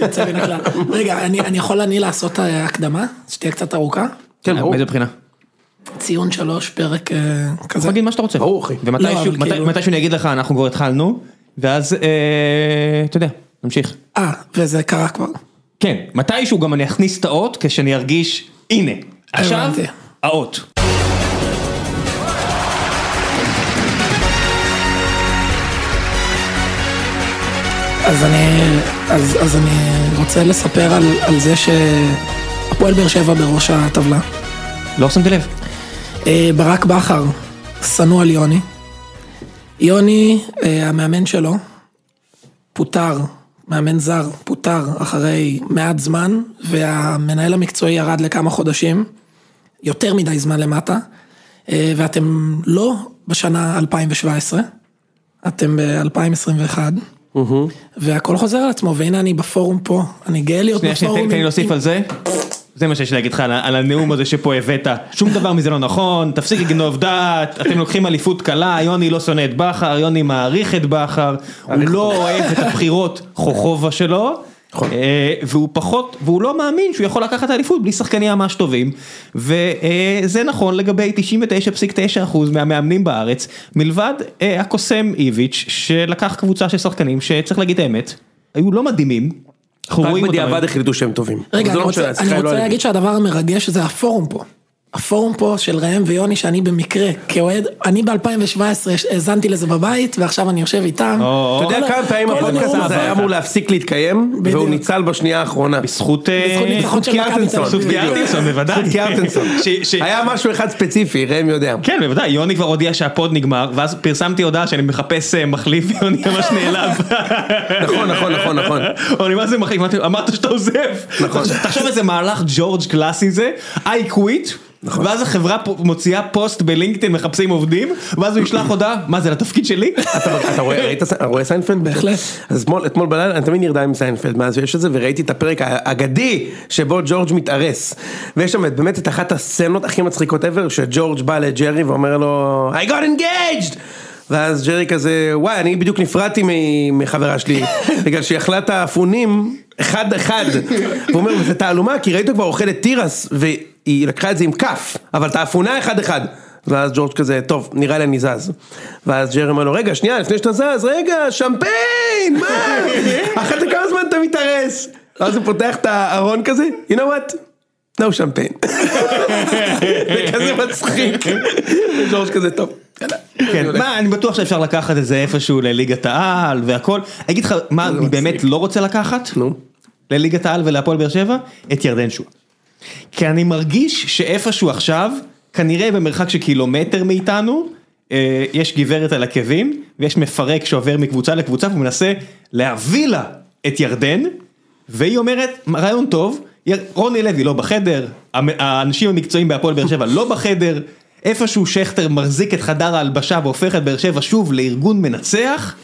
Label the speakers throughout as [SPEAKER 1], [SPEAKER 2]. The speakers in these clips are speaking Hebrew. [SPEAKER 1] יוצא מן הכלל. רגע, אני אני יכול אני לעשות אה, הקדמה? שתהיה קצת ארוכה?
[SPEAKER 2] כן, ברור.
[SPEAKER 3] מאיזה בחינה?
[SPEAKER 1] ציון שלוש, פרק אה,
[SPEAKER 3] אתה
[SPEAKER 1] כזה.
[SPEAKER 3] תגיד מה שאתה רוצה.
[SPEAKER 2] ברור, אחי.
[SPEAKER 1] לא,
[SPEAKER 3] ומתישהו
[SPEAKER 1] אבל
[SPEAKER 3] מתי-
[SPEAKER 1] כאילו-
[SPEAKER 3] מתישהו אני אגיד לך, אנחנו כבר התחלנו, ואז, אה, אתה יודע, נמשיך.
[SPEAKER 1] אה, וזה קרה כבר.
[SPEAKER 3] כן, מתישהו גם אני אכניס את האות כשאני ארגיש, הנה, עכשיו,
[SPEAKER 1] הבנתי.
[SPEAKER 3] האות.
[SPEAKER 1] אז אני, אז, אז אני רוצה לספר על, על זה שהפועל באר שבע בראש הטבלה.
[SPEAKER 3] לא שמתי לב.
[SPEAKER 1] אה, ברק בכר, שנוא על יוני. יוני, אה, המאמן שלו, פוטר, מאמן זר, פוטר אחרי מעט זמן, והמנהל המקצועי ירד לכמה חודשים, יותר מדי זמן למטה, אה, ואתם לא בשנה 2017, אתם ב-2021. והכל חוזר על עצמו, והנה אני בפורום פה, אני גאה להיות
[SPEAKER 3] שנייה, שנייה,
[SPEAKER 1] בפורום.
[SPEAKER 3] תן- תן לי
[SPEAKER 1] עם-
[SPEAKER 3] להוסיף על זה. זה מה שיש לי להגיד לך על ה- על הנאום הזה שפה הבאת, שום דבר מזה לא נכון, תפסיק לגנוב דעת, אתם לוקחים אליפות קלה, יוני לא שונא את בכר, יוני מעריך את בכר, הוא לא אוהב את הבחירות חוכובה שלו,
[SPEAKER 2] נכון.
[SPEAKER 3] אה, והוא פחות, והוא לא מאמין שהוא יכול לקחת אליפות בלי שחקני ממש טובים, וזה נכון לגבי 99.9% מהמאמנים בארץ, מלבד אה, הקוסם איביץ', שלקח קבוצה של שחקנים שצריך להגיד את האמת, היו לא מדהימים. אנחנו
[SPEAKER 2] רק
[SPEAKER 3] רואים אותם היום.
[SPEAKER 2] בדיעבד החליטו שהם טובים. אבל
[SPEAKER 1] רגע,
[SPEAKER 2] זה
[SPEAKER 1] אני
[SPEAKER 2] לא משנה,
[SPEAKER 1] רוצה,
[SPEAKER 2] השיחה
[SPEAKER 1] אני
[SPEAKER 2] היא לא
[SPEAKER 1] רוצה
[SPEAKER 2] על
[SPEAKER 1] להגיד שהדבר המרגש זה הפורום פה. הפורום פה של ראם ויוני שאני במקרה, כאוהד, אני ב-2017 האזנתי לזה בבית ועכשיו אני יושב איתם.
[SPEAKER 3] או,
[SPEAKER 2] אתה
[SPEAKER 1] כל-
[SPEAKER 2] יודע כמה פעמים
[SPEAKER 1] כל
[SPEAKER 2] הפודקאסט
[SPEAKER 1] הנאום
[SPEAKER 2] הזה היה אמור להפסיק להתקיים,
[SPEAKER 1] בדיוק.
[SPEAKER 2] והוא ניצל בשנייה האחרונה.
[SPEAKER 3] זכות
[SPEAKER 1] בזכות
[SPEAKER 3] אה,
[SPEAKER 1] ניצחון של מכבי תל אביב.
[SPEAKER 3] זכות
[SPEAKER 1] בדיוק.
[SPEAKER 3] קיארטנסון בוודאי.
[SPEAKER 2] זכות קיארטנסון.
[SPEAKER 3] ש- ש-
[SPEAKER 2] היה משהו אחד ספציפי, ראם יודע.
[SPEAKER 3] כן בוודאי יוני כבר הודיע שהפוד נגמר ואז פרסמתי הודעה שאני מחפש אה, מחליף ויוני ממש נעלב.
[SPEAKER 2] נכון, נכון, נכון, נכון.
[SPEAKER 3] אבל אני מה זה מחליף אמרתי לו, אמרת שאתה עוזב.
[SPEAKER 2] נכון.
[SPEAKER 3] תחשוב איזה מהלך ג'ורג' קלאסי זה I quit.
[SPEAKER 2] נכון.
[SPEAKER 3] ואז החברה פ- מוציאה פוסט בלינקדאין מחפשים עובדים ואז הוא ישלח הודעה מה זה לתפקיד שלי?
[SPEAKER 2] אתה- אתה רואה, ראית, ס- רואה סיינפלד?
[SPEAKER 1] בהחלט.
[SPEAKER 2] אז אתמול, אתמול בלילה, אני תמיד נרדם עם סיינפלד מאז שיש את זה, וראיתי את הפרק האגדי שבו ג'ורג' מתארס. ויש שם את- באמת את אחת הסצנות הכי מצחיקות ever, שג'ורג' בא לג'רי ואומר לו, I got engaged! ואז ג'רי כזה, וואי, אני בדיוק נפרדתי מ- מחברה שלי, בגלל שהיא אכלה את האפונים אחד אחד. והוא אומר, וזה תעלומה, כי ראית כבר אוכלת תירס, והיא לקחה את זה עם כף, אבל את האפונה אחד אחד. ואז ג'ורג' כזה, טוב, נראה לי אני זז. ואז ג'רי אומר לו, רגע, שנייה, לפני שאתה זז, רגע, שמפיין, מה? אחת לכמה זמן אתה מתארס? ואז הוא פותח את הארון כזה, you know what? No שמפיין. זה כזה מצחיק. ג'ורג' כזה, טוב, יאללה. אני
[SPEAKER 3] כן,
[SPEAKER 2] הולך."
[SPEAKER 3] מה, אני בטוח שאפשר לקחת את זה איפשהו לליגת העל והכל. אני אגיד לך, מה אני באמת לא רוצה לקחת?
[SPEAKER 2] נו.
[SPEAKER 3] לליגת העל ולהפועל באר שבע? את ירדן שועה. כי אני מרגיש שאיפשהו עכשיו, כנראה במרחק של קילומטר מאיתנו, אה, יש גברת על עקבים, ויש מפרק שעובר מקבוצה לקבוצה ומנסה להביא לה את ירדן, והיא אומרת, רעיון טוב, יר- רוני לוי לא בחדר, המ- האנשים המקצועיים בהפועל באר שבע לא בחדר, איפשהו שכטר מחזיק את חדר ההלבשה והופך את באר שבע שוב לארגון מנצח,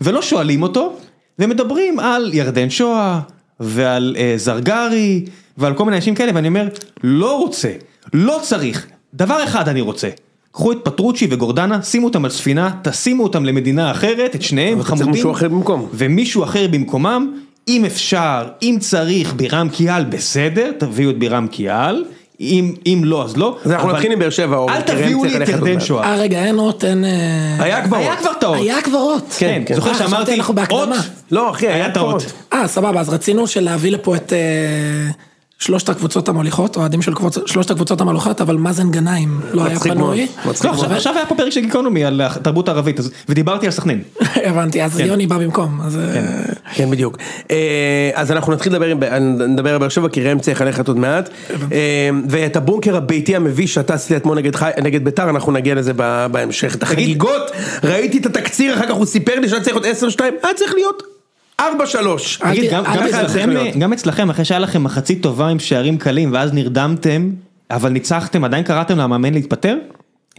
[SPEAKER 3] ולא שואלים אותו, ומדברים על ירדן שואה, ועל אה, זרגרי, ועל כל מיני אנשים כאלה, ואני אומר, לא רוצה, לא צריך, דבר אחד אני רוצה. קחו את פטרוצ'י וגורדנה, שימו אותם על ספינה, תשימו אותם למדינה אחרת, את שניהם
[SPEAKER 2] אבל אתה צריך
[SPEAKER 3] חמודים.
[SPEAKER 2] מישהו אחר במקום.
[SPEAKER 3] ומישהו אחר במקומם, אם אפשר, אם צריך, בירם קיאל בסדר, תביאו את בירם קיאל, אם, אם לא אז לא.
[SPEAKER 2] אז אנחנו
[SPEAKER 3] אבל
[SPEAKER 2] נתחיל עם באר שבע, אורן,
[SPEAKER 3] אל
[SPEAKER 2] כי ראם
[SPEAKER 3] תביאו
[SPEAKER 2] צריך
[SPEAKER 3] לי את
[SPEAKER 2] ללכת עוד
[SPEAKER 3] ירדן
[SPEAKER 2] מעט.
[SPEAKER 3] שואה.
[SPEAKER 1] אה רגע, אין אות, אין... אה,
[SPEAKER 2] היה כבר.
[SPEAKER 3] היה כבר את האות.
[SPEAKER 1] היה כבר אות.
[SPEAKER 3] כן,
[SPEAKER 2] כן.
[SPEAKER 3] זוכר
[SPEAKER 1] אה, חשבתי
[SPEAKER 3] שאמרתי,
[SPEAKER 1] אנחנו בהקדמה.
[SPEAKER 3] אות,
[SPEAKER 2] לא, אחי,
[SPEAKER 3] היה
[SPEAKER 2] היה
[SPEAKER 3] את האות.
[SPEAKER 2] טעות.
[SPEAKER 1] אה, סבבה, אז רצינו שלהביא לפה את אה, שלושת הקבוצות המוליכות, אוהדים של קבוצ- שלושת הקבוצות המוליכות, אבל מאזן גנאים לא היה
[SPEAKER 2] מצחיק
[SPEAKER 1] פנוי.
[SPEAKER 2] מאוד, מצחיק
[SPEAKER 3] לא, עכשיו- עכשיו היה פה פרק של גיקונומי על התרבות הערבית, אז- ודיברתי על סכנין.
[SPEAKER 1] הבנתי, אז יוני בא במקום, אז... אה,
[SPEAKER 2] כן בדיוק. אה, אז אנחנו נתחיל לדבר, עם- נדבר על באר שבע כי ראם צריך ללכת עוד מעט. אה, ואת הבונקר הביתי המביש שאתה עשית אתמול נגד חי- נגד ביתר, אנחנו נגיע לזה ב- בהמשך. את החגיגות, ראיתי את התקציר, אחר כך הוא סיפר לי שהיה צריך להיות 10-2, היה צריך להיות 4-3.
[SPEAKER 1] אל
[SPEAKER 3] תגיד,
[SPEAKER 1] ת-
[SPEAKER 3] גם-
[SPEAKER 1] אל
[SPEAKER 3] גם
[SPEAKER 1] תזלזל
[SPEAKER 3] אצלכם, אה,
[SPEAKER 2] מאוד.
[SPEAKER 3] גם אצלכם, אחרי שהיה לכם מחצית טובה עם שערים קלים, ואז נרדמתם, אבל ניצחתם, עדיין קראתם למאמן להתפטר?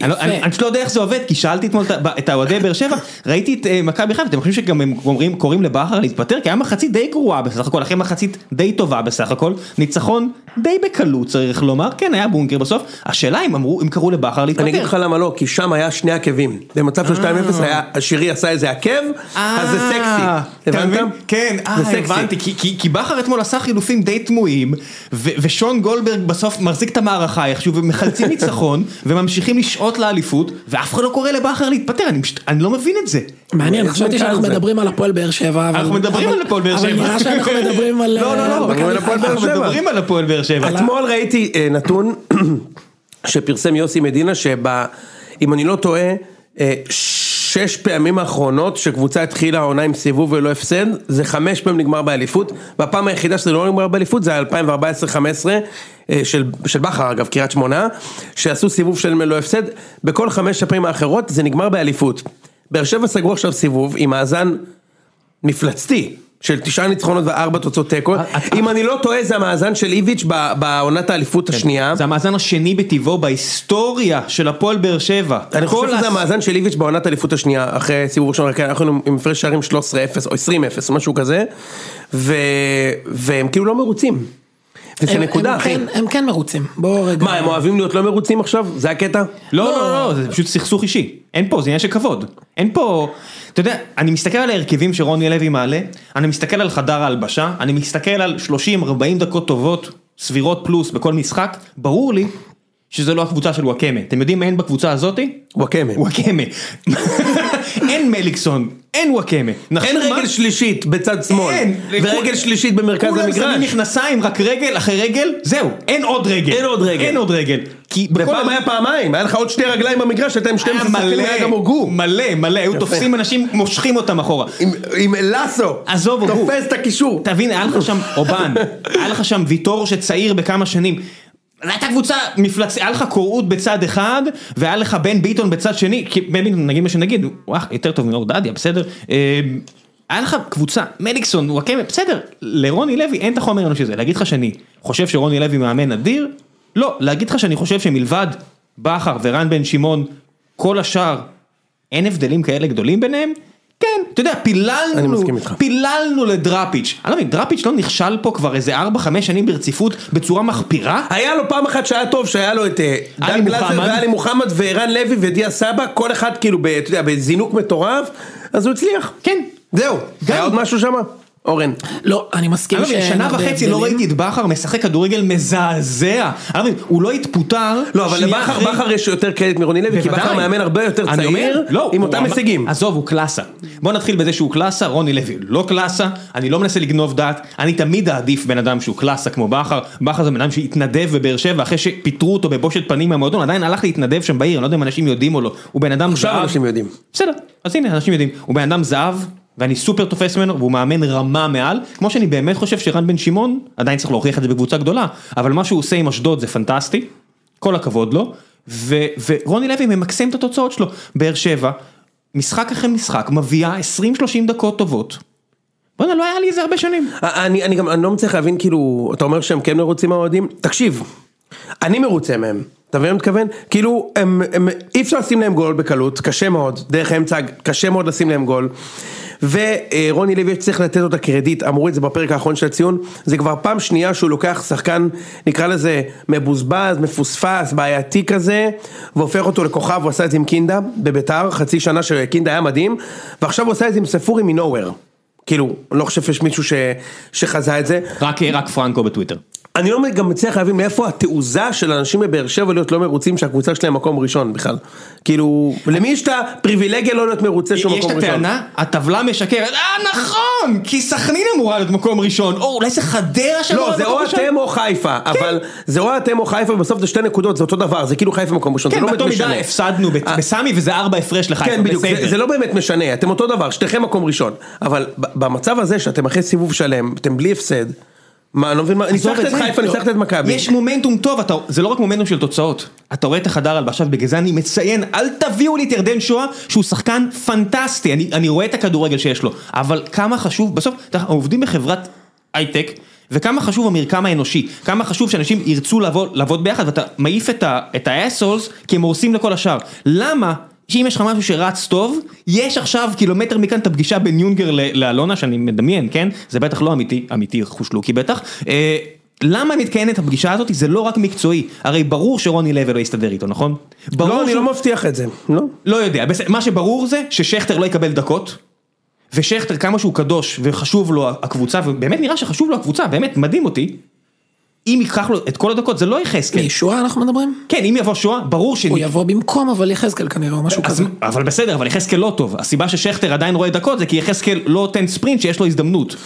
[SPEAKER 3] אני לא-
[SPEAKER 1] יפה.
[SPEAKER 3] אני אני פשוט לא יודע איך זה עובד, כי שאלתי אתמול את ה- את האוהדי באר שבע, ראיתי את אה, מכבי חיפה, אתם חושבים שגם הם אומרים, קוראים לבכר להתפטר? כי היה מחצית די גרועה בסך הכל, אחרי מחצית די טובה בסך הכל, ניצחון די בקלות צריך לומר, כן היה בונקר בסוף, השאלה אם אמרו, אם קראו לבכר להתפטר.
[SPEAKER 2] אני אגיד לך למה לא, כי שם היה שני עקבים. במצב של 2-0 היה, השירי עשה איזה עקב, אז זה
[SPEAKER 3] אה,
[SPEAKER 2] סקסי.
[SPEAKER 3] אתה מבין?
[SPEAKER 2] הבנת?
[SPEAKER 3] כן, אה,
[SPEAKER 2] זה סקסי.
[SPEAKER 3] הבנתי, כי- כי- כי בכר אתמול עשה חילופים די תמוהים, ו- ושון גולדברג בסוף מחזיק את המערכה איכשהו, ומחלצים ניצחון, וממשיכים לשעוט לאליפות, ואף אחד לא קורא לבכר להתפטר, אני פשוט- אני לא מבין את זה.
[SPEAKER 1] מעניין,
[SPEAKER 2] איזה
[SPEAKER 1] חשבתי
[SPEAKER 2] מנכ"ל
[SPEAKER 1] שאנחנו
[SPEAKER 2] זה?
[SPEAKER 1] מדברים על הפועל באר שבע, אבל...
[SPEAKER 3] אנחנו מדברים
[SPEAKER 1] אבל-
[SPEAKER 3] על הפועל באר שבע.
[SPEAKER 1] אבל נראה שאנחנו מדברים על...
[SPEAKER 2] לא, לא, לא,
[SPEAKER 1] אה,
[SPEAKER 2] אבל
[SPEAKER 1] מכבי
[SPEAKER 2] על
[SPEAKER 1] חיפה.
[SPEAKER 2] הפועל באר
[SPEAKER 3] אנחנו
[SPEAKER 2] שבע.
[SPEAKER 3] מדברים על הפועל באר שבע.
[SPEAKER 2] אתמול ראיתי אה, נתון שפרסם יוסי מדינה, שאם אני לא טועה, אה, שש פעמים האחרונות שקבוצה התחילה העונה עם סיבוב ולא הפסד, זה חמש פעמים נגמר באליפות, והפעם היחידה שזה לא נגמר באליפות זה 2014-2015, אה, של, של בכר אגב, קריית שמונה, שעשו סיבוב של ללא הפסד, בכל חמש הפעמים האחרות זה נגמר באליפות. באר שבע סגרו עכשיו סיבוב עם מאזן מפלצתי. של תשעה ניצחונות וארבע תוצאות תיקו,
[SPEAKER 3] אה,
[SPEAKER 2] אם אני לא טועה זה המאזן של איביץ' ב- בעונת האליפות השנייה,
[SPEAKER 3] כן. זה המאזן השני בטבעו בהיסטוריה של הפועל באר שבע. כל
[SPEAKER 2] אני חושב שזה
[SPEAKER 3] הס-
[SPEAKER 2] המאזן של איביץ' בעונת האליפות השנייה, אחרי סיבוב ראשון, כן, אנחנו היינו עם הפרש שערים 13-0 או 20-0, משהו כזה, ו- והם כאילו לא מרוצים, וזה
[SPEAKER 1] הם-
[SPEAKER 2] נקודה
[SPEAKER 1] הם
[SPEAKER 2] אחי,
[SPEAKER 1] כן- הם כן מרוצים, בואו רגע.
[SPEAKER 2] מה הם אוהבים להיות לא מרוצים עכשיו? זה הקטע?
[SPEAKER 3] לא, לא, לא, לא, זה פשוט סכסוך אישי. אין פה, זה עניין של כבוד. אין פה... אתה יודע, אני מסתכל על ההרכבים שרוני לוי מעלה, אני מסתכל על חדר ההלבשה, אני מסתכל על 30-40 דקות טובות, סבירות פלוס בכל משחק, ברור לי שזו לא הקבוצה של וואקמה. אתם יודעים מה אין בקבוצה הזאתי?
[SPEAKER 2] וואקמה,
[SPEAKER 3] וואקמה. אין מליקסון, אין וואקמה.
[SPEAKER 2] אין רגל שלישית בצד שמאל,
[SPEAKER 3] אין.
[SPEAKER 2] ורגל שלישית במרכז
[SPEAKER 3] כולם שמים
[SPEAKER 2] המגרש,
[SPEAKER 3] מכנסיים, רק רגל אחרי רגל, זהו, אין עוד רגל.
[SPEAKER 2] אין עוד רגל.
[SPEAKER 3] אין עוד רגל. כי בכל...
[SPEAKER 2] ופעם היה פעמיים, היה לך עוד שתי רגליים במגרש, הייתה עם 12 שחקנים, היה גם הוגו.
[SPEAKER 3] מלא, מלא, היו תופסים אנשים, מושכים אותם אחורה.
[SPEAKER 2] עם, עם לסו,
[SPEAKER 3] עזוב, הוגו.
[SPEAKER 2] תופס את הקישור.
[SPEAKER 3] תבין, היה לך שם אובן, היה לך שם ויטור שצעיר בכמה שנים. הייתה קבוצה מפלצ... היה לך קוראות בצד אחד, והיה לך בן ביטון בצד שני, כי בן ביטון, נגיד מה שנגיד, הוא אח, יותר טוב מאור דדיה, בסדר? אה, היה לך קבוצה, מליקסון, וואקמה, בסדר, לרוני לוי אין את החומר האנושי הזה, להגיד לך שאני חושב שרוני לוי מאמן אדיר? לא, להגיד לך שאני חושב שמלבד בכר ורן בן שמעון, כל השאר, אין הבדלים כאלה גדולים ביניהם? כן, אתה יודע, פיללנו,
[SPEAKER 2] אני מסכים איתך.
[SPEAKER 3] פיללנו לדראפיץ'. אני לא מבין, דראפיץ' לא נכשל פה כבר איזה 4-5 שנים ברציפות בצורה מחפירה?
[SPEAKER 2] היה לו פעם אחת שהיה טוב, שהיה לו את אה,
[SPEAKER 3] עלי
[SPEAKER 2] דן גלזר
[SPEAKER 3] מוחמד.
[SPEAKER 2] ועלי מוחמד וערן לוי ודיה סבא, כל אחד כאילו, ב- אתה יודע, בזינוק מטורף, אז הוא הצליח.
[SPEAKER 3] כן.
[SPEAKER 2] זהו.
[SPEAKER 3] גם.
[SPEAKER 2] היה עוד משהו שם? אורן.
[SPEAKER 1] לא, אני מסכים
[SPEAKER 3] אני לא מבין,
[SPEAKER 1] שאין
[SPEAKER 3] שנה
[SPEAKER 1] הרבה
[SPEAKER 3] וחצי לא
[SPEAKER 1] הבדלים.
[SPEAKER 3] ראיתי את בכר משחק כדורגל מזעזע. אני לא מבין, הוא לא התפוטר.
[SPEAKER 2] לא, אבל
[SPEAKER 3] שנייה
[SPEAKER 2] לבכר
[SPEAKER 3] אחרי-
[SPEAKER 2] בכר יש יותר קרדיט מרוני לוי, כי
[SPEAKER 3] בוודאי.
[SPEAKER 2] בכר מאמן הרבה יותר
[SPEAKER 3] אני אומר,
[SPEAKER 2] צעיר,
[SPEAKER 3] לא,
[SPEAKER 2] עם
[SPEAKER 3] הוא
[SPEAKER 2] אותם
[SPEAKER 3] אמר-
[SPEAKER 2] הישגים.
[SPEAKER 3] עזוב, הוא קלאסה. בוא נתחיל בזה שהוא קלאסה, רוני לוי לא קלאסה, אני לא מנסה לגנוב דעת, אני תמיד אעדיף בן אדם שהוא קלאסה כמו בכר, בכר זה בן אדם שהתנדב בבאר שבע אחרי שפיטרו אותו בבושת פנים מהמועדון, עדיין הלך להתנדב שם בעיר, אני לא יודע אם אנשים יודעים או לא, הוא בן אדם
[SPEAKER 2] עכשיו
[SPEAKER 3] זהב.
[SPEAKER 2] אנשים יודעים.
[SPEAKER 3] בסדר, אז הנה, אנשים יודעים, הוא בן אדם זהב, ואני סופר תופס ממנו, והוא מאמן רמה מעל, כמו שאני באמת חושב שרן בן שמעון, עדיין צריך להוכיח את זה בקבוצה גדולה, אבל מה שהוא עושה עם אשדוד זה פנטסטי, כל הכבוד לו, ו- ורוני לוי ממקסם את התוצאות שלו, באר שבע, משחק אחרי משחק, מביאה 20-30 דקות טובות. בוא'נה, לא היה לי איזה הרבה שנים.
[SPEAKER 2] אני, אני גם אני לא מצליח להבין כאילו, אתה אומר שהם כן מרוצים מהאוהדים? תקשיב, אני מרוצה מהם, אתה מבין מה אני מתכוון? כאילו, הם, הם, אי אפשר לשים להם גול בקלות, קשה מאוד, דרך האמצע קשה מאוד לשים להם גול. ורוני לוי צריך לתת לו את הקרדיט, אמרו את זה בפרק האחרון של הציון, זה כבר פעם שנייה שהוא לוקח שחקן, נקרא לזה מבוזבז, מפוספס, בעייתי כזה, והופך אותו לכוכב, הוא עשה את זה עם קינדה בביתר, חצי שנה שקינדה היה מדהים, ועכשיו הוא עשה את זה עם ספורי מנוהוור. כאילו, אני לא חושב שיש מישהו ש, שחזה את זה.
[SPEAKER 3] רק, רק פרנקו בטוויטר.
[SPEAKER 2] אני לא גם מצליח להבין מאיפה התעוזה של אנשים בבאר שבע להיות לא מרוצים שהקבוצה שלהם מקום ראשון בכלל. כאילו, למי יש את הפריבילגיה לא להיות מרוצה שהוא
[SPEAKER 3] יש
[SPEAKER 2] מקום
[SPEAKER 3] את
[SPEAKER 2] ראשון?
[SPEAKER 3] הטענה, הטבלה משקרת, אה נכון, כי סכנין אמורה להיות מקום ראשון, או אולי זה חדרה שאמורה
[SPEAKER 2] לא,
[SPEAKER 3] להיות
[SPEAKER 2] זה
[SPEAKER 3] מקום
[SPEAKER 2] או
[SPEAKER 3] ראשון. כן.
[SPEAKER 2] אתם או חיפה, אבל זה או אתם או חיפה, ובסוף זה שתי נקודות, זה אותו דבר, זה כאילו חיפה מקום ראשון, זה
[SPEAKER 3] כן,
[SPEAKER 2] לא
[SPEAKER 3] באותו
[SPEAKER 2] באמת משנה.
[SPEAKER 3] מידה הפסדנו ב- בסמי וזה ארבע הפרש לחיפה.
[SPEAKER 2] כן, בדיוק,
[SPEAKER 3] בסדר.
[SPEAKER 2] זה, זה לא באמת משנה, אתם אותו דבר, שתיכם מקום ראשון, אבל ב- במצב הזה שאתם אחרי סיבוב שלם, אתם בלי הפסד, מה, אני לא מבין מה, ניצחת
[SPEAKER 3] עזוב
[SPEAKER 2] את
[SPEAKER 3] זה.
[SPEAKER 2] חיפה,
[SPEAKER 3] לא.
[SPEAKER 2] ניצחת את מכבי.
[SPEAKER 3] יש מומנטום טוב, אתה- זה לא רק מומנטום של תוצאות. אתה רואה את החדר הלבשה, בגלל זה אני מציין, אל תביאו לי את ירדן שואה, שהוא שחקן פנטסטי, אני- אני רואה את הכדורגל שיש לו, אבל כמה חשוב, בסוף, אתה- אנחנו עובדים בחברת הייטק. וכמה חשוב המרקם האנושי, כמה חשוב שאנשים ירצו לעבוד, לעבוד ביחד ואתה מעיף את ה- את האסולס כי הם הורסים לכל השאר. למה שאם יש לך משהו שרץ טוב, יש עכשיו קילומטר מכאן את הפגישה בין יונגר ל- לאלונה, שאני מדמיין, כן? זה בטח לא אמיתי, אמיתי חושלוקי בטח. אה, למה מתקיימת הפגישה הזאת? זה לא רק מקצועי. הרי ברור שרוני לוי לא יסתדר איתו, נכון? ברור
[SPEAKER 2] לא, אני
[SPEAKER 3] שהוא-
[SPEAKER 2] לא מבטיח את זה. לא.
[SPEAKER 3] לא יודע, בסדר, מה שברור זה ששכטר לא יקבל דקות, ושכטר כמה שהוא קדוש וחשוב לו הקבוצה, ובאמת נראה שחשוב לו הקבוצה, באמת מדהים אותי, אם ייקח לו את כל הדקות זה לא יחזקאל.
[SPEAKER 1] מישוע אנחנו מדברים?
[SPEAKER 3] כן, אם יבוא שואה, ברור ש...
[SPEAKER 1] הוא יבוא במקום אבל יחזקאל כנראה, או משהו
[SPEAKER 3] אז,
[SPEAKER 1] כזה.
[SPEAKER 3] אבל בסדר, אבל יחזקאל לא טוב. הסיבה ששכטר עדיין רואה דקות זה כי יחזקאל לא נותן ספרינט שיש לו הזדמנות.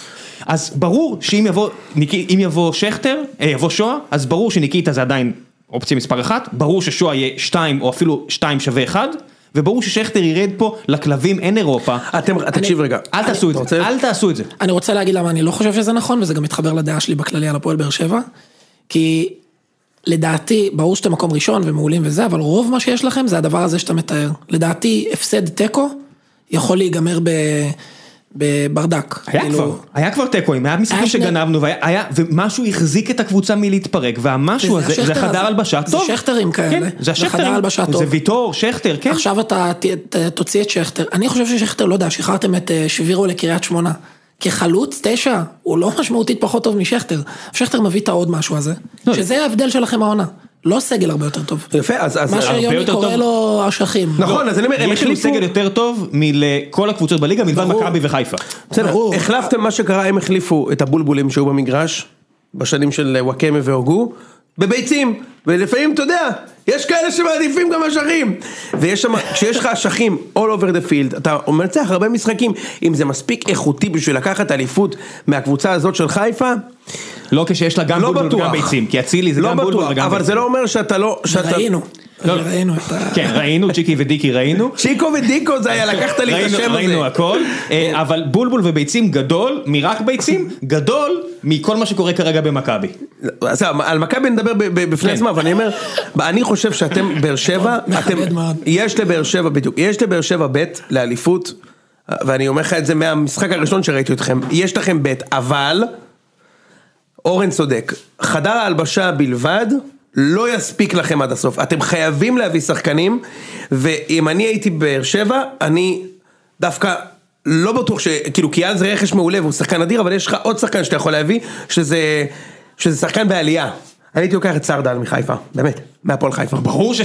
[SPEAKER 3] אז ברור שאם יבוא, ניקי, אם יבוא שכטר, אה, יבוא שואה, אז ברור שניקיטה זה עדיין אופציה מספר אחת, ברור ששואה יהיה שתיים או אפילו שתיים שווה אחד, וברור ששכטר ירד פה לכלבים אין אירופה.
[SPEAKER 2] אתם, תקשיב רגע.
[SPEAKER 3] אל תעשו את
[SPEAKER 2] אתה
[SPEAKER 3] זה,
[SPEAKER 2] רוצה-
[SPEAKER 3] אל תעשו את זה.
[SPEAKER 1] אני רוצה להגיד למה אני לא חושב שזה נכון, וזה גם מתחבר לדעה שלי בכללי על הפועל באר שבע, כי לדעתי, ברור שאתם מקום ראשון ומעולים וזה, אבל רוב מה שיש לכם זה הדבר הזה שאתה מתאר. לדעתי, הפסד תיקו יכול להיגמר ב... בברדק.
[SPEAKER 3] היה
[SPEAKER 1] כאילו,
[SPEAKER 3] כבר, היה כבר תיקו, היה משחקים
[SPEAKER 1] היה שני-
[SPEAKER 3] שגנבנו, והיה- היה- ומשהו החזיק את הקבוצה מלהתפרק, והמשהו
[SPEAKER 1] וזה
[SPEAKER 3] הזה, זה
[SPEAKER 1] השכטר
[SPEAKER 3] חדר
[SPEAKER 1] הזה.
[SPEAKER 3] הלבשה
[SPEAKER 1] זה
[SPEAKER 3] טוב.
[SPEAKER 1] שכטרים כאלה.
[SPEAKER 3] כן, זה
[SPEAKER 1] זה חדר
[SPEAKER 3] השכטרים,
[SPEAKER 1] הלבשה
[SPEAKER 3] זה
[SPEAKER 1] טוב.
[SPEAKER 3] ויטור, שכטר, כן.
[SPEAKER 1] עכשיו אתה ת, ת, תוציא את שכטר. אני חושב ששכטר, לא יודע, שחררתם את אה, שבירו לקריית שמונה. כחלוץ, תשע, הוא לא משמעותית פחות טוב משכטר. שכטר מביא את העוד משהו הזה,
[SPEAKER 3] לא.
[SPEAKER 1] שזה ההבדל שלכם העונה. לא סגל הרבה יותר טוב.
[SPEAKER 2] יפה, אז... אז-
[SPEAKER 1] מה שיוני
[SPEAKER 3] יותר טוב.
[SPEAKER 1] קורא לו אשכים.
[SPEAKER 2] נכון, אז אני אומר, הם
[SPEAKER 3] יש לנו
[SPEAKER 2] החליפו...
[SPEAKER 3] סגל יותר טוב מלכל הקבוצות בליגה מלבד
[SPEAKER 2] ברור.
[SPEAKER 3] מכבי וחיפה.
[SPEAKER 2] בסדר,
[SPEAKER 1] ברור.
[SPEAKER 2] החלפתם מה שקרה, הם החליפו את הבולבולים שהיו במגרש, בשנים של אה, וואקמה והוגו, בביצים, ולפעמים, אתה יודע, יש כאלה שמעדיפים גם אשכים. ויש שם, כשיש לך אשכים all over the field, אתה מנצח הרבה משחקים, אם זה מספיק איכותי בשביל לקחת אליפות מהקבוצה הזאת של חיפה,
[SPEAKER 3] לא כשיש לה גם
[SPEAKER 2] לא
[SPEAKER 3] בולבול
[SPEAKER 2] בטוח.
[SPEAKER 3] וגם ביצים, כי אצילי זה
[SPEAKER 2] לא
[SPEAKER 3] גם בולבול
[SPEAKER 2] בטוח,
[SPEAKER 3] וגם ביצים.
[SPEAKER 2] אבל זה לא אומר שאתה לא... שאתה-
[SPEAKER 1] ראינו.
[SPEAKER 3] לא, לא.
[SPEAKER 1] ראינו את ה...
[SPEAKER 3] כן, ראינו, צ'יקי ודיקי ראינו.
[SPEAKER 2] צ'יקו ודיקו זה היה, לקחת לי את
[SPEAKER 3] ראינו-
[SPEAKER 2] השם הזה.
[SPEAKER 3] ראינו הכל, אה, אבל בולבול וביצים גדול מרק ביצים, גדול מכל מה שקורה כרגע במכבי.
[SPEAKER 2] אז זהו, על מכבי נדבר ב- ב- בפני
[SPEAKER 3] כן.
[SPEAKER 2] עצמה, אבל אני אומר, אני חושב שאתם באר שבע,
[SPEAKER 1] מכבד
[SPEAKER 2] אתם,
[SPEAKER 1] מאוד.
[SPEAKER 2] יש לבאר שבע בדיוק, יש לבאר שבע בית לאליפות, ואני אומר לך את זה מהמשחק הראשון שראיתי אתכם, יש לכם בית, אבל, אורן צודק, חדר ההלבשה בלבד, לא יספיק לכם עד הסוף, אתם חייבים להביא שחקנים, ואם אני הייתי בבאר שבע, אני דווקא... לא בטוח ש... כאילו, קיאל זה רכש מעולה והוא שחקן אדיר, אבל יש לך עוד שחקן שאתה יכול להביא, שזה... שזה שחקן בעלייה. אני הייתי לוקח את סרדל מחיפה, באמת, מהפועל חיפה.
[SPEAKER 3] ברור ש...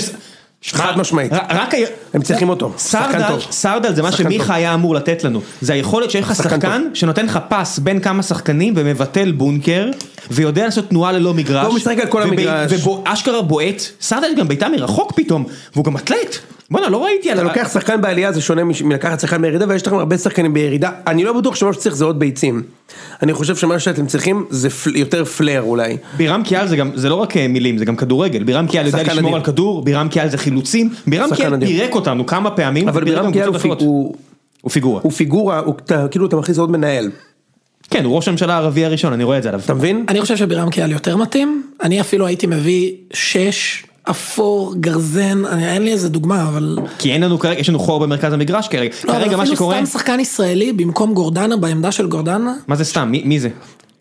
[SPEAKER 2] חד משמעית.
[SPEAKER 3] ר- רק ה-
[SPEAKER 2] הם צריכים אותו, שחקן
[SPEAKER 3] סרדל,
[SPEAKER 2] טוב.
[SPEAKER 3] סרדל זה מה
[SPEAKER 2] שחקן
[SPEAKER 3] שמיכה
[SPEAKER 2] טוב.
[SPEAKER 3] היה אמור לתת לנו, זה היכולת שיש לך
[SPEAKER 2] שחקן
[SPEAKER 3] שחקן שנותן לך פס בין כמה שחקנים ומבטל בונקר ויודע לעשות תנועה ללא מגרש,
[SPEAKER 2] והוא משחק על כל
[SPEAKER 3] וב-
[SPEAKER 2] המגרש.
[SPEAKER 3] ואשכרה בועט, סרדל גם בעיטה מרחוק פתאום, והוא גם אתלט, בואנה לא ראיתי
[SPEAKER 2] אתה
[SPEAKER 3] עליו,
[SPEAKER 2] לוקח שחקן בעלייה זה שונה מש- מלקחת שחקן בירידה ויש לכם הרבה שחקנים בירידה. אני לא בטוח שמה שצריך זה עוד ביצים. אני חושב שמה שאתם צריכים זה פל- יותר פלר אולי.
[SPEAKER 3] בירם קיאל זה גם, זה לא רק אה, מילים, זה גם כדורגל, בירם קיאל יודע
[SPEAKER 2] שחקן
[SPEAKER 3] לשמור
[SPEAKER 2] אדיר.
[SPEAKER 3] על כדור, בירם קיאל זה חילוצים, בירם
[SPEAKER 2] שחקן
[SPEAKER 3] קיאל
[SPEAKER 2] אדיר.
[SPEAKER 3] פירק אותנו כמה פעמים,
[SPEAKER 2] אבל
[SPEAKER 3] ופירק
[SPEAKER 2] בירם
[SPEAKER 3] גם
[SPEAKER 2] קיאל הוא
[SPEAKER 3] קבוצות אחרות.
[SPEAKER 2] פי- הוא-
[SPEAKER 3] הוא פיגורה,
[SPEAKER 2] הוא פיגורה, הוא אתה- כאילו אתה מכניס עוד מנהל.
[SPEAKER 3] כן הוא ראש הממשלה הערבי הראשון, אני רואה את זה עליו,
[SPEAKER 2] אתה מבין?
[SPEAKER 1] אני חושב שבירם קיאל יותר מתאים, אני אפילו הייתי מביא שש, אפור, גרזן, אני- אין לי איזה דוגמה, אבל...
[SPEAKER 3] כי אין לנו כרגע, יש לנו חור במרכז המגרש כרגע,
[SPEAKER 1] לא, אבל
[SPEAKER 3] כרגע מה
[SPEAKER 1] אפילו
[SPEAKER 3] שקורה,
[SPEAKER 1] סתם שחקן ישראלי במקום גורדנה, בעמדה של גורדנה,
[SPEAKER 3] מה זה סתם, מי מי זה?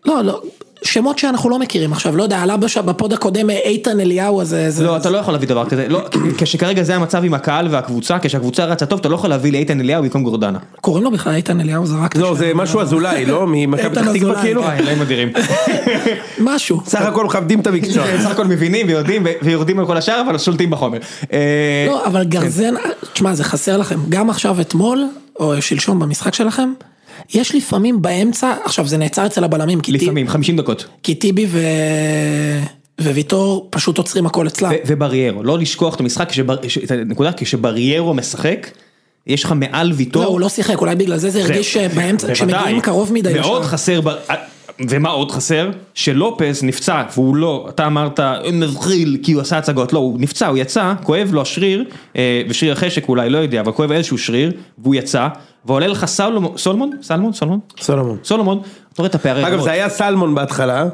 [SPEAKER 1] לא, לא, שמות שאנחנו לא מכירים עכשיו, לא יודע, עלה בש... בפוד הקודם איתן אליהו הזה, זה...
[SPEAKER 3] לא, אתה לא יכול להביא דבר כזה, לא, כשכרגע זה המצב עם הקהל והקבוצה, כשהקבוצה רצה טוב, אתה לא יכול להביא לאיתן אליהו במקום גורדנה.
[SPEAKER 1] קוראים לו בכלל איתן אליהו, זה רק...
[SPEAKER 2] לא, זה משהו אזולאי, לא? ממכבי
[SPEAKER 1] איתן
[SPEAKER 2] פתח תקווה
[SPEAKER 1] אזולאי,
[SPEAKER 2] כאילו?
[SPEAKER 1] כן.
[SPEAKER 3] וואי, אלוהים אדירים.
[SPEAKER 1] משהו.
[SPEAKER 2] סך הכל מכבדים את המקצוע.
[SPEAKER 3] בסך הכל מבינים ויודעים ו- ויורדים על כל השאר, אבל שולטים בחומר. אה,
[SPEAKER 1] לא, אבל גרזן, תשמע, זה חסר לכם. גם עכשיו אתמול, או שלשום במשחק שלכם, יש לפעמים באמצע, עכשיו זה נעצר אצל הבלמים, כי טיב-
[SPEAKER 3] לפעמים, 50 דקות.
[SPEAKER 1] כי טיבי ו... וויטור פשוט עוצרים הכל אצלם.
[SPEAKER 3] ו- ובריירו, לא לשכוח את המשחק, כשבר- ש- את הנקודה, כשבריירו משחק, יש לך מעל
[SPEAKER 1] לא,
[SPEAKER 3] ויטור.
[SPEAKER 1] הוא לא שיחק, אולי בגלל זה זה הרגיש
[SPEAKER 3] זהו.
[SPEAKER 1] שבאמצע,
[SPEAKER 3] בוודאי.
[SPEAKER 1] כשמגיעים קרוב מדי
[SPEAKER 3] מאוד
[SPEAKER 1] לשם.
[SPEAKER 3] חסר, ב- אה, ומה עוד חסר? שלופס נפצע, והוא לא, אתה אמרת, מבחיל כי הוא עשה הצגות, לא, הוא נפצע, הוא יצא, כואב לו השריר, אה, ושריר החשק אולי, לא יודע, אבל כואב איזשהו שריר, והוא יצא, ועולה לך סלומון, סולמון? סלמון? סולמון?
[SPEAKER 2] סולומון.
[SPEAKER 3] סולומון, אתה רואה את הפערי
[SPEAKER 2] אגב
[SPEAKER 3] רמות.
[SPEAKER 2] זה היה סלמון בהתחלה,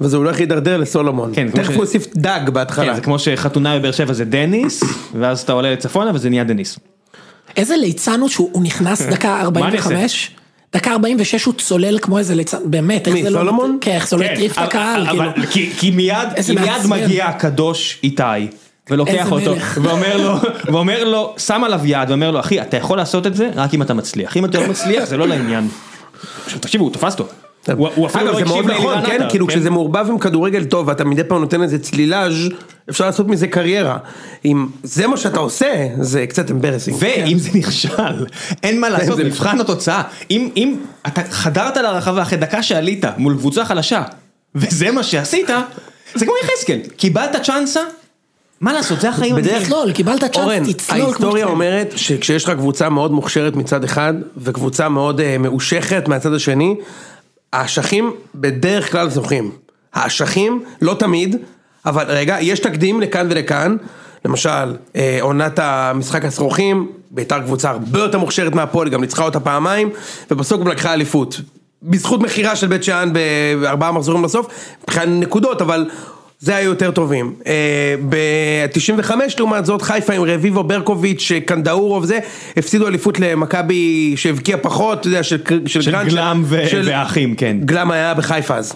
[SPEAKER 2] וזה הולך להידרדר לסולומון.
[SPEAKER 3] כן, כמו
[SPEAKER 2] תכף
[SPEAKER 3] ש-
[SPEAKER 2] הוא הוסיף דג
[SPEAKER 3] כן,
[SPEAKER 2] בהתחלה.
[SPEAKER 3] זה כמו שחתונה בבאר שבע זה דניס, ואז אתה עולה לצפונה וזה נהיה דניס.
[SPEAKER 1] איזה ליצן הוא שהוא הוא נכנס דקה
[SPEAKER 3] מה אני
[SPEAKER 1] 45, דקה 46 הוא צולל כמו איזה ליצן, באמת, איך
[SPEAKER 2] מי,
[SPEAKER 1] זה לא...
[SPEAKER 2] סולומון?
[SPEAKER 1] כן, איך זה לא
[SPEAKER 3] כן,
[SPEAKER 1] הטריף את
[SPEAKER 3] אבל-
[SPEAKER 1] הקהל,
[SPEAKER 3] אבל-
[SPEAKER 1] כאילו.
[SPEAKER 3] כי- כי מיד,
[SPEAKER 1] איזה
[SPEAKER 3] כי מיד
[SPEAKER 1] מעצבן.
[SPEAKER 3] מגיע הקדוש איתי, ולוקח
[SPEAKER 1] איזה
[SPEAKER 3] אותו,
[SPEAKER 1] מלך.
[SPEAKER 3] ואומר לו, ואומר לו, שם עליו יד, ואומר לו, אחי, אתה יכול לעשות את זה רק אם אתה מצליח, אם אתה לא מצליח זה לא לעניין. עכשיו תקשיבו, הוא תפס אותו. הוא- הוא אפילו
[SPEAKER 2] אגב,
[SPEAKER 3] לא
[SPEAKER 2] זה
[SPEAKER 3] הקשיב
[SPEAKER 2] מאוד
[SPEAKER 3] לאלירן
[SPEAKER 2] נכון, כן?
[SPEAKER 3] עטר,
[SPEAKER 2] כאילו
[SPEAKER 3] כן?
[SPEAKER 2] כשזה מעורבב עם כדורגל טוב ואתה מדי פעם נותן איזה צלילאז' אפשר לעשות מזה קריירה. אם זה מה שאתה עושה, זה קצת אמברסינג.
[SPEAKER 3] ואם זה נכשל, אין מה לעשות,
[SPEAKER 2] כן. זה-
[SPEAKER 3] מבחן התוצאה. אם, אם אתה חדרת לרחבה אחרי דקה שעלית מול קבוצה חלשה, וזה מה שעשית, זה כמו יחזקאל, קיבלת צ'אנסה, מה לעשות, זה החיים.
[SPEAKER 2] בדרך-
[SPEAKER 1] תצלול, קיבלת צ'אנס,
[SPEAKER 2] אורן,
[SPEAKER 1] תצלול כמו
[SPEAKER 2] ההיסטוריה
[SPEAKER 1] שצריך.
[SPEAKER 2] אומרת שכשיש לך קבוצה מאוד מוכשרת מצד אחד, וקבוצה מאוד אה, מאושכת מהצד השני, האשכים בדרך כלל זוכים. האשכים, לא תמיד, אבל רגע, יש תקדים לכאן ולכאן. למשל, אה, עונת המשחק הסרוכים, ביתר קבוצה הרבה יותר מוכשרת מהפועל, גם ניצחה אותה פעמיים, ובסוף גם לקחה אליפות. בזכות מכירה של בית שאן בארבעה מחזורים בסוף, מבחינת נקודות, אבל זה היה יותר טובים. אה, ב-95 לעומת זאת, חיפה עם רביבו ברקוביץ', קנדאורוב זה, הפסידו אליפות למכבי שהבקיע פחות, אתה יודע, של קר-
[SPEAKER 3] של
[SPEAKER 2] גרנד,
[SPEAKER 3] גלאם ו-
[SPEAKER 2] של-
[SPEAKER 3] והאחים, כן.
[SPEAKER 2] גלאם היה בחיפה אז.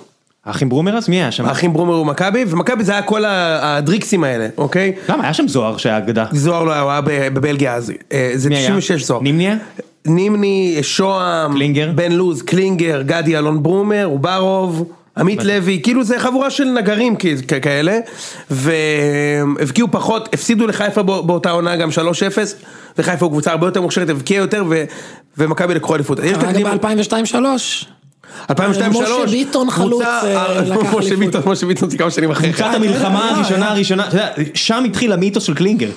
[SPEAKER 3] האחים ברומר אז? מי היה שם?
[SPEAKER 2] האחים ברומר ומכבי, ומכבי זה היה כל ה- הדריקסים האלה, אוקיי?
[SPEAKER 3] למה? היה שם זוהר שהיה אגדה.
[SPEAKER 2] זוהר לא היה, הוא היה ב- בבלגיה אז. אה, זה
[SPEAKER 3] מי היה?
[SPEAKER 2] 96 זוהר.
[SPEAKER 3] נימניה?
[SPEAKER 2] נימני, שוהם,
[SPEAKER 3] קלינגר?
[SPEAKER 2] בן לוז, קלינגר, גדי אלון ברומר, אוברוב, עמית לוי, כאילו זה חבורה של נגרים כ- כ- כאלה, והבקיעו פחות, הפסידו לחיפה בא- באותה עונה גם 3-0, וחיפה הוא קבוצה הרבה יותר מוכשרת, הבקיעה יותר, ו- ומכבי לקחו אליפות. יש
[SPEAKER 1] כרגע
[SPEAKER 2] תקדים,
[SPEAKER 1] ב-2002-2003.
[SPEAKER 2] 2002
[SPEAKER 1] משה ביטון חלוץ, אה, לקח
[SPEAKER 2] משה
[SPEAKER 1] אליפות.
[SPEAKER 2] ביטון, משה ביטון זה כמה שנים אחרי.
[SPEAKER 3] קבוצת המלחמה
[SPEAKER 2] אה,
[SPEAKER 3] הראשונה הראשונה, אתה יודע, שם התחיל המיתוס של קלינגר.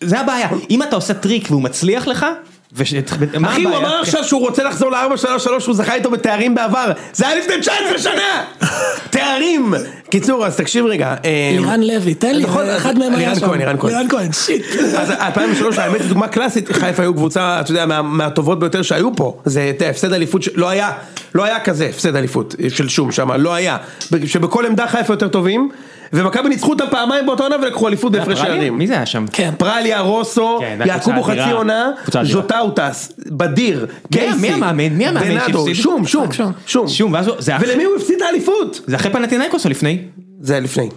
[SPEAKER 3] זה הבעיה, אם אתה עושה טריק והוא מצליח לך, וש- מה
[SPEAKER 2] אחי, הוא
[SPEAKER 3] הבעיה? כן,
[SPEAKER 2] אמר עכשיו שהוא רוצה לחזור ל-433, שהוא זכה איתו בתארים בעבר. זה היה לפני 19 שנה! תארים! קיצור, אז תקשיב רגע. אה,
[SPEAKER 1] לירן לוי, תן לי,
[SPEAKER 2] נכון,
[SPEAKER 1] אחד מהם היה
[SPEAKER 2] לירן
[SPEAKER 1] שם.
[SPEAKER 2] כהן, לירן כהן.
[SPEAKER 1] לירן כהן, שיט.
[SPEAKER 2] אז 2003 האמת היא דוגמה קלאסית, חיפה היו קבוצה, אתה יודע, מה- מהטובות ביותר שהיו פה, זה אתה יודע, הפסד אליפות, ש- לא היה, לא היה כזה הפסד אליפות של שום שם, לא היה, שבכל עמדה חיפה יותר טובים, ומכבי ניצחו אותם פעמיים באותה עונה ולקחו אליפות בהפרש
[SPEAKER 3] פרליה?
[SPEAKER 2] שערים.
[SPEAKER 3] מי זה היה שם?
[SPEAKER 1] כן.
[SPEAKER 2] פרליה, רוסו,
[SPEAKER 3] כן, זה היה
[SPEAKER 2] יעקובו
[SPEAKER 3] קבוצה
[SPEAKER 2] חצי
[SPEAKER 3] אדירה.
[SPEAKER 2] עונה,
[SPEAKER 3] קבוצה אדירה.
[SPEAKER 2] ז'וטאוטס, בדיר,
[SPEAKER 3] מי-
[SPEAKER 2] קייסי,
[SPEAKER 3] מי המאמן? מי המאמן
[SPEAKER 2] בנאדו,
[SPEAKER 3] שהפסיד?
[SPEAKER 2] שום, שום,
[SPEAKER 1] רק שום.
[SPEAKER 2] שום,
[SPEAKER 3] שום, ואז הוא- זה אחרי-
[SPEAKER 2] ולמי הוא הפסיד את האליפות?
[SPEAKER 3] זה אחרי פנטינאיקוס או לפני?
[SPEAKER 2] זה היה לפני.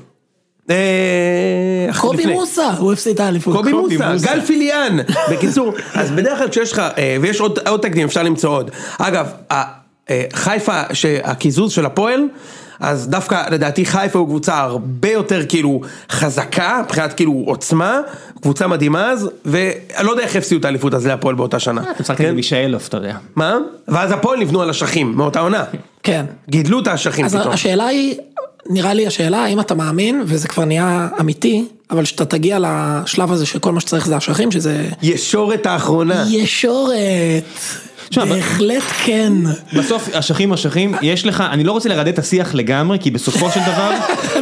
[SPEAKER 2] אה, אחרי-
[SPEAKER 1] קובי
[SPEAKER 2] לפני.
[SPEAKER 1] מוסה, הוא הפסיד את האליפות.
[SPEAKER 2] קובי
[SPEAKER 3] קובי
[SPEAKER 2] מוסה,
[SPEAKER 3] מוסה.
[SPEAKER 2] גל פיליאן. בקיצור, אז בדרך כלל כשיש לך, אה, ויש עוד עוד תקדים, אפשר למצוא עוד. אגב, ה- אה, חיפה, שהקיזוז של הפועל, אז דווקא לדעתי חיפה הוא קבוצה הרבה יותר כאילו חזקה, מבחינת כאילו עוצמה, קבוצה מדהימה אז, ואני לא יודע איך הפסידו את האליפות אז להפועל באותה שנה. כן.
[SPEAKER 3] אתם משחקים עם מישאלוף, אתה יודע.
[SPEAKER 2] מה? ואז הפועל נבנו על אשכים מאותה עונה.
[SPEAKER 1] כן.
[SPEAKER 2] גידלו את האשכים
[SPEAKER 1] אז
[SPEAKER 2] פתאום.
[SPEAKER 1] השאלה היא, נראה לי השאלה, האם אתה מאמין, וזה כבר נהיה אמיתי, אבל שאתה תגיע לשלב הזה שכל מה שצריך זה אשכים, שזה
[SPEAKER 2] ישורת האחרונה.
[SPEAKER 1] ישורת.
[SPEAKER 3] תשמע, אבל-
[SPEAKER 1] בהחלט כן.
[SPEAKER 3] בסוף אשכים אשכים, יש לך, אני לא רוצה לרדד את השיח לגמרי, כי בסופו של דבר,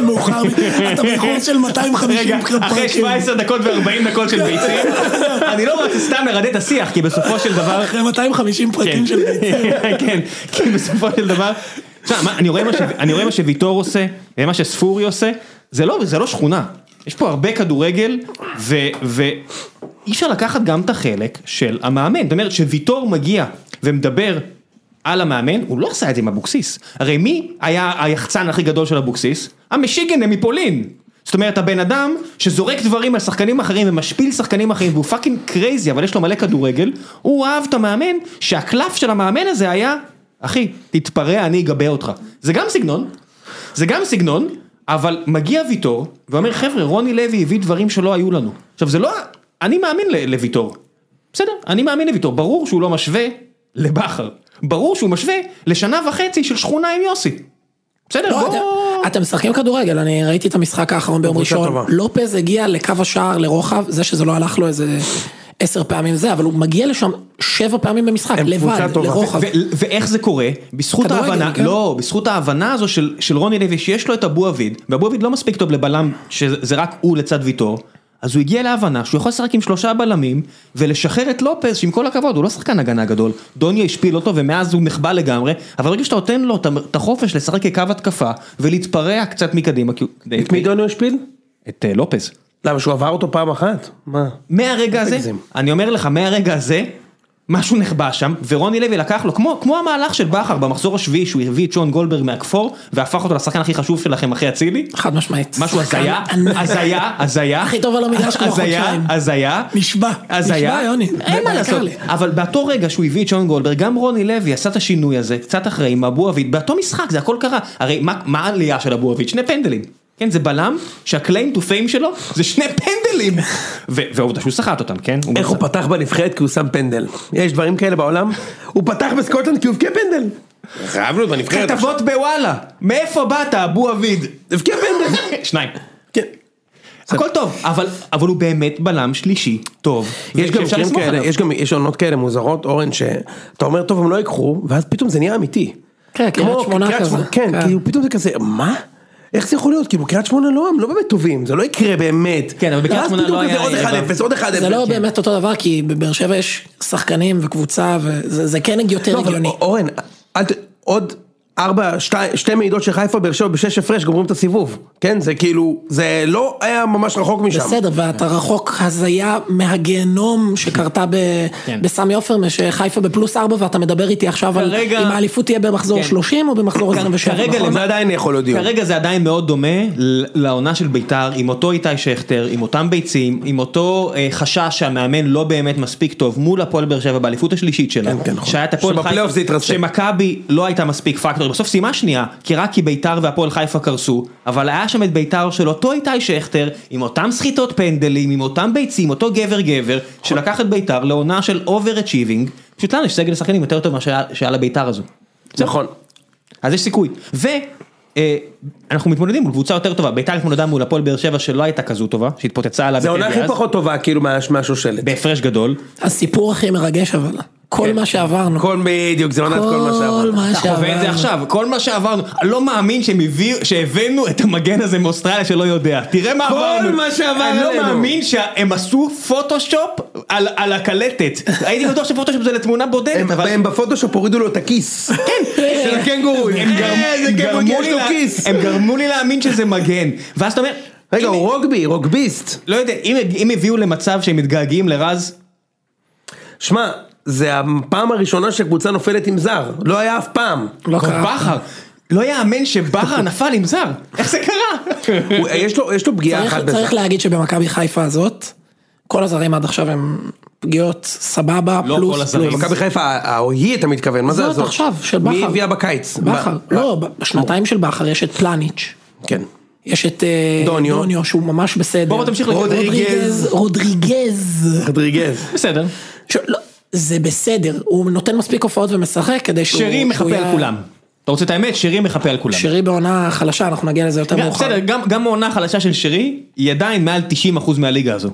[SPEAKER 1] מאוחר, מדי. אתה בחור של 250
[SPEAKER 3] רגע, אחרי 17 דקות ו-40 דקות של ביצים, אני לא רוצה סתם לרדד את השיח, כי בסופו של דבר,
[SPEAKER 1] אחרי 250
[SPEAKER 3] כן,
[SPEAKER 1] פרקים של
[SPEAKER 3] כן, כי בסופו של דבר, תשמע, מה- אני רואה מה ש- אני רואה מה שוויטור עושה, מה שספורי עושה, זה לא זה לא שכונה, יש פה הרבה כדורגל, ו- ואי אפשר לקחת גם את החלק של המאמן, זאת אומרת שוויטור מגיע ומדבר. על המאמן, הוא לא עשה את זה עם אבוקסיס. הרי מי היה היחצן הכי גדול של אבוקסיס? המשיגנה מפולין. זאת אומרת, הבן אדם שזורק דברים על שחקנים אחרים ומשפיל שחקנים אחרים והוא פאקינג קרייזי, אבל יש לו מלא כדורגל, הוא אהב את המאמן, שהקלף של המאמן הזה היה, אחי, תתפרע, אני אגבה אותך. זה גם סגנון, זה גם סגנון, אבל מגיע ויטור ואומר, חבר'ה, רוני לוי הביא דברים שלא היו לנו. עכשיו, זה לא, אני מאמין ל- לויטור. בסדר, אני מאמין לויטור, ברור שהוא לא משווה לבכר. ברור שהוא משווה לשנה וחצי של שכונה עם יוסי. בסדר,
[SPEAKER 1] לא,
[SPEAKER 3] בוא...
[SPEAKER 1] אתם- אתם משחקים כדורגל, אני ראיתי את המשחק האחרון ביום
[SPEAKER 2] קבוצה
[SPEAKER 1] ראשון,
[SPEAKER 2] טובה.
[SPEAKER 1] לופז הגיע לקו השער לרוחב, זה שזה לא הלך לו איזה עשר פעמים זה, אבל הוא מגיע לשם שבע פעמים במשחק,
[SPEAKER 2] הם
[SPEAKER 1] לבד,
[SPEAKER 2] קבוצה טובה.
[SPEAKER 1] לרוחב.
[SPEAKER 3] ו- ואיך זה קורה? בזכות
[SPEAKER 1] כדורגל,
[SPEAKER 3] ההבנה,
[SPEAKER 1] כן.
[SPEAKER 3] לא, בזכות ההבנה הזו של, של רוני לוי שיש לו את אבו אביד, ואבו אביד לא מספיק טוב לבלם שזה רק הוא לצד ויטור, אז הוא הגיע להבנה שהוא יכול לשחק עם שלושה בלמים ולשחרר את לופז שעם כל הכבוד הוא לא שחקן הגנה גדול, דוניה השפיל אותו ומאז הוא נחבא לגמרי, אבל ברגע שאתה נותן לו את ה- את החופש לשחק כקו התקפה ולהתפרע קצת מקדימה, כי הוא-
[SPEAKER 2] את מי דוניו השפיל?
[SPEAKER 3] את אה, לופז.
[SPEAKER 2] למה שהוא עבר אותו פעם אחת? מה?
[SPEAKER 3] מהרגע הזה,
[SPEAKER 2] תגזים.
[SPEAKER 3] אני אומר לך, מהרגע הזה, משהו נחבא שם, ורוני לוי לקח לו, כמו, כמו המהלך של בכר במחזור השביעי, שהוא הביא את שון גולדברג מהכפור, והפך אותו לשחקן הכי חשוב שלכם אחרי אצילי.
[SPEAKER 1] חד משמעית.
[SPEAKER 3] משהו
[SPEAKER 1] שחקן
[SPEAKER 3] הזיה,
[SPEAKER 1] ענק.
[SPEAKER 3] הזיה, הזיה.
[SPEAKER 1] הכי טוב על המגרש כבר
[SPEAKER 3] הזיה,
[SPEAKER 1] חודשיים.
[SPEAKER 3] הזיה.
[SPEAKER 1] נשבע.
[SPEAKER 3] הזיה.
[SPEAKER 1] נשבע, יוני.
[SPEAKER 3] אין מה
[SPEAKER 1] בעיקר
[SPEAKER 3] לעשות.
[SPEAKER 1] לי.
[SPEAKER 3] אבל באותו רגע שהוא הביא את שון גולדברג, גם רוני לוי עשה את השינוי הזה, קצת אחרי עם אבו עביד, באותו משחק זה הכל קרה. הרי מה מה העלייה של אבו עביד? שני פנדלים. כן, זה בלם שהקליים טו פיים שלו זה שני פנדלים. ו- ועובדה שהוא סחט אותם, כן?
[SPEAKER 2] איך הוא פתח בנבחרת כי הוא שם פנדל. יש דברים כאלה בעולם? הוא פתח בסקוטלנד כי הוא הבקיע פנדל.
[SPEAKER 4] חייב להיות בנבחרת. עכשיו.
[SPEAKER 3] כתבות בוואלה, מאיפה באת אבו עביד?
[SPEAKER 2] הבקיע פנדל.
[SPEAKER 3] שניים.
[SPEAKER 2] כן.
[SPEAKER 3] הכל טוב, אבל, אבל הוא באמת בלם שלישי טוב.
[SPEAKER 2] יש גם
[SPEAKER 3] שאפשר
[SPEAKER 2] מקרים
[SPEAKER 3] לסמוך
[SPEAKER 2] כאלה,
[SPEAKER 3] עליו.
[SPEAKER 2] יש גם, יש עונות כאלה מוזרות, אורן, שאתה אומר, טוב, הם לא ייקחו, ואז פתאום זה נהיה אמיתי.
[SPEAKER 1] כן, קריית
[SPEAKER 2] כמו
[SPEAKER 1] שמונה כזה.
[SPEAKER 2] שמונה- כן,
[SPEAKER 1] כן.
[SPEAKER 2] כאילו פתאום זה כזה, מה? איך זה יכול להיות? כאילו, קריית שמונה לא, הם לא באמת טובים, זה לא יקרה באמת.
[SPEAKER 3] כן, אבל בקריית
[SPEAKER 2] ואז
[SPEAKER 3] שמונה
[SPEAKER 2] פתאום
[SPEAKER 3] לא
[SPEAKER 2] כזה
[SPEAKER 3] היה
[SPEAKER 2] עוד
[SPEAKER 3] רבע.
[SPEAKER 2] 1-0, עוד 1-0.
[SPEAKER 1] זה לא באמת אותו דבר, כי בבאר שבע יש שחקנים וקבוצה, וזה זה כן יותר
[SPEAKER 2] לא, אבל
[SPEAKER 1] הגיוני.
[SPEAKER 2] אורן, אל ת- עוד ארבע, שתי- שתי מעידות של חיפה, באר שבע בשש הפרש גומרים את הסיבוב. כן, זה כאילו, זה לא היה ממש רחוק משם.
[SPEAKER 1] בסדר,
[SPEAKER 3] כן.
[SPEAKER 1] ואתה רחוק הזיה מהגיהנום שקרתה ב-
[SPEAKER 3] כן.
[SPEAKER 1] בסמי עופר, שחיפה בפלוס ארבע, ואתה מדבר איתי עכשיו על
[SPEAKER 3] כרגע-
[SPEAKER 1] אם האליפות תהיה במחזור
[SPEAKER 3] כן.
[SPEAKER 1] 30 או במחזור 27,
[SPEAKER 3] כרגע
[SPEAKER 1] נכון?
[SPEAKER 3] למה-
[SPEAKER 2] זה עדיין יכול להיות דיון.
[SPEAKER 3] כרגע זה עדיין מאוד דומה ל- לעונה של ביתר, עם אותו איתי שכטר, עם אותם ביצים, עם אותו אה, חשש שהמאמן לא באמת מספיק טוב מול הפועל באר שבע באליפות השלישית שלה.
[SPEAKER 2] כן, כן, נכון.
[SPEAKER 3] שהיה את הפועל
[SPEAKER 2] שבפלייאוף זה התרסק.
[SPEAKER 3] שמכבי לא הייתה מספיק פקטור, בסוף סיימה שנייה, כי רק כי ביתר והפועל חיפה קרסו, אבל היה שם את ביתר של אותו איתי שכטר, עם אותם סחיטות פנדלים, עם אותם ביצים, אותו גבר גבר, שלקח את ביתר לעונה של אובר אצ'יבינג, פשוט לנו יש סגל שחקנים יותר טוב ממה שהיה- שהיה לביתר הזו.
[SPEAKER 2] נכון.
[SPEAKER 3] אז יש סיכוי. ואנחנו מתמודדים מול קבוצה יותר טובה, ביתר התמודדה מול הפועל באר שבע שלא הייתה כזו טובה, שהתפוצצה עליו.
[SPEAKER 2] זה העונה הכי פחות טובה, כאילו, מה- מהשושלת.
[SPEAKER 3] בהפרש גדול.
[SPEAKER 1] הסיפור הכי מרגש אבל,
[SPEAKER 3] כן.
[SPEAKER 1] כל מה שעברנו,
[SPEAKER 2] כל בדיוק, זה עונת כל מה
[SPEAKER 1] כל
[SPEAKER 2] שעבר.
[SPEAKER 1] מה
[SPEAKER 3] אתה חווה את זה
[SPEAKER 1] שעברנו.
[SPEAKER 3] עכשיו, כל מה שעברנו, אני לא מאמין שהם הביאו- שהבאנו את המגן הזה מאוסטרליה שלא יודע, תראה מה
[SPEAKER 2] כל
[SPEAKER 3] עברנו,
[SPEAKER 2] מה שעבר
[SPEAKER 3] אני
[SPEAKER 2] עלינו.
[SPEAKER 3] לא מאמין שהם עשו פוטושופ על, על הקלטת, הייתי בטוח שפוטושופ זה לתמונה בודדת,
[SPEAKER 2] הם-
[SPEAKER 3] אבל
[SPEAKER 2] הם בפוטושופ הורידו לו את הכיס. כן. של הקנגורואים.
[SPEAKER 3] הם גרמו-
[SPEAKER 2] איזה
[SPEAKER 3] גרמו
[SPEAKER 2] כיף,
[SPEAKER 3] לי
[SPEAKER 2] יש לו
[SPEAKER 3] לה-
[SPEAKER 2] כיס.
[SPEAKER 3] הם גרמו לי להאמין שזה מגן, ואז אתה אומר,
[SPEAKER 2] רגע,
[SPEAKER 3] הנה,
[SPEAKER 2] הוא רוגבי, רוגביסט.
[SPEAKER 3] לא יודע, אם, אם הביאו למצב שהם מתגעגעים לרז,
[SPEAKER 2] שמע, זה הפעם הראשונה שקבוצה נופלת עם זר. לא היה אף פעם.
[SPEAKER 1] לא קרה.
[SPEAKER 3] בכר, לא יאמן שבכר נפל עם זר, איך זה קרה?
[SPEAKER 2] הוא- יש לו- יש לו פגיעה
[SPEAKER 1] צריך-
[SPEAKER 2] אחת בזה.
[SPEAKER 1] צריך להגיד שבמכבי חיפה הזאת, כל הזרים עד עכשיו הם פגיעות סבבה,
[SPEAKER 3] לא כל
[SPEAKER 1] פלוס,
[SPEAKER 3] הזרים.
[SPEAKER 1] פלוס.
[SPEAKER 2] מכבי חיפה, ההיא אתה מתכוון, מה זה
[SPEAKER 1] זאת
[SPEAKER 2] הזאת?
[SPEAKER 1] עכשיו, של
[SPEAKER 2] מי
[SPEAKER 1] בכר.
[SPEAKER 2] הביאה בקיץ?
[SPEAKER 1] בכר,
[SPEAKER 2] ב-
[SPEAKER 1] לא, ב- בשנתיים של בכר יש את פלניץ',
[SPEAKER 2] כן.
[SPEAKER 1] יש את אה,
[SPEAKER 2] דוניו.
[SPEAKER 1] דוניו שהוא ממש בסדר,
[SPEAKER 3] בוא, בוא, תמשיך לקרוא.
[SPEAKER 1] רודריגז, רודריגז,
[SPEAKER 2] רדריגז.
[SPEAKER 3] בסדר.
[SPEAKER 1] ש- לא, זה בסדר, הוא נותן מספיק הופעות ומשחק כדי שהוא,
[SPEAKER 3] שרי
[SPEAKER 1] שהוא
[SPEAKER 3] מחפה
[SPEAKER 1] יהיה-
[SPEAKER 3] על כולם. אתה רוצה את האמת? שרי מחפה על כולם.
[SPEAKER 1] שרי בעונה חלשה, אנחנו נגיע לזה יותר
[SPEAKER 3] גם-
[SPEAKER 1] מאוחר,
[SPEAKER 3] בסדר, גם- גם העונה החלשה של שרי, היא עדיין מעל 90% מהליגה הזו.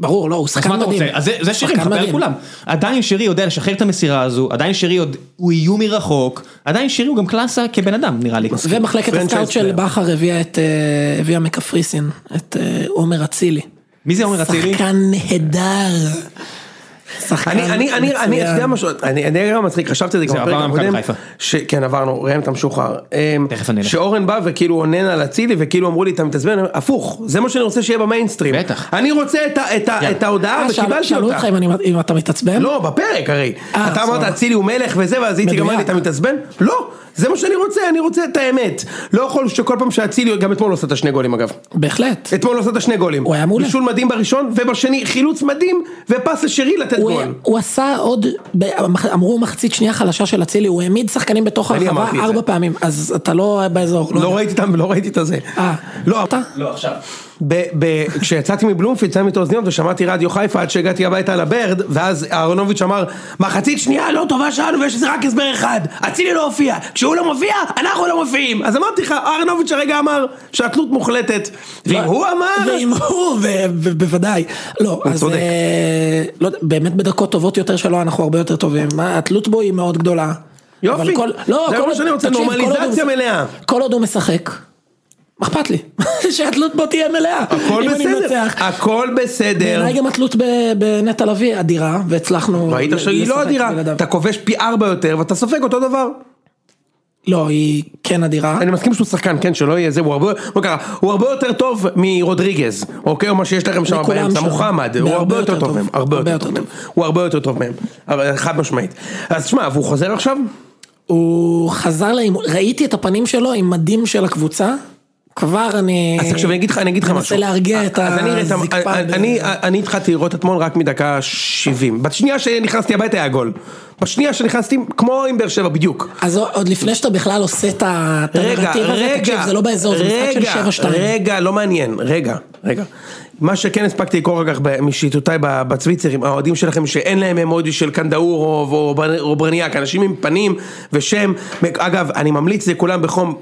[SPEAKER 1] ברור, לא, הוא
[SPEAKER 3] אז
[SPEAKER 1] שחקן
[SPEAKER 3] מה אתה
[SPEAKER 1] מדהים,
[SPEAKER 3] רוצה? אז זה- זה שרי
[SPEAKER 1] שחקן
[SPEAKER 3] מחפה על
[SPEAKER 1] מדהים.
[SPEAKER 3] כולם. עדיין שרי יודע לשחרר את המסירה הזו, עדיין שרי עוד- הוא איום מרחוק, עדיין שרי הוא גם קלאסה כבן אדם נראה לי.
[SPEAKER 1] ומחלקת
[SPEAKER 2] פרנצ'ייז
[SPEAKER 1] הסקאוט של
[SPEAKER 2] פלייר.
[SPEAKER 1] בכר הביאה את, אה, הביאה מקפריסין, את אה, עומר אצילי.
[SPEAKER 3] מי זה עומר אצילי?
[SPEAKER 1] שחקן נהדר. שחקן
[SPEAKER 2] אני, אני, אני, אני, אתה יודע משהו, אני, אני גם מצחיק, חשבתי על זה
[SPEAKER 3] זה
[SPEAKER 2] גם בפרק
[SPEAKER 3] עבר למכבי
[SPEAKER 2] הקודם,
[SPEAKER 3] חיפה.
[SPEAKER 2] ש- כן עברנו, ראם אתה משוחרר, אמ,
[SPEAKER 3] תכף אני אלך.
[SPEAKER 2] שאורן בא וכאילו עונן על אצילי וכאילו אמרו לי אתה מתעצבן, אני אומר, הפוך, זה מה שאני רוצה שיהיה במיינסטרים,
[SPEAKER 3] בטח.
[SPEAKER 2] אני רוצה את, ה- את, ה-
[SPEAKER 3] יאללה.
[SPEAKER 2] את ההודעה
[SPEAKER 1] אה, שאל-
[SPEAKER 2] וקיבלתי
[SPEAKER 1] שאלו אותך
[SPEAKER 2] אותה,
[SPEAKER 1] אם אני- אם אתה מתעצבן?
[SPEAKER 2] לא בפרק הרי,
[SPEAKER 1] אה,
[SPEAKER 2] אתה אמרת
[SPEAKER 1] סבבה.
[SPEAKER 2] אצילי הוא מלך וזה ואז איציק אמר לי
[SPEAKER 1] מדויק.
[SPEAKER 2] אתה מתעצבן, לא, זה מה שאני רוצה, אני רוצה את האמת, לא יכול שכל פעם שאצילי, גם אתמול הוא עשה את השני גולים אגב,
[SPEAKER 1] בהחלט.
[SPEAKER 2] אתמול הוא עשה את השני גולים,
[SPEAKER 1] הוא היה מעולה.
[SPEAKER 2] בישול מדהים בראשון ובשני חילוץ מדהים ופס לשרי לתת
[SPEAKER 1] הוא-
[SPEAKER 2] גול.
[SPEAKER 1] הוא עשה עוד, ב- אמרו מחצית שנייה חלשה של אצילי, הוא העמיד שחקנים בתוך
[SPEAKER 2] אני
[SPEAKER 1] הרחבה
[SPEAKER 2] אמרתי את
[SPEAKER 1] ארבע
[SPEAKER 2] זה.
[SPEAKER 1] פעמים, אז אתה לא באזור.
[SPEAKER 2] לא ראיתי את ה- לא ראיתי את הזה.
[SPEAKER 1] אה,
[SPEAKER 2] לא,
[SPEAKER 1] אתה?
[SPEAKER 3] לא, עכשיו.
[SPEAKER 2] ב- ב- כשיצאתי מבלומפילד, שמתי את האוזניות ושמעתי רדיו חיפה עד שהגעתי הביתה לברד, ואז אהרונוביץ' אמר, מחצית שנייה לא טובה שלנו ויש לזה רק הסבר אחד, אצילי לא הופיע, כשהוא לא מופיע, אנחנו לא מופיעים. אז אמרתי לך, אהרונוביץ' הרגע אמר שהתלות מוחלטת, ואם הוא אמר...
[SPEAKER 1] לא, ואם הוא, ו- ו- בוודאי. לא, אז
[SPEAKER 2] צודק.
[SPEAKER 1] אה, לא יודע, באמת בדקות טובות יותר שלו אנחנו הרבה יותר טובים. מה, התלות בו היא מאוד גדולה.
[SPEAKER 2] יופי.
[SPEAKER 1] אבל כל- לא,
[SPEAKER 2] זה
[SPEAKER 1] כל
[SPEAKER 2] מה
[SPEAKER 1] עוד-
[SPEAKER 2] שאני רוצה,
[SPEAKER 1] תקשיב, כל עוד הוא
[SPEAKER 2] נורמליזציה
[SPEAKER 1] מש-
[SPEAKER 2] מלאה.
[SPEAKER 1] כל עוד הוא משחק, מה אכפת לי, שהתלות בו תהיה מלאה.
[SPEAKER 2] הכל
[SPEAKER 1] אם אני
[SPEAKER 2] בסדר, אה,
[SPEAKER 1] מנצח.
[SPEAKER 2] הכל בסדר.
[SPEAKER 1] בעיניי גם התלות ב- בנטע לביא אדירה, והצלחנו...
[SPEAKER 2] ראית
[SPEAKER 1] ל-
[SPEAKER 2] שהיא לא
[SPEAKER 1] לשחק
[SPEAKER 2] אדירה,
[SPEAKER 1] בלעדיו.
[SPEAKER 2] אתה כובש פי ארבע יותר ואתה סופג אותו דבר.
[SPEAKER 1] לא, היא כן אדירה.
[SPEAKER 2] אני מסכים שהוא שחקן, כן, שלא יהיה זה, הוא הרבה, לא ככה, הוא הרבה יותר טוב מרודריגז, אוקיי, או מה שיש לכם שם
[SPEAKER 1] מכולם
[SPEAKER 2] באמצע,
[SPEAKER 1] שם.
[SPEAKER 2] מוחמד, הוא הרבה יותר טוב מהם, הרבה יותר טוב מהם, הוא הרבה יותר טוב מהם, אבל חד משמעית. אז שמע, והוא חוזר עכשיו?
[SPEAKER 1] הוא חזר לאימון, ראיתי את הפנים שלו עם מדים של הקבוצה, כבר אני...
[SPEAKER 2] אז עכשיו אני אגיד לך, אני אגיד לך משהו.
[SPEAKER 1] אה, מנסה
[SPEAKER 2] אה,
[SPEAKER 1] להרגיע את
[SPEAKER 2] אז אני ראיתי-
[SPEAKER 1] הזקפה.
[SPEAKER 2] אני- אני- אני התחלתי לראות אתמול רק מדקה 70, בשנייה שנכנסתי הביתה היה גול, בשנייה שנכנסתי, כמו עם באר שבע, בדיוק.
[SPEAKER 1] אז עוד לפני שאתה בכלל עושה את ה- את
[SPEAKER 2] רגע,
[SPEAKER 1] הנרטיב הזה, תקשיב,
[SPEAKER 2] רגע,
[SPEAKER 1] זה לא באזור, זה משחק של
[SPEAKER 2] רגע,
[SPEAKER 1] 7-2.
[SPEAKER 2] רגע, לא מעניין, רגע, רגע. מה שכן הספקתי לקרוא אחר כך ב- משיטותיי ב- בצוויצרים, האוהדים שלכם שאין להם אמודי של קנדאורוב או בר- או ברניאק, אנשים עם פנים ושם, אגב, אני ממליץ לכולם בחום,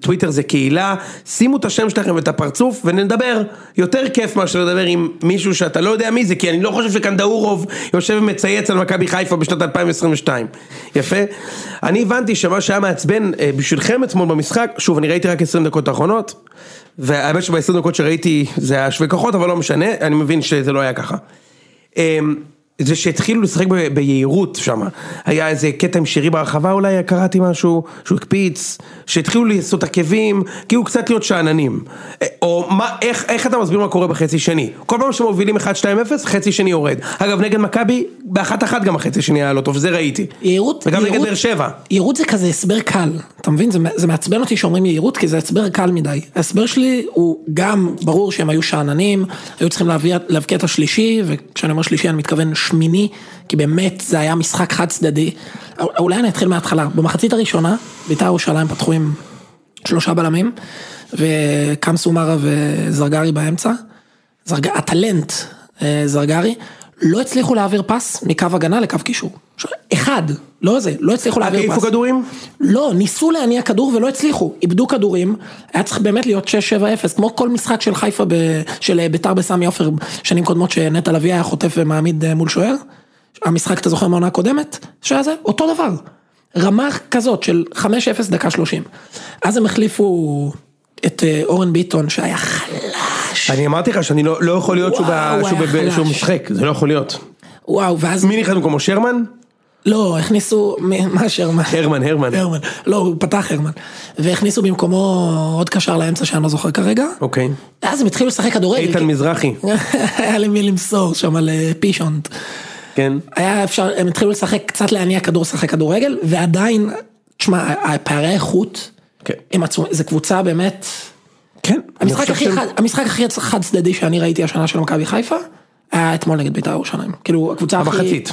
[SPEAKER 2] טוויטר זה קהילה, שימו את השם שלכם ואת הפרצוף ונדבר, יותר כיף מאשר לדבר עם מישהו שאתה לא יודע מי זה, כי אני לא חושב שקנדאורוב יושב ומצייץ על מכבי חיפה בשנת 2022, יפה? אני הבנתי שמה שהיה מעצבן אה, בשבילכם אתמול במשחק, שוב, אני ראיתי רק 20 דקות האחרונות, והאמת שב-20 דקות שראיתי זה היה שווה כוחות, אבל לא משנה, אני מבין שזה לא היה ככה. אמ, זה שהתחילו לשחק ב- ביהירות שם, היה איזה קטע עם שירי ברחבה אולי, קראתי משהו, שהוא הקפיץ, שהתחילו לעשות עקבים, כאילו קצת להיות שאננים. אה, או מה, איך, איך אתה מסביר מה קורה בחצי שני? כל פעם שמובילים 1-2-0, חצי שני יורד. אגב, נגד מכבי, באחת אחת גם החצי שני היה לא טוב, זה ראיתי.
[SPEAKER 1] יהירות,
[SPEAKER 2] וגם נגד
[SPEAKER 1] יהירות-
[SPEAKER 2] באר שבע.
[SPEAKER 1] יהירות זה כזה הסבר קל, אתה מבין? זה, זה מעצבן אותי שאומרים יהירות, כי זה הסבר קל מדי. ההסבר שלי הוא גם, ברור שהם היו שאננים, היו צריכים להביא- להבקיע את השלישי, וכשאני אומר שלישי אני מתכוון שמיני, כי באמת זה היה משחק חד צדדי. א- אולי אני אתחיל מההתחלה, במחצית הראשונה, בית"ר ירושלים פתחו עם שלושה בלמים, וקם סומרה וזרגרי באמצע. זרג... הטלנט אה, זרגרי, לא הצליחו להעביר פס מקו הגנה לקו קישור. ש- אחד, לא זה, לא הצליחו להעביר פס.
[SPEAKER 2] העיפו כדורים?
[SPEAKER 1] לא, ניסו להניע כדור ולא הצליחו, איבדו כדורים, היה צריך באמת להיות 6-7-0, כמו כל משחק של חיפה, ב... של אה, ביתר בסמי עופר, שנים קודמות שנטע לביא היה חוטף ומעמיד אה, מול שוער, המשחק, אתה זוכר מהעונה הקודמת, שהיה זה, אותו דבר, רמה כזאת של 5-0 דקה 30. אז הם החליפו את אה, אורן ביטון שהיה חלש,
[SPEAKER 2] אני אמרתי לך שאני לא, לא יכול להיות שהוא,
[SPEAKER 1] וואו,
[SPEAKER 2] ב,
[SPEAKER 1] הוא
[SPEAKER 2] שהוא,
[SPEAKER 1] היה
[SPEAKER 2] ב, שהוא
[SPEAKER 1] חלש.
[SPEAKER 2] משחק, זה לא יכול להיות.
[SPEAKER 1] וואו, ואז
[SPEAKER 2] מי נכנס במקומו שרמן?
[SPEAKER 1] לא, הכניסו, מ- מה שרמן?
[SPEAKER 2] הרמן, הרמן.
[SPEAKER 1] הרמן. לא, הוא פתח הרמן. והכניסו במקומו עוד קשר לאמצע שאני לא זוכר כרגע.
[SPEAKER 2] אוקיי.
[SPEAKER 1] אז הם התחילו לשחק כדורגל.
[SPEAKER 2] איתן
[SPEAKER 1] כי-
[SPEAKER 2] מזרחי,
[SPEAKER 1] היה למי למסור שם על אה, פישונט.
[SPEAKER 2] כן.
[SPEAKER 1] היה אפשר, הם התחילו לשחק, קצת להניע כדור, לשחק כדורגל, ועדיין, תשמע, הפערי איכות,
[SPEAKER 2] כן.
[SPEAKER 1] הם עצומים, זו קבוצה באמת,
[SPEAKER 2] כן.
[SPEAKER 1] המשחק הכי חד, המשחק הכי חד צדדי שאני ראיתי השנה של מכבי חיפה, היה אתמול נגד בית"ר ירושלים. כאילו, הקבוצה הכי...
[SPEAKER 2] המחצית.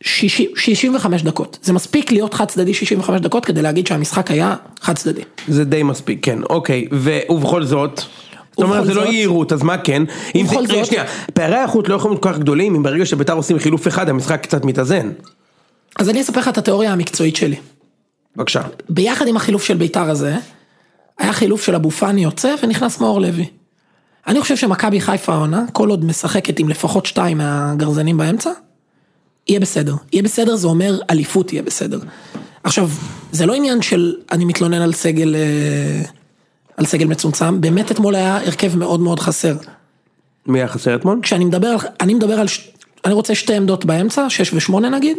[SPEAKER 1] 60, 65 דקות. זה מספיק להיות חד צדדי 65 דקות כדי להגיד שהמשחק היה חד צדדי.
[SPEAKER 2] זה די מספיק, כן, אוקיי, ו- ובכל זאת, זאת אומרת
[SPEAKER 1] ובכל
[SPEAKER 2] זה לא
[SPEAKER 1] זאת-
[SPEAKER 2] יהירות, אז מה כן? אם זה,
[SPEAKER 1] ובכל
[SPEAKER 2] רגע
[SPEAKER 1] זאת-
[SPEAKER 2] שנייה, פערי האיכות לא יכולים להיות כל כך גדולים, אם ברגע שביתר עושים חילוף אחד המשחק קצת מתאזן.
[SPEAKER 1] אז אני אספר לך את התיאוריה המקצועית שלי.
[SPEAKER 2] בבקשה.
[SPEAKER 1] ביחד עם החילוף של ביתר הזה, היה חילוף של אבו פאני יוצא ונכנס מאור לוי. אני חושב שמכבי חיפה העונה, כל עוד משחקת עם לפחות שתיים מהגרזנים באמצע, יהיה בסדר. יהיה בסדר זה אומר אליפות יהיה בסדר. עכשיו, זה לא עניין של אני מתלונן על סגל, אה, על סגל מצומצם, באמת אתמול היה הרכב מאוד מאוד חסר.
[SPEAKER 2] מי היה חסר אתמול?
[SPEAKER 1] כשאני מדבר, על- אני מדבר על, ש- אני רוצה שתי עמדות באמצע, שש ושמונה נגיד,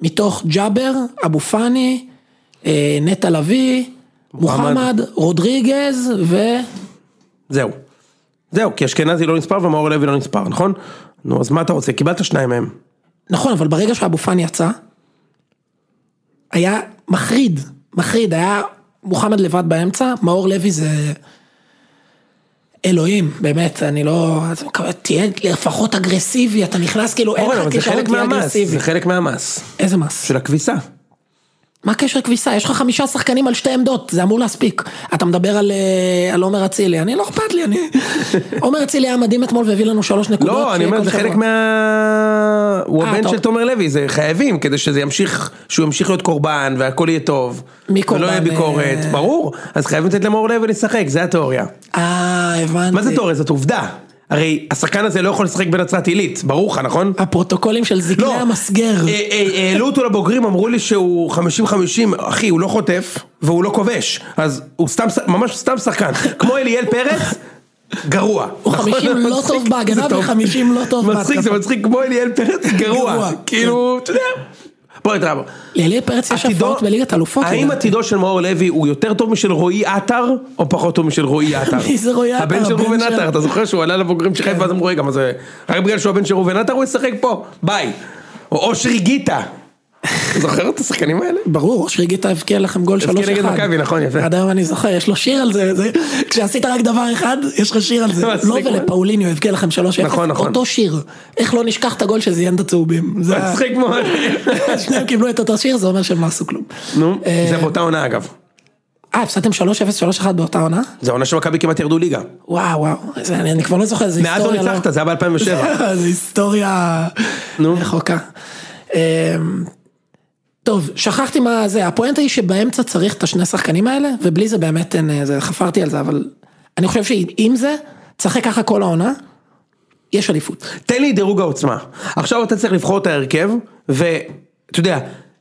[SPEAKER 1] מתוך ג'אבר, אבו פאני, אה, נטע לביא,
[SPEAKER 2] מוחמד.
[SPEAKER 1] מוחמד, רודריגז ו...
[SPEAKER 2] זהו. זהו, כי אשכנזי לא נספר ומאור לוי לא נספר, נכון? נו, אז מה אתה רוצה? קיבלת שניים מהם.
[SPEAKER 1] נכון, אבל ברגע שאבו פאני יצא, היה מחריד, מחריד, היה מוחמד לבד באמצע, מאור לוי זה... אלוהים, באמת, אני לא... אתה מקווה, תהיה לפחות אגרסיבי, אתה נכנס כאילו, אין
[SPEAKER 2] אורן,
[SPEAKER 1] לך
[SPEAKER 2] אבל זה
[SPEAKER 1] כישרון,
[SPEAKER 2] חלק
[SPEAKER 1] תהיה
[SPEAKER 2] מהמס,
[SPEAKER 1] אגרסיבי.
[SPEAKER 2] זה חלק מהמס.
[SPEAKER 1] איזה מס?
[SPEAKER 2] של הכביסה.
[SPEAKER 1] מה קשר כביסה? יש לך חמישה שחקנים על שתי עמדות, זה אמור להספיק. אתה מדבר על, אה, על עומר אצילי, אני לא אכפת לי, אני... עומר אצילי היה מדהים אתמול והביא לנו שלוש נקודות.
[SPEAKER 2] לא, אני
[SPEAKER 1] שיהיה
[SPEAKER 2] אומר,
[SPEAKER 1] כל
[SPEAKER 2] זה חלק
[SPEAKER 1] שבוע.
[SPEAKER 2] מה... הוא
[SPEAKER 1] אה,
[SPEAKER 2] הבן
[SPEAKER 1] אתה-
[SPEAKER 2] של תומר לוי, זה חייבים, כדי שזה ימשיך, שהוא ימשיך להיות קורבן, והכל יהיה טוב.
[SPEAKER 1] מי קורבן?
[SPEAKER 2] ולא יהיה ביקורת,
[SPEAKER 1] אה,
[SPEAKER 2] ברור. אז חייבים לתת למאור לוי לשחק, זה התיאוריה.
[SPEAKER 1] אה, הבנתי.
[SPEAKER 2] מה זה תיאוריה? זאת עובדה. הרי השחקן הזה לא יכול לשחק בנצרת עילית, ברור לך, נכון?
[SPEAKER 1] הפרוטוקולים של זקני
[SPEAKER 2] לא.
[SPEAKER 1] המסגר.
[SPEAKER 2] אה, אה, העלו אותו לבוגרים, אמרו לי שהוא 50-50, אחי, הוא לא חוטף, והוא לא כובש. אז הוא סתם, ש- ממש סתם שחקן. כמו אליאל פרץ, גרוע.
[SPEAKER 1] הוא
[SPEAKER 2] נכון?
[SPEAKER 1] 50 לא
[SPEAKER 2] מצחיק,
[SPEAKER 1] טוב בהגנה
[SPEAKER 2] זה טוב.
[SPEAKER 1] ו-50 לא טוב
[SPEAKER 2] מצחיק, זה
[SPEAKER 1] בהתקפה.
[SPEAKER 2] מצחיק כמו אליאל פרץ,
[SPEAKER 1] גרוע,
[SPEAKER 2] גרוע.
[SPEAKER 1] כן.
[SPEAKER 2] כאילו, אתה יודע. בוא נתראה בו.
[SPEAKER 1] לאלי פרץ יש
[SPEAKER 2] עתידו-
[SPEAKER 1] הפרעות בליגת אלופות.
[SPEAKER 2] האם
[SPEAKER 1] לדעתי.
[SPEAKER 2] עתידו של מאור לוי הוא יותר טוב משל רועי עטר, או פחות טוב משל רועי עטר?
[SPEAKER 1] מי זה רועי עטר?
[SPEAKER 2] הבן של
[SPEAKER 1] הבן
[SPEAKER 2] ראובן
[SPEAKER 1] של- כן.
[SPEAKER 2] עטר, אתה זוכר שהוא עלה לבוגרים של חיפה, אז אמרו רגע, מה זה... רק בגלל שהוא הבן של ראובן עטר הוא ישחק פה, ביי. או אושרי גיטה. זוכר את השחקנים האלה?
[SPEAKER 1] ברור, אושרי גיטה הבקיע לכם גול 3-1.
[SPEAKER 2] הבקיע נגד מכבי, נכון, יפה.
[SPEAKER 1] עד היום אני זוכר, יש לו שיר על זה, זה- כשעשית רק דבר אחד, יש לך שיר על זה.
[SPEAKER 2] מצחיק
[SPEAKER 1] לא
[SPEAKER 2] מאוד.
[SPEAKER 1] ולפאוליניו הבקיע לכם 3-0.
[SPEAKER 2] נכון, נכון.
[SPEAKER 1] אותו שיר. איך לא נשכח את הגול שזיין את הצהובים. זה ה-
[SPEAKER 2] מצחיק מאוד.
[SPEAKER 1] שניהם קיבלו את אותו שיר, זה אומר שהם לא עשו כלום.
[SPEAKER 2] נו,
[SPEAKER 1] אה,
[SPEAKER 2] זה באותה עונה אגב.
[SPEAKER 1] אה, הפסדתם 3-0-3-1 באותה עונה?
[SPEAKER 2] זה העונה שמכבי כמעט ירדו ליגה.
[SPEAKER 1] וואו, וואו, זה- אני אני כבר לא זוכר, זה
[SPEAKER 2] מאז
[SPEAKER 1] היסטוריה.
[SPEAKER 2] לא ניצחת, זה היה ב-2007.
[SPEAKER 1] זו היסטוריה
[SPEAKER 2] נו.
[SPEAKER 1] רחוקה. אמ, טוב, שכחתי מה זה, הפואנטה היא שבאמצע צריך את השני שחקנים האלה, ובלי זה באמת אין, אה, זה, חפרתי על זה, אבל אני חושב שעם זה, תשחק ככה כל העונה, יש אליפות.
[SPEAKER 2] תן לי דירוג העוצמה. עכשיו אתה צריך לבחור את ההרכב, ואתה יודע,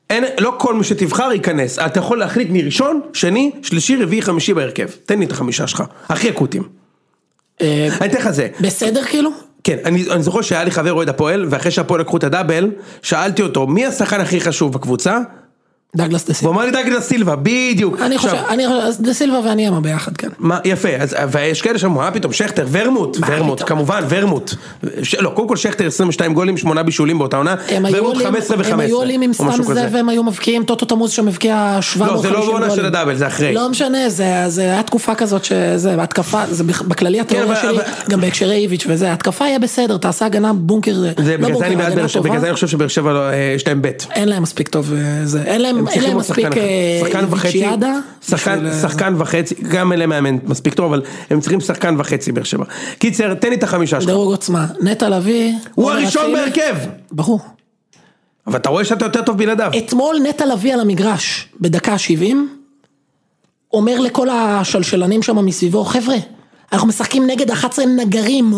[SPEAKER 2] אין, לא כל מי שתבחר ייכנס. אתה יכול להחליט מראשון, שני, שלישי, רביעי, חמישי בהרכב. תן לי את החמישה שלך, הכי אקוטים.
[SPEAKER 1] אה,
[SPEAKER 2] אני אתן לך זה.
[SPEAKER 1] בסדר כאילו?
[SPEAKER 2] כן, אני, אני זוכר שהיה לי חבר אוהד הפועל, ואחרי שהפועל לקחו את הדאבל, שאלתי אותו, מי השחקן הכי חשוב בקבוצה?
[SPEAKER 1] דגלס דה סילבה.
[SPEAKER 2] והוא אמר לי דגלס סילבה, בדיוק.
[SPEAKER 1] אני חושב,
[SPEAKER 2] עכשיו,
[SPEAKER 1] אני חושב, אז דה סילבה ואני אמה ביחד, כן.
[SPEAKER 2] מה, יפה, אז, ויש כאלה שאמרו, מה פתאום, שכטר, ורמוט,
[SPEAKER 1] מה
[SPEAKER 2] ורמוט,
[SPEAKER 1] פתאום?
[SPEAKER 2] כמובן, ורמוט. ש... לא, קודם כל שכטר 22 גולים, 8 בישולים באותה עונה,
[SPEAKER 1] הם היו
[SPEAKER 2] ורמוט
[SPEAKER 1] עולים-
[SPEAKER 2] 15 ו-15.
[SPEAKER 1] הם היו עולים עם סתם זה והם היו מבקיעים טוטו תמוז שמבקיע 750
[SPEAKER 2] לא, זה
[SPEAKER 1] גולים.
[SPEAKER 2] לא בעונה של הדאבל, זה אחרי.
[SPEAKER 1] לא משנה, זה זה היה תקופה כזאת שזה, התקפה, זה בכ- בכללי התיאוריה
[SPEAKER 2] כן, אבל-
[SPEAKER 1] שלי,
[SPEAKER 2] אבל-
[SPEAKER 1] גם בהקשרי איביץ' וזה, התקפה יהיה בסדר, תעשה הגנה בונקר,
[SPEAKER 2] זה
[SPEAKER 1] לא
[SPEAKER 2] בגלל זה אני
[SPEAKER 1] בונקר,
[SPEAKER 2] בעד באר
[SPEAKER 1] הגנה
[SPEAKER 2] שבע,
[SPEAKER 1] טובה.
[SPEAKER 2] בגלל זה אני חושב שבאר שבע לא, אה, יש להם בית.
[SPEAKER 1] אין להם מספיק טוב, אה, זה, אין להם, אין להם
[SPEAKER 2] צריכים עוד
[SPEAKER 1] מספיק
[SPEAKER 2] שחקן
[SPEAKER 1] אה,
[SPEAKER 2] אחד. שחקן וחצי,
[SPEAKER 1] איביצ'יאדה.
[SPEAKER 2] שחקן-
[SPEAKER 1] בשביל, אה,
[SPEAKER 2] שחקן וחצי, גם אין להם מאמן מספיק טוב, אבל הם צריכים שחקן וחצי באר שבע. קיצר, תן לי את החמישה שלך.
[SPEAKER 1] דירוג עוצמה, נטע לביא.
[SPEAKER 2] הוא
[SPEAKER 1] עומר
[SPEAKER 2] הראשון
[SPEAKER 1] אצילי.
[SPEAKER 2] בהרכב!
[SPEAKER 1] ברור.
[SPEAKER 2] אבל אתה רואה שאתה יותר טוב בלעדיו.
[SPEAKER 1] אתמול נטע לביא על המגרש, בדקה 70, אומר לכל השלשלנים שם מסביבו, חבר'ה, אנחנו משחקים נגד 11 נגרים,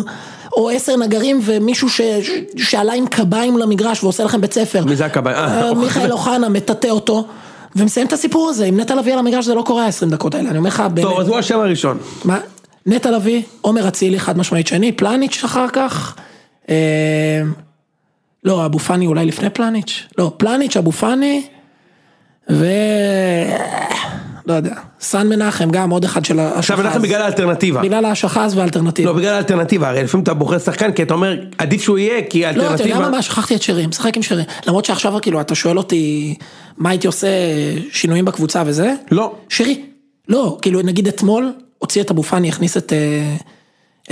[SPEAKER 1] או 10 נגרים, ומישהו ש... ש... שעלה עם קביים למגרש ועושה לכם בית ספר.
[SPEAKER 2] מי זה הקביים? אה,
[SPEAKER 1] אה, מיכאל אוחנה מטאטא אותו, ומסיים את הסיפור הזה, עם נטע לביא על המגרש זה לא קורה ה-20 דקות האלה, אני אומר לך, באמת.
[SPEAKER 2] טוב, אז הוא השם הראשון.
[SPEAKER 1] מה? נטע לביא, עומר אצילי חד משמעית שני, פלניץ' אחר כך. אה, לא, אבו פאני אולי לפני פלניץ'. לא, פלניץ', אבו פאני. ו... לא יודע. סאן מנחם גם עוד אחד של השחז.
[SPEAKER 2] עכשיו אנחנו בגלל האלטרנטיבה.
[SPEAKER 1] בגלל השחז והאלטרנטיבה.
[SPEAKER 2] לא, בגלל האלטרנטיבה, הרי לפעמים אתה בוחר שחקן כי אתה אומר, עדיף שהוא יהיה, כי
[SPEAKER 1] לא, אתה יודע
[SPEAKER 2] האלטרנטיבה...
[SPEAKER 1] מה, מה, שכחתי את שרי, משחק עם שרי. למרות שעכשיו כאילו אתה שואל אותי מה הייתי עושה שינויים בקבוצה וזה.
[SPEAKER 2] לא.
[SPEAKER 1] שרי. לא, כאילו נגיד אתמול הוציא את אבו פאני, הכניס את, אה,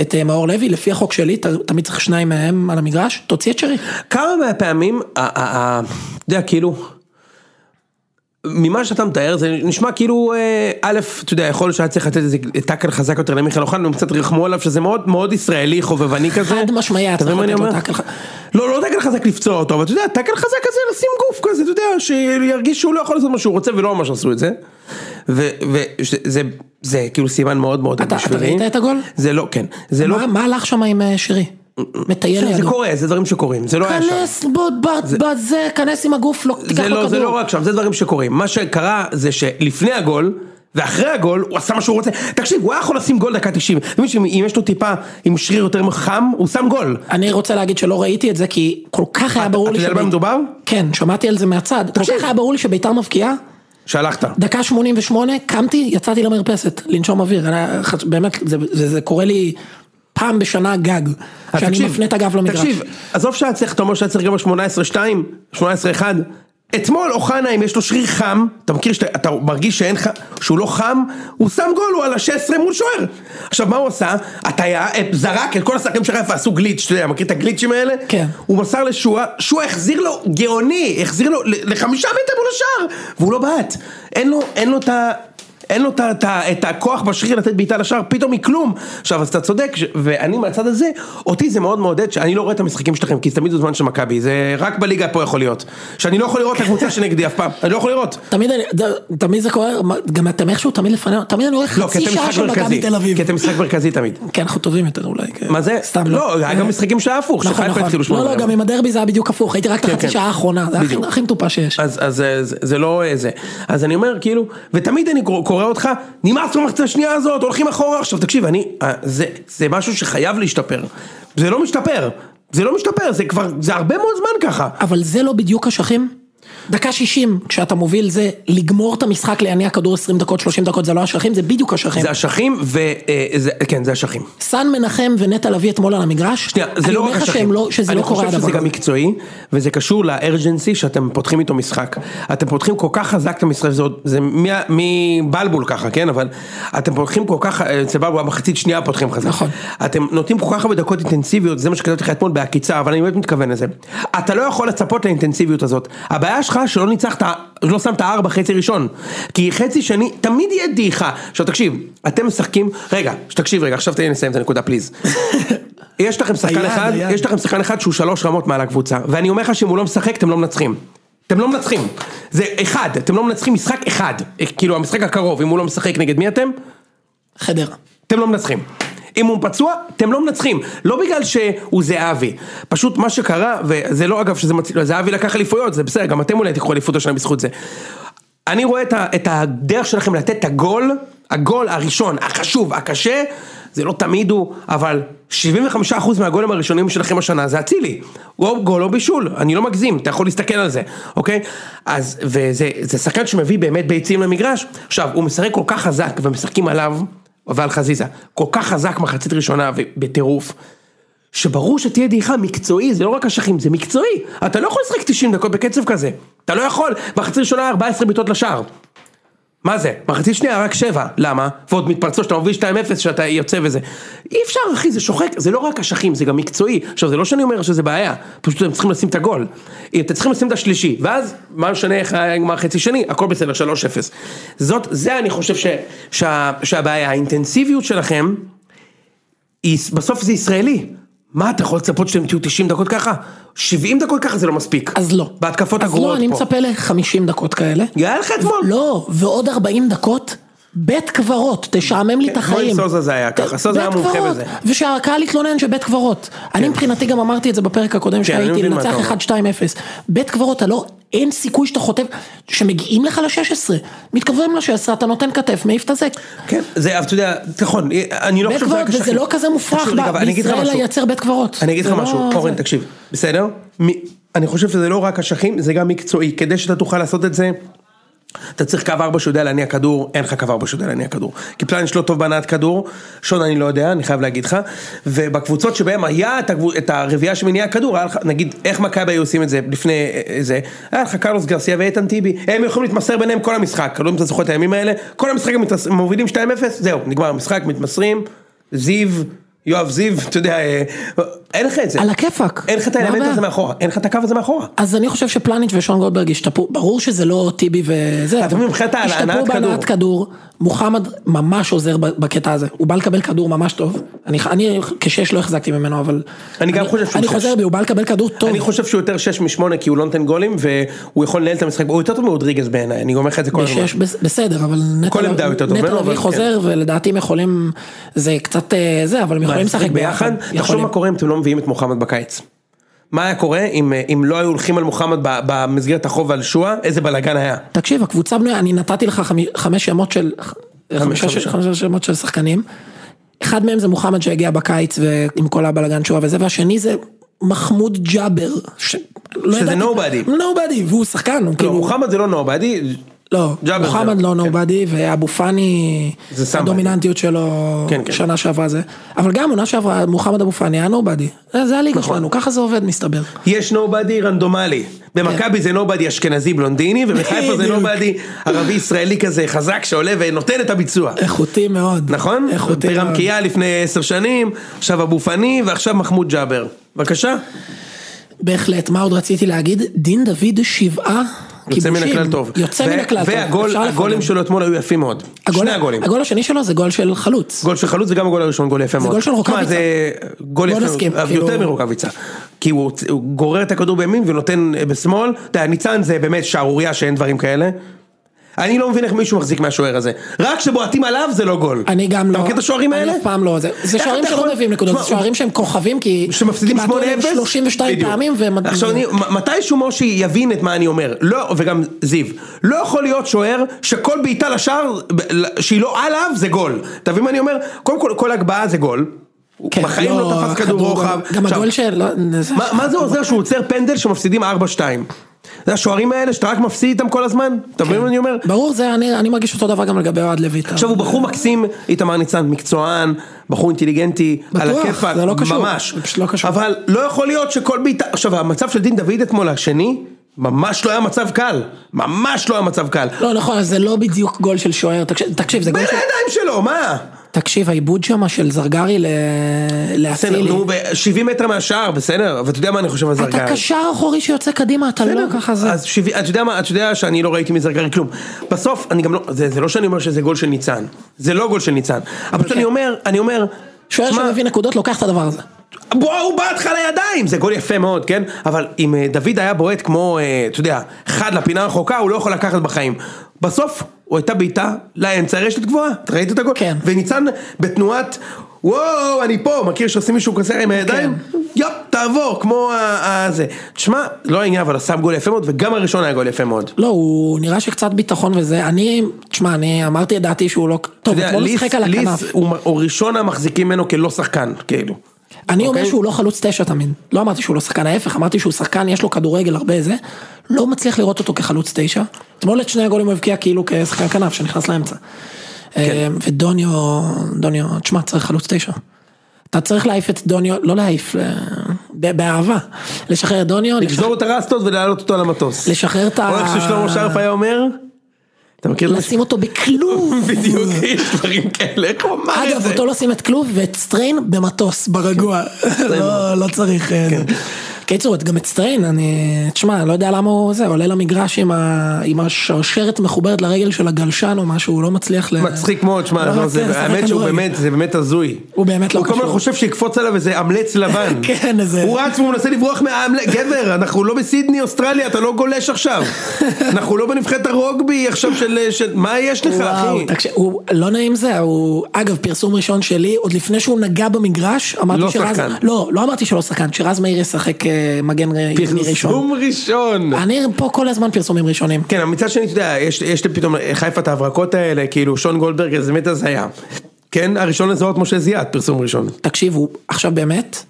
[SPEAKER 1] את אה, מאור לוי, לפי החוק שלי, ת, תמיד צריך שניים מהם על המגרש, תוציא את שרי.
[SPEAKER 2] כמה מהפעמים, ה- ה- ה- אתה יודע, כאילו, ממה שאתה מתאר זה נשמע כאילו, אה, א', אתה יודע, יכול להיות שהיה צריך לתת איזה טאקל חזק יותר למיכאל אוחנה, הם קצת רחמו עליו שזה מאוד מאוד ישראלי, חובבני כזה.
[SPEAKER 1] חד משמעי היה
[SPEAKER 2] אתה מבין
[SPEAKER 1] צריך
[SPEAKER 2] מה אני
[SPEAKER 1] לתת לו טאקל
[SPEAKER 2] אומר?
[SPEAKER 1] ח-
[SPEAKER 2] לא, לא טאקל חזק לפצוע אותו, אבל אתה יודע, טאקל חזק כזה לשים גוף כזה, אתה יודע, שירגיש שהוא לא יכול לעשות מה שהוא רוצה ולא ממש עשו את זה. וזה זה כאילו סימן מאוד מאוד
[SPEAKER 1] אתה- אתה
[SPEAKER 2] בשבילי.
[SPEAKER 1] ראית את הגול?
[SPEAKER 2] זה לא, כן. זה לא,
[SPEAKER 1] מה, מה הלך שם עם אה, שרי? מטייל
[SPEAKER 2] זה
[SPEAKER 1] לידו.
[SPEAKER 2] קורה, זה דברים שקורים, זה לא היה שם.
[SPEAKER 1] כנס בו- ב- בזה, כנס עם הגוף, לא, תיקח
[SPEAKER 2] זה
[SPEAKER 1] לו
[SPEAKER 2] לא, זה לא
[SPEAKER 1] כדור.
[SPEAKER 2] רק שם, זה דברים שקורים. מה שקרה זה שלפני הגול, ואחרי הגול, הוא עשה מה שהוא רוצה. תקשיב, הוא היה יכול לשים גול דקה 90. אתה מבין שאם יש לו טיפה עם שריר יותר חם, הוא שם גול.
[SPEAKER 1] אני רוצה להגיד שלא ראיתי את זה כי כל כך היה ברור
[SPEAKER 2] אתה
[SPEAKER 1] לי
[SPEAKER 2] יודע על מה
[SPEAKER 1] שבית-
[SPEAKER 2] מדובר?
[SPEAKER 1] כן, שמעתי על זה מהצד. כל
[SPEAKER 2] תקשיב.
[SPEAKER 1] כך היה ברור לי שביתר מבקיעה,
[SPEAKER 2] שלחת.
[SPEAKER 1] דקה 88, קמתי, יצאתי למרפסת, לנשום אוויר, אני- ח- באמת, זה, זה, זה קורה לי פעם בשנה גג,
[SPEAKER 2] אז
[SPEAKER 1] שאני
[SPEAKER 2] אה, תקשיב,
[SPEAKER 1] מפנה את הגב למגרש.
[SPEAKER 2] תקשיב, עזוב שהיה צריך, אתה אומר שהיה צריך גם ב-18-2, 18-1. אתמול אוחנה, אם יש לו שריר חם, אתה מכיר שאתה אתה מרגיש שאין ח... שהוא לא חם, הוא שם גול, הוא על ה-16 מול שוער. עכשיו, מה הוא עשה? הטעיה, אה, זרק את כל השחקנים של חיפה, עשו גליץ', אתה יודע, מכיר את הגליצ'ים האלה?
[SPEAKER 1] כן.
[SPEAKER 2] הוא מסר לשועה, שועה החזיר לו גאוני, החזיר לו ל- לחמישה מטר מול השער, והוא לא בעט. אין לו, אין לו את ה... אין לו את ה- את ה- את הכוח בשריר לתת בעיטה לשער, פתאום מכלום. עכשיו, אז אתה צודק, ש- ואני מהצד הזה, אותי זה מאוד מעודד שאני לא רואה את המשחקים שלכם, כי זה תמיד זמן של מכבי, זה רק בליגה פה יכול להיות. שאני לא יכול לראות את הקבוצה שנגדי אף פעם, אני לא יכול לראות.
[SPEAKER 1] תמיד, אני- ד- תמיד זה קורה, מה- גם אתם איכשהו תמיד לפנינו, תמיד אני רואה
[SPEAKER 2] לא, כי
[SPEAKER 1] חצי
[SPEAKER 2] אתם
[SPEAKER 1] שעה
[SPEAKER 2] משחק
[SPEAKER 1] של מכבי
[SPEAKER 2] מרכזי,
[SPEAKER 1] תל אביב.
[SPEAKER 2] כי אתם משחק מרכזי תמיד.
[SPEAKER 1] כן, אנחנו טובים יותר אולי. כן.
[SPEAKER 2] מה זה?
[SPEAKER 1] סתם אה,
[SPEAKER 2] לא, היה גם משחקים שהיה הפוך,
[SPEAKER 1] נכון,
[SPEAKER 2] שחיפה
[SPEAKER 1] נכון.
[SPEAKER 2] התחילו שמונה
[SPEAKER 1] לא, לא,
[SPEAKER 2] רבע.
[SPEAKER 1] גם עם הדרבי זה היה בדיוק הפוך, הייתי רק את
[SPEAKER 2] כן,
[SPEAKER 1] החצי
[SPEAKER 2] כן.
[SPEAKER 1] שעה האחרונה, זה הכי-
[SPEAKER 2] בדיוק.
[SPEAKER 1] הכי מטופש שיש.
[SPEAKER 2] אז, אז אה, זה, זה לא אה, זה. אז אני אומר, כאילו, ותמיד אני קורא קורא אותך, נמאס במחצה השנייה הזאת, הולכים אחורה. עכשיו, תקשיב, אני, אה, זה, זה משהו שחייב להשתפר. זה לא משתפר. זה לא משתפר, זה כבר, זה הרבה מאוד זמן ככה.
[SPEAKER 1] אבל זה לא בדיוק אשכים? דקה 60, כשאתה מוביל זה, לגמור את המשחק, להניע כדור 20 דקות, 30 דקות, זה לא אשכים, זה בדיוק אשכים.
[SPEAKER 2] זה אשכים ו... אה, זה- כן, זה אשכים.
[SPEAKER 1] סן מנחם ונטע לביא אתמול על המגרש,
[SPEAKER 2] שנייה, זה
[SPEAKER 1] אני
[SPEAKER 2] לא
[SPEAKER 1] אומר
[SPEAKER 2] רק
[SPEAKER 1] לך
[SPEAKER 2] אשכים.
[SPEAKER 1] שהם לא, שזה לא קורה
[SPEAKER 2] אני
[SPEAKER 1] הדבר.
[SPEAKER 2] חושב שזה גם
[SPEAKER 1] הזה.
[SPEAKER 2] מקצועי, וזה קשור לארג'נסי שאתם פותחים איתו משחק. אתם פותחים כל כך חזק את המשחק, זה עוד- זה מה- מבלבול ככה, כן? אבל אתם פותחים כל כך, אה, אצל בלבול במחצית שנייה פותחים חזק.
[SPEAKER 1] נכון.
[SPEAKER 2] אתם נותנים כל כך הרבה דקות אינטנסיביות, זה מה שכתבתי לך אתמול בעקיצה, אבל אני באמת מתכוון לזה. אתה לא יכול לצפות לאינטנסיביות הזאת. הבעיה שלך שלא ניצחת, לא שמת ארבע חצי ראשון. כי חצי שני, תמיד יהיה דעיכה. עכשיו תקשיב, אתם משחקים, רגע, תקשיב רגע, עכשיו תן לי לסיים את הנקודה פליז. יש לכם שחקן
[SPEAKER 1] היעד,
[SPEAKER 2] אחד,
[SPEAKER 1] היעד.
[SPEAKER 2] יש לכם שחקן אחד שהוא שלוש רמות מעל הקבוצה, ואני אומר לך שאם הוא לא משחק אתם לא מנצחים. אתם לא מנצחים. זה אחד, אתם לא מנצחים משחק אחד. כאילו המשחק הקרוב, אם הוא לא משחק נגד מי אתם?
[SPEAKER 1] חדרה.
[SPEAKER 2] אתם לא מנצחים. אם הוא פצוע, אתם לא מנצחים. לא בגלל שהוא זהבי. פשוט מה שקרה, וזה לא אגב שזה מציל, זהבי לקח אליפויות, זה בסדר, גם אתם אולי תיקחו אליפות השנה בזכות זה. אני רואה את, ה, את הדרך שלכם לתת את הגול, הגול הראשון, החשוב, הקשה, זה לא תמיד הוא, אבל 75% מהגולים הראשונים שלכם השנה זה אצילי. הוא או גול או בישול, אני לא מגזים, אתה יכול להסתכל על זה, אוקיי? אז, וזה זה שחקן שמביא באמת ביצים למגרש. עכשיו, הוא משחק כל כך חזק ומשחקים עליו, ועל חזיזה, כל כך חזק מחצית ראשונה ובטירוף. שברור שתהיה דעיכה מקצועי, זה לא רק אשכים, זה מקצועי. אתה לא יכול לשחק 90 דקות בקצב כזה. אתה לא יכול. מחצית ראשונה 14 בעיטות לשער. מה זה? מחצית שנייה רק 7. למה? ועוד מתפרצות שאתה מוביל 2-0 שאתה יוצא וזה. אי אפשר אחי, זה שוחק, זה לא רק אשכים, זה גם מקצועי. עכשיו זה לא שאני אומר שזה בעיה, פשוט אתם צריכים לשים את הגול. אתם צריכים לשים את השלישי, ואז מה משנה איך היה נגמר חצי שני, הכל בסדר, 3-0. זאת, זה אני חושב ש, שה, שהבעיה, האינטנסיביות שלכם, היא- בסוף זה ישראלי. מה אתה יכול לצפות שאתם תהיו 90 דקות ככה? 70 דקות ככה זה לא מספיק.
[SPEAKER 1] אז לא.
[SPEAKER 2] בהתקפות
[SPEAKER 1] אז לא,
[SPEAKER 2] הגרועות
[SPEAKER 1] אני
[SPEAKER 2] פה.
[SPEAKER 1] מצפה ל-50 דקות כאלה.
[SPEAKER 2] היה לך אתמול?
[SPEAKER 1] לא, ועוד 40 דקות. בית קברות, תשעמם לי את
[SPEAKER 2] כמו עם
[SPEAKER 1] החיים.
[SPEAKER 2] כן, סוזה זה היה ככה, סוזה היה
[SPEAKER 1] בית
[SPEAKER 2] מומחה
[SPEAKER 1] קברות,
[SPEAKER 2] בזה. כן.
[SPEAKER 1] ושהקהל יתלונן שבית קברות. אני מבחינתי גם אמרתי את זה בפרק הקודם
[SPEAKER 2] אני
[SPEAKER 1] שהייתי,
[SPEAKER 2] מבין מה אתה
[SPEAKER 1] לנצח
[SPEAKER 2] אומר.
[SPEAKER 1] 1-2-0. בית קברות, אתה לא, אין סיכוי שאתה חוטף, שמגיעים לך ל-16. מתקרבים ל-16, אתה נותן כתף, מעיף את הזה.
[SPEAKER 2] כן, זה, אבל אתה יודע, נכון, אני לא
[SPEAKER 1] בית
[SPEAKER 2] חושב שזה
[SPEAKER 1] קברות,
[SPEAKER 2] רק
[SPEAKER 1] וזה
[SPEAKER 2] אשכים.
[SPEAKER 1] לא כזה מופרך
[SPEAKER 2] תקשיב, רגע, אבל אני אגיד לך
[SPEAKER 1] בישראל
[SPEAKER 2] משהו.
[SPEAKER 1] לייצר בית קברות.
[SPEAKER 2] אני אגיד לך
[SPEAKER 1] זה לא-
[SPEAKER 2] משהו, אורן
[SPEAKER 1] זה-
[SPEAKER 2] תקשיב, בסדר? מ- אני חושב שזה לא רק אשכים, זה גם מקצועי, כדי שאתה תוכל לעשות את זה. אתה צריך קו ארבע שיודע להניע כדור, אין לך קו ארבע שיודע להניע כדור. כי פלניש לא טוב בהנעת כדור, שון אני לא יודע, אני חייב להגיד לך. ובקבוצות שבהן היה את, הקבוצ... את הרביעייה שמניעה כדור, היה לך, נגיד, איך מכבי היו עושים את זה לפני אה, זה, היה לך קרלוס גרסיה ואיתן טיבי, הם יכולים להתמסר ביניהם כל המשחק, לא יודע אם אתה זוכר את הימים האלה, כל המשחק הם מתס- מובילים 2-0, זהו, נגמר המשחק, מתמסרים, זיו, יואב זיו, אתה יודע, אה, אין לך את זה.
[SPEAKER 1] על הכיפאק. לא,
[SPEAKER 2] אין לך את
[SPEAKER 1] מה
[SPEAKER 2] האלמנט
[SPEAKER 1] הבעיה?
[SPEAKER 2] הזה מאחורה, אין לך את הקו הזה מאחורה.
[SPEAKER 1] אז אני חושב שפלניץ' ושון גולדברג השתפרו, ברור שזה לא טיבי וזה,
[SPEAKER 2] אתה מבין, מבחינת ההנעת
[SPEAKER 1] השתפרו
[SPEAKER 2] כדור.
[SPEAKER 1] בהנעת כדור, מוחמד ממש עוזר ב- בקטע הזה, הוא בא לקבל כדור ממש טוב, אני, אני כשש לא החזקתי ממנו אבל,
[SPEAKER 2] אני גם חושב שהוא
[SPEAKER 1] אני
[SPEAKER 2] שש.
[SPEAKER 1] חוזר בי, הוא בא לקבל כדור טוב,
[SPEAKER 2] אני חושב שהוא יותר 6 מ-8 כי הוא לא נותן גולים והוא יכול לנהל את המשחק, הוא יותר טוב מאודריגז בעיניי, אני אומר לך את זה כל הזמן.
[SPEAKER 1] בשש, בס- בסדר אבל נטע
[SPEAKER 2] כל עמדה הוא יותר טוב
[SPEAKER 1] נטע
[SPEAKER 2] ממנו, אבל
[SPEAKER 1] לביא
[SPEAKER 2] כן.
[SPEAKER 1] חוזר ולדעתי הם יכולים, זה קצת אה, זה, אבל הם יכולים לשחק ביחד,
[SPEAKER 2] תחשוב
[SPEAKER 1] יכולים.
[SPEAKER 2] מה קורה אם אתם לא מביאים את מוחמד בקיץ. מה היה קורה אם, אם לא היו הולכים על מוחמד ב- במסגרת החוב על שואה, איזה בלאגן היה. לא,
[SPEAKER 1] תקשיב, הקבוצה בנויה, אני נתתי לך חמי- חמש שמות של, חמישה ש-
[SPEAKER 2] חמישה.
[SPEAKER 1] חמישה שמות של שחקנים. אחד מהם זה מוחמד שהגיע בקיץ ועם כל הבלגן שהוא וזה, והשני זה מחמוד ג'אבר. ש... לא
[SPEAKER 2] שזה nobody.
[SPEAKER 1] נובדי, והוא שחקן, הוא
[SPEAKER 2] לא,
[SPEAKER 1] כאילו,
[SPEAKER 2] מוחמד זה לא נובדי,
[SPEAKER 1] לא,
[SPEAKER 2] ג'אבר זה
[SPEAKER 1] מוחמד
[SPEAKER 2] לא,
[SPEAKER 1] לא
[SPEAKER 2] כן.
[SPEAKER 1] נובדי, ואבו פאני,
[SPEAKER 2] זה somebody.
[SPEAKER 1] הדומיננטיות שלו,
[SPEAKER 2] כן, כן.
[SPEAKER 1] שנה שעברה זה, אבל גם עונה שעברה מוחמד אבו פאני היה נובדי, זה הליגה
[SPEAKER 2] נכון.
[SPEAKER 1] שלנו, ככה זה עובד מסתבר.
[SPEAKER 2] יש נובדי רנדומלי. במכבי זה נובדי אשכנזי בלונדיני, ובחיפה זה
[SPEAKER 1] כן. בדיוק.
[SPEAKER 2] נובדי ערבי ישראלי כזה חזק שעולה ונותן את הביצוע.
[SPEAKER 1] איכותי מאוד.
[SPEAKER 2] נכון?
[SPEAKER 1] איכותי מאוד.
[SPEAKER 2] ברמקיה לפני עשר שנים, עכשיו אבו פאני ועכשיו מחמוד ג'אבר. בבקשה.
[SPEAKER 1] בהחלט, מה עוד רציתי להגיד? דין דוד שבעה
[SPEAKER 2] יוצא
[SPEAKER 1] כיבושים.
[SPEAKER 2] מן הכלל טוב.
[SPEAKER 1] יוצא מן
[SPEAKER 2] ו-
[SPEAKER 1] הכלל טוב.
[SPEAKER 2] והגול,
[SPEAKER 1] אפשר
[SPEAKER 2] הגולים
[SPEAKER 1] לפרגן.
[SPEAKER 2] שלו אתמול היו יפים מאוד.
[SPEAKER 1] הגול-
[SPEAKER 2] שני הגולים.
[SPEAKER 1] הגול השני שלו זה גול של חלוץ.
[SPEAKER 2] גול של חלוץ וגם הגול הראשון גול יפה מאוד.
[SPEAKER 1] גול של
[SPEAKER 2] תשמע,
[SPEAKER 1] רוקאביצה.
[SPEAKER 2] זה גול
[SPEAKER 1] בוא
[SPEAKER 2] יפה,
[SPEAKER 1] נסכים,
[SPEAKER 2] אבל
[SPEAKER 1] כאילו-
[SPEAKER 2] יותר מרוקאביצה. כי הוא הוצ- הוא גורר את הכדור בימין ונותן אה, בשמאל. אתה יודע, ניצן זה באמת שערורייה שאין דברים כאלה. אני לא מבין איך מישהו מחזיק מהשוער הזה. רק כשבועטים עליו זה לא גול.
[SPEAKER 1] אני גם לא.
[SPEAKER 2] אתה מכיר את השוערים האלה?
[SPEAKER 1] אני אף פעם לא. זה- זה
[SPEAKER 2] איך
[SPEAKER 1] שוערים
[SPEAKER 2] אתה
[SPEAKER 1] שלא
[SPEAKER 2] יכול-
[SPEAKER 1] מביאים נקודות,
[SPEAKER 2] תשמע,
[SPEAKER 1] זה שוערים שהם כוכבים כי...
[SPEAKER 2] שמפסידים 8-0?
[SPEAKER 1] כמעט עולים 32
[SPEAKER 2] בדיוק.
[SPEAKER 1] פעמים ו...
[SPEAKER 2] עכשיו אני, מ- מתישהו מושי יבין את מה אני אומר, לא, וגם זיו, לא יכול להיות שוער שכל בעיטה לשער ב- שהיא לא עליו זה גול. אתה מבין מה אני אומר? קודם כל, כל הגבהה זה גול.
[SPEAKER 1] כן,
[SPEAKER 2] בחיים לא תפס כדור רוחב.
[SPEAKER 1] גם
[SPEAKER 2] עכשיו,
[SPEAKER 1] הגול של... לא, זה-
[SPEAKER 2] מה, מה זה עוזר שהוא עוצר פנדל שמפסידים 4-2? זה השוערים האלה שאתה רק מפסיד איתם כל הזמן, אתה
[SPEAKER 1] כן.
[SPEAKER 2] מבין מה אני אומר?
[SPEAKER 1] ברור, זה, אני, אני מרגיש אותו דבר גם לגבי אוהד לויטה.
[SPEAKER 2] עכשיו הוא בחור מקסים, איתמר ניצן, מקצוען, בחור אינטליגנטי, על
[SPEAKER 1] בטוח,
[SPEAKER 2] הכיפאק,
[SPEAKER 1] זה לא קשור,
[SPEAKER 2] ממש.
[SPEAKER 1] זה פשוט לא קשור.
[SPEAKER 2] אבל לא יכול להיות שכל בעיטה, עכשיו המצב של דין דוד אתמול השני, ממש לא היה מצב קל, ממש לא היה מצב קל.
[SPEAKER 1] לא, נכון, אז זה לא בדיוק גול של שוער, תקשיב, תקשיב, זה גול
[SPEAKER 2] בין
[SPEAKER 1] של...
[SPEAKER 2] הידיים שלו, מה?
[SPEAKER 1] תקשיב, העיבוד שם של זרגרי ל...
[SPEAKER 2] בסדר,
[SPEAKER 1] לאצילי.
[SPEAKER 2] נו, ב- 70 מטר מהשער, בסדר, ואתה יודע מה אני חושב על זרגרי.
[SPEAKER 1] אתה קשר אחורי שיוצא קדימה, אתה לא ככה זה.
[SPEAKER 2] אז שבעי- אתה יודע מה, אתה יודע שאני לא ראיתי מזרגרי כלום. בסוף, אני גם לא, זה זה לא שאני אומר שזה גול של ניצן. זה לא גול של ניצן. אבל פשוט אני אומר, אני אומר,
[SPEAKER 1] כן. שוער
[SPEAKER 2] שמע,
[SPEAKER 1] שמביא נקודות לוקח את הדבר הזה.
[SPEAKER 2] בוא, הוא בעט לך לידיים, זה גול יפה מאוד, כן? אבל אם אה, דוד היה בועט כמו, אה, אתה יודע, חד לפינה הרחוקה, הוא לא יכול לקחת בחיים. בסוף, הוא הייתה בעיטה לאמצע רשת גבוהה, אתה ראית את הגול?
[SPEAKER 1] כן.
[SPEAKER 2] וניצן בתנועת, וואו, אני פה, מכיר שעושים מישהו כזה עם הידיים?
[SPEAKER 1] כן.
[SPEAKER 2] יופ, תעבור, כמו ה... ה- זה. תשמע, לא העניין, אבל עשה גול יפה מאוד, וגם הראשון היה גול יפה מאוד.
[SPEAKER 1] לא, הוא נראה שקצת ביטחון וזה, אני, תשמע, אני אמרתי את דעתי שהוא לא... טוב,
[SPEAKER 2] אתה יודע,
[SPEAKER 1] אתמול הוא
[SPEAKER 2] ליס-
[SPEAKER 1] שיחק על
[SPEAKER 2] ליס
[SPEAKER 1] הכנף.
[SPEAKER 2] הוא מ- הוא ראשון המחזיקים ממנו כלא שחקן, כאילו.
[SPEAKER 1] אני אומר
[SPEAKER 2] אוקיי.
[SPEAKER 1] שהוא לא חלוץ תשע תמיד. לא אמרתי שהוא לא שחקן, ההפך, אמרתי שהוא שחקן, יש לו כדורגל הרבה זה. לא מצליח לראות אותו כחלוץ תשע. אתמול את שני הגולים הוא הבקיע כאילו כשחקן כנף שנכנס לאמצע.
[SPEAKER 2] כן.
[SPEAKER 1] אה, ודוניו, דוניו, תשמע, צריך חלוץ תשע. אתה צריך להעיף את דוניו, לא להעיף, אה, ב- באהבה. לשחרר את דוניו, לשחרר-
[SPEAKER 2] לגזור את הרסטות ולהעלות אותו על המטוס.
[SPEAKER 1] לשחרר את ה...
[SPEAKER 2] או איך ששלמה שרף היה אומר? אתה מכיר את
[SPEAKER 1] לשים אותו בכלוב.
[SPEAKER 2] בדיוק, יש דברים כאלה, איך הוא אמר את
[SPEAKER 1] אגב,
[SPEAKER 2] זה?
[SPEAKER 1] אותו לא שים את כלוב ואת סטריין במטוס, ברגוע. לא, לא צריך... אה,
[SPEAKER 2] כן.
[SPEAKER 1] זה. קיצור, את- גם את סטריין, אני... תשמע, לא יודע למה הוא זה, עולה למגרש עם ה- עם השרשרת מחוברת לרגל של הגלשן או משהו, הוא לא מצליח ל...
[SPEAKER 2] מצחיק מאוד, שמע,
[SPEAKER 1] לא
[SPEAKER 2] לא,
[SPEAKER 1] מצליח
[SPEAKER 2] זה-
[SPEAKER 1] לשחק
[SPEAKER 2] האמת שהוא
[SPEAKER 1] כדורגל.
[SPEAKER 2] באמת, זה באמת הזוי.
[SPEAKER 1] הוא באמת לא
[SPEAKER 2] הוא כל הזמן
[SPEAKER 1] קשור.
[SPEAKER 2] חושב שיקפוץ עליו איזה אמלץ לבן.
[SPEAKER 1] כן, איזה-
[SPEAKER 2] הוא רץ והוא מנסה לברוח מהאמלץ, גבר, אנחנו לא בסידני, אוסטרליה, אתה לא גולש עכשיו. אנחנו לא בנבחרת הרוגבי עכשיו של... של- מה יש לך, אחי?
[SPEAKER 1] וואו, תקשיב, הוא לא נעים זה, הוא, אגב, פרסום ראשון שלי, עוד לפני שהוא נגע במגרש, אמרתי
[SPEAKER 2] לא
[SPEAKER 1] שרז,
[SPEAKER 2] שחקן.
[SPEAKER 1] לא, לא אמרתי שלא שחקן, שרז מאיר ישחק אה, מגן ימני ראשון.
[SPEAKER 2] פרסום ראשון.
[SPEAKER 1] אני פה כל הזמן פרסומים ראשונים.
[SPEAKER 2] כן, אבל מצד שני, אתה יודע, יש, יש לי פתאום חיפה את ההברקות האלה, כאילו, שון גולדברג, זה באמת הזיה. כן, הראשון לזהות משה זיאת, פרסום ראשון.
[SPEAKER 1] תקשיבו, עכשיו באמת,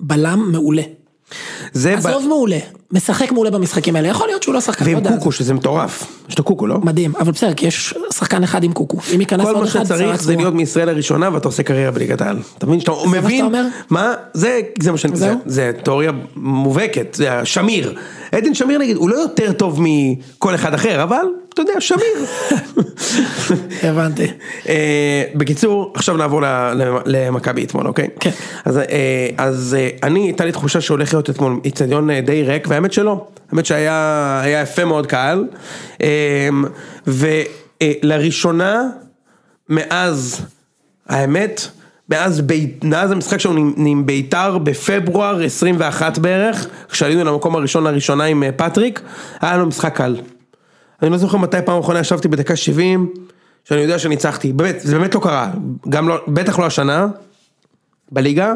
[SPEAKER 1] בלם מעולה.
[SPEAKER 2] זה
[SPEAKER 1] עזוב מעולה, משחק מעולה במשחקים האלה, יכול להיות שהוא לא שחקן, לא
[SPEAKER 2] ועם
[SPEAKER 1] יודע.
[SPEAKER 2] קוקו, שזה מטורף. יש לו קוקו, לא?
[SPEAKER 1] מדהים, אבל בסדר, כי יש שחקן אחד עם קוקו. אם ייכנס
[SPEAKER 2] כל
[SPEAKER 1] עוד
[SPEAKER 2] מה
[SPEAKER 1] אחד,
[SPEAKER 2] שצריך זה
[SPEAKER 1] צרה
[SPEAKER 2] להיות מישראל הראשונה ואתה עושה קריירה בליגת העל. אתה מבין שאתה
[SPEAKER 1] מה שאתה
[SPEAKER 2] מבין?
[SPEAKER 1] אומר?
[SPEAKER 2] מה? זה, זה מה שאני... זה,
[SPEAKER 1] זהו?
[SPEAKER 2] זה תיאוריה מובהקת, זה שמיר. עדן שמיר נגיד, הוא לא יותר טוב מכל אחד אחר, אבל, אתה יודע, שמיר.
[SPEAKER 1] צבועה. הבנתי.
[SPEAKER 2] אה, בקיצור, עכשיו נעבור ל- ל- למכבי אתמול, אוקיי?
[SPEAKER 1] כן.
[SPEAKER 2] אז, אה, אז אה, אני, הייתה לי תחושה שהולך להיות אתמול איצטדיון אה, די ריק, והאמת שלא. האמת שהיה היה יפה מאוד קהל. אה, ולראשונה, מאז, האמת, מאז בית, מאז המשחק שלנו עם- עם ביתר בפברואר 21 בערך, כשעלינו למקום הראשון לראשונה עם אה, פטריק, היה לנו משחק קל. אני לא זוכר מתי פעם אחרונה ישבתי בדקה 70, שאני יודע שניצחתי, באמת, זה באמת לא קרה, גם לא, בטח לא השנה, בליגה,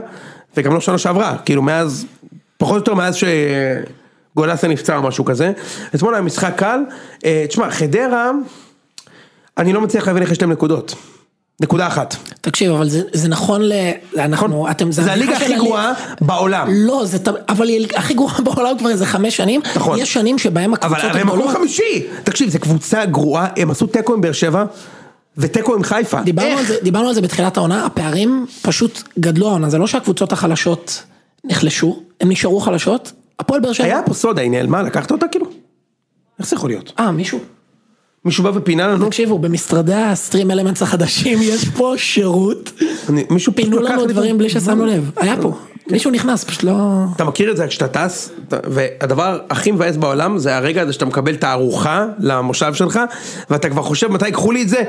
[SPEAKER 2] וגם לא שנה שעברה, כאילו מאז, פחות או יותר מאז שגולסה נפצע או משהו כזה, אתמול היה משחק קל, אה, תשמע, חדרה, אני לא מצליח להבין איך יש להם נקודות, נקודה אחת,
[SPEAKER 1] תקשיב, אבל זה- זה נכון ל... אנחנו, אתם...
[SPEAKER 2] נכון. זה הליגה
[SPEAKER 1] של
[SPEAKER 2] הכי
[SPEAKER 1] הליגה-
[SPEAKER 2] גרועה בעולם,
[SPEAKER 1] לא, זה... ת- אבל היא הכי גרועה בעולם כבר איזה חמש שנים.
[SPEAKER 2] נכון.
[SPEAKER 1] יש שנים שבהם הקבוצות
[SPEAKER 2] אבל
[SPEAKER 1] הגדולות...
[SPEAKER 2] הרי הם מקום חמישי, תקשיב, זו קבוצה גרועה, הם עשו תיקו עם באר שבע, ותיקו עם חיפה,
[SPEAKER 1] דיברנו
[SPEAKER 2] איך?
[SPEAKER 1] על, זה, דיברנו על זה בתחילת העונה, הפערים פשוט גדלו העונה, זה לא שהקבוצות החלשות נחלשו, הן נשארו חלשות, הפועל באר שבע...
[SPEAKER 2] היה פה סודה, היא נעלמה, לקחת אותה כאילו? איך זה יכול להיות?
[SPEAKER 1] אה, מישהו?
[SPEAKER 2] מישהו בא ופינה לנו?
[SPEAKER 1] תקשיבו, במשרדי הסטרים אלמנטס החדשים יש פה שירות,
[SPEAKER 2] אני- מישהו פשוט
[SPEAKER 1] פינו
[SPEAKER 2] לקח
[SPEAKER 1] לנו
[SPEAKER 2] לי-
[SPEAKER 1] דברים בלי ששמנו לב, היה פה,
[SPEAKER 2] כן.
[SPEAKER 1] מישהו נכנס, פשוט לא...
[SPEAKER 2] אתה מכיר את זה כשאתה טס, אתה- והדבר הכי מבאס בעולם זה הרגע הזה שאתה מקבל את הארוחה למושב שלך, ואתה כבר חושב מתי ייקחו לי את זה,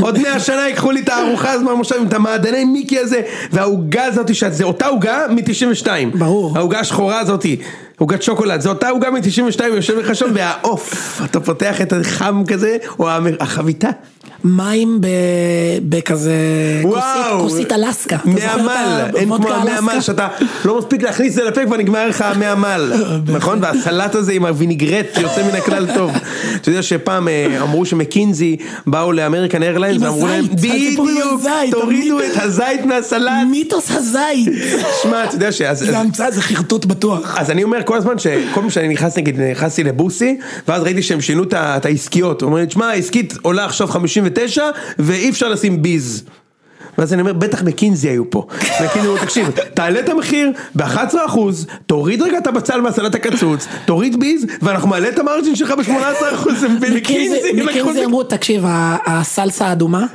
[SPEAKER 2] עוד מאה שנה ייקחו לי את הארוחה הזו מהמושב עם את המעדני מיקי הזה, והעוגה הזאתי, שזה אותה עוגה מ-92.
[SPEAKER 1] ברור.
[SPEAKER 2] העוגה השחורה הזאתי, עוגת שוקולד, זו אותה עוגה מ-92, יושב לך שם, והעוף, אתה פותח את החם כזה, או החביתה.
[SPEAKER 1] מים ב... בכזה...
[SPEAKER 2] וואו.
[SPEAKER 1] כוסית, כוסית אלסקה. אתה זוכר את
[SPEAKER 2] מעמל, אין
[SPEAKER 1] הוודקה
[SPEAKER 2] כמו המעמל
[SPEAKER 1] אלסקה?
[SPEAKER 2] שאתה לא מספיק להכניס את זה לפה, כבר נגמר לך המאה מל,
[SPEAKER 1] אה,
[SPEAKER 2] נכון? והסלט הזה עם הווינגרט יוצא מן הכלל טוב. אתה יודע שפעם אה, אמרו שמקינזי באו לאמריקן איירליינס,
[SPEAKER 1] עם
[SPEAKER 2] ואמרו להם,
[SPEAKER 1] הזית, הסיפור עם
[SPEAKER 2] בדיוק,
[SPEAKER 1] הזית,
[SPEAKER 2] תורידו
[SPEAKER 1] תמיד."
[SPEAKER 2] את הזית מהסלט.
[SPEAKER 1] מיתוס הזית.
[SPEAKER 2] שמע, אתה יודע שאז...
[SPEAKER 1] זה המצאה, זה חרטוט בטוח.
[SPEAKER 2] אז אני אומר כל הזמן שכל פעם שאני נכנס, נגיד, נכנסתי לבוסי, ואז ראיתי שהם שינו את ה- את העסקיות. הוא אומר לי, תשמע, העסקית עולה עכשיו 59, ואי אפשר לשים ביז. ואז אני אומר, בטח מקינזי היו פה. מקינזי אמרו, תקשיב, תעלה את המחיר ב-11%, תוריד רגע את הבצל מהסלט הקצוץ, תוריד ביז, ואנחנו מעלה את המרג'ין שלך ב-18%,
[SPEAKER 1] מקינזי
[SPEAKER 2] ומקינזי לקחו את זה.
[SPEAKER 1] מקינזי אמרו, תקשיב, ה- הסלסה האדומה,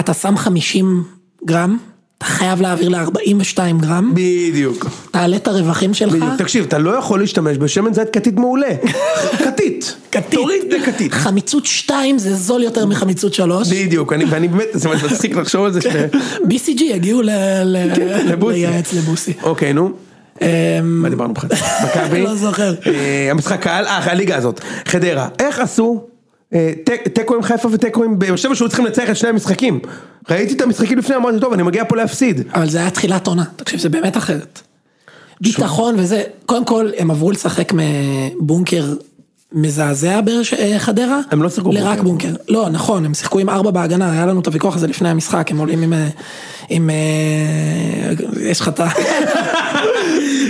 [SPEAKER 1] אתה שם 50 גרם, אתה חייב להעביר ל-42 גרם, אה?
[SPEAKER 2] בדיוק.
[SPEAKER 1] תעלה את הרווחים שלך,
[SPEAKER 2] בדיוק. תקשיב, אתה לא יכול להשתמש בשמן זית כתית מעולה. כתית.
[SPEAKER 1] כתית.
[SPEAKER 2] תוריד לכתית.
[SPEAKER 1] חמיצות 2 זה זול יותר מחמיצות 3,
[SPEAKER 2] בדיוק, אני- ואני באמת, זה ממש מצחיק לחשוב על זה ש...
[SPEAKER 1] כן. BCG יגיעו ל- ל-
[SPEAKER 2] כן, לבוסי.
[SPEAKER 1] לייעץ לבוסי.
[SPEAKER 2] אוקיי, נו.
[SPEAKER 1] אמ,
[SPEAKER 2] מה דיברנו בכלל? מכבי?
[SPEAKER 1] לא זוכר.
[SPEAKER 2] אה, המשחק קהל, אה, הליגה הזאת. חדרה, איך עשו אה, ת- תיקו עם חיפה ותיקו עם באר שבע שהיו צריכים לנצח את שני המשחקים? ראיתי את המשחקים לפני, אמרתי, טוב, אני מגיע פה להפסיד.
[SPEAKER 1] אבל זה היה תחילת עונה, תקשיב, זה באמת אחרת. ביטחון וזה, קודם כל הם עברו לשחק מבונקר מזעזע באר ש- אה, חדרה,
[SPEAKER 2] הם לא שיחקו
[SPEAKER 1] לרק
[SPEAKER 2] בונקר.
[SPEAKER 1] בונקר, לא נכון, הם שיחקו עם ארבע בהגנה, היה לנו את הוויכוח הזה לפני המשחק, הם עולים עם, אה, עם, אה, יש לך את ה...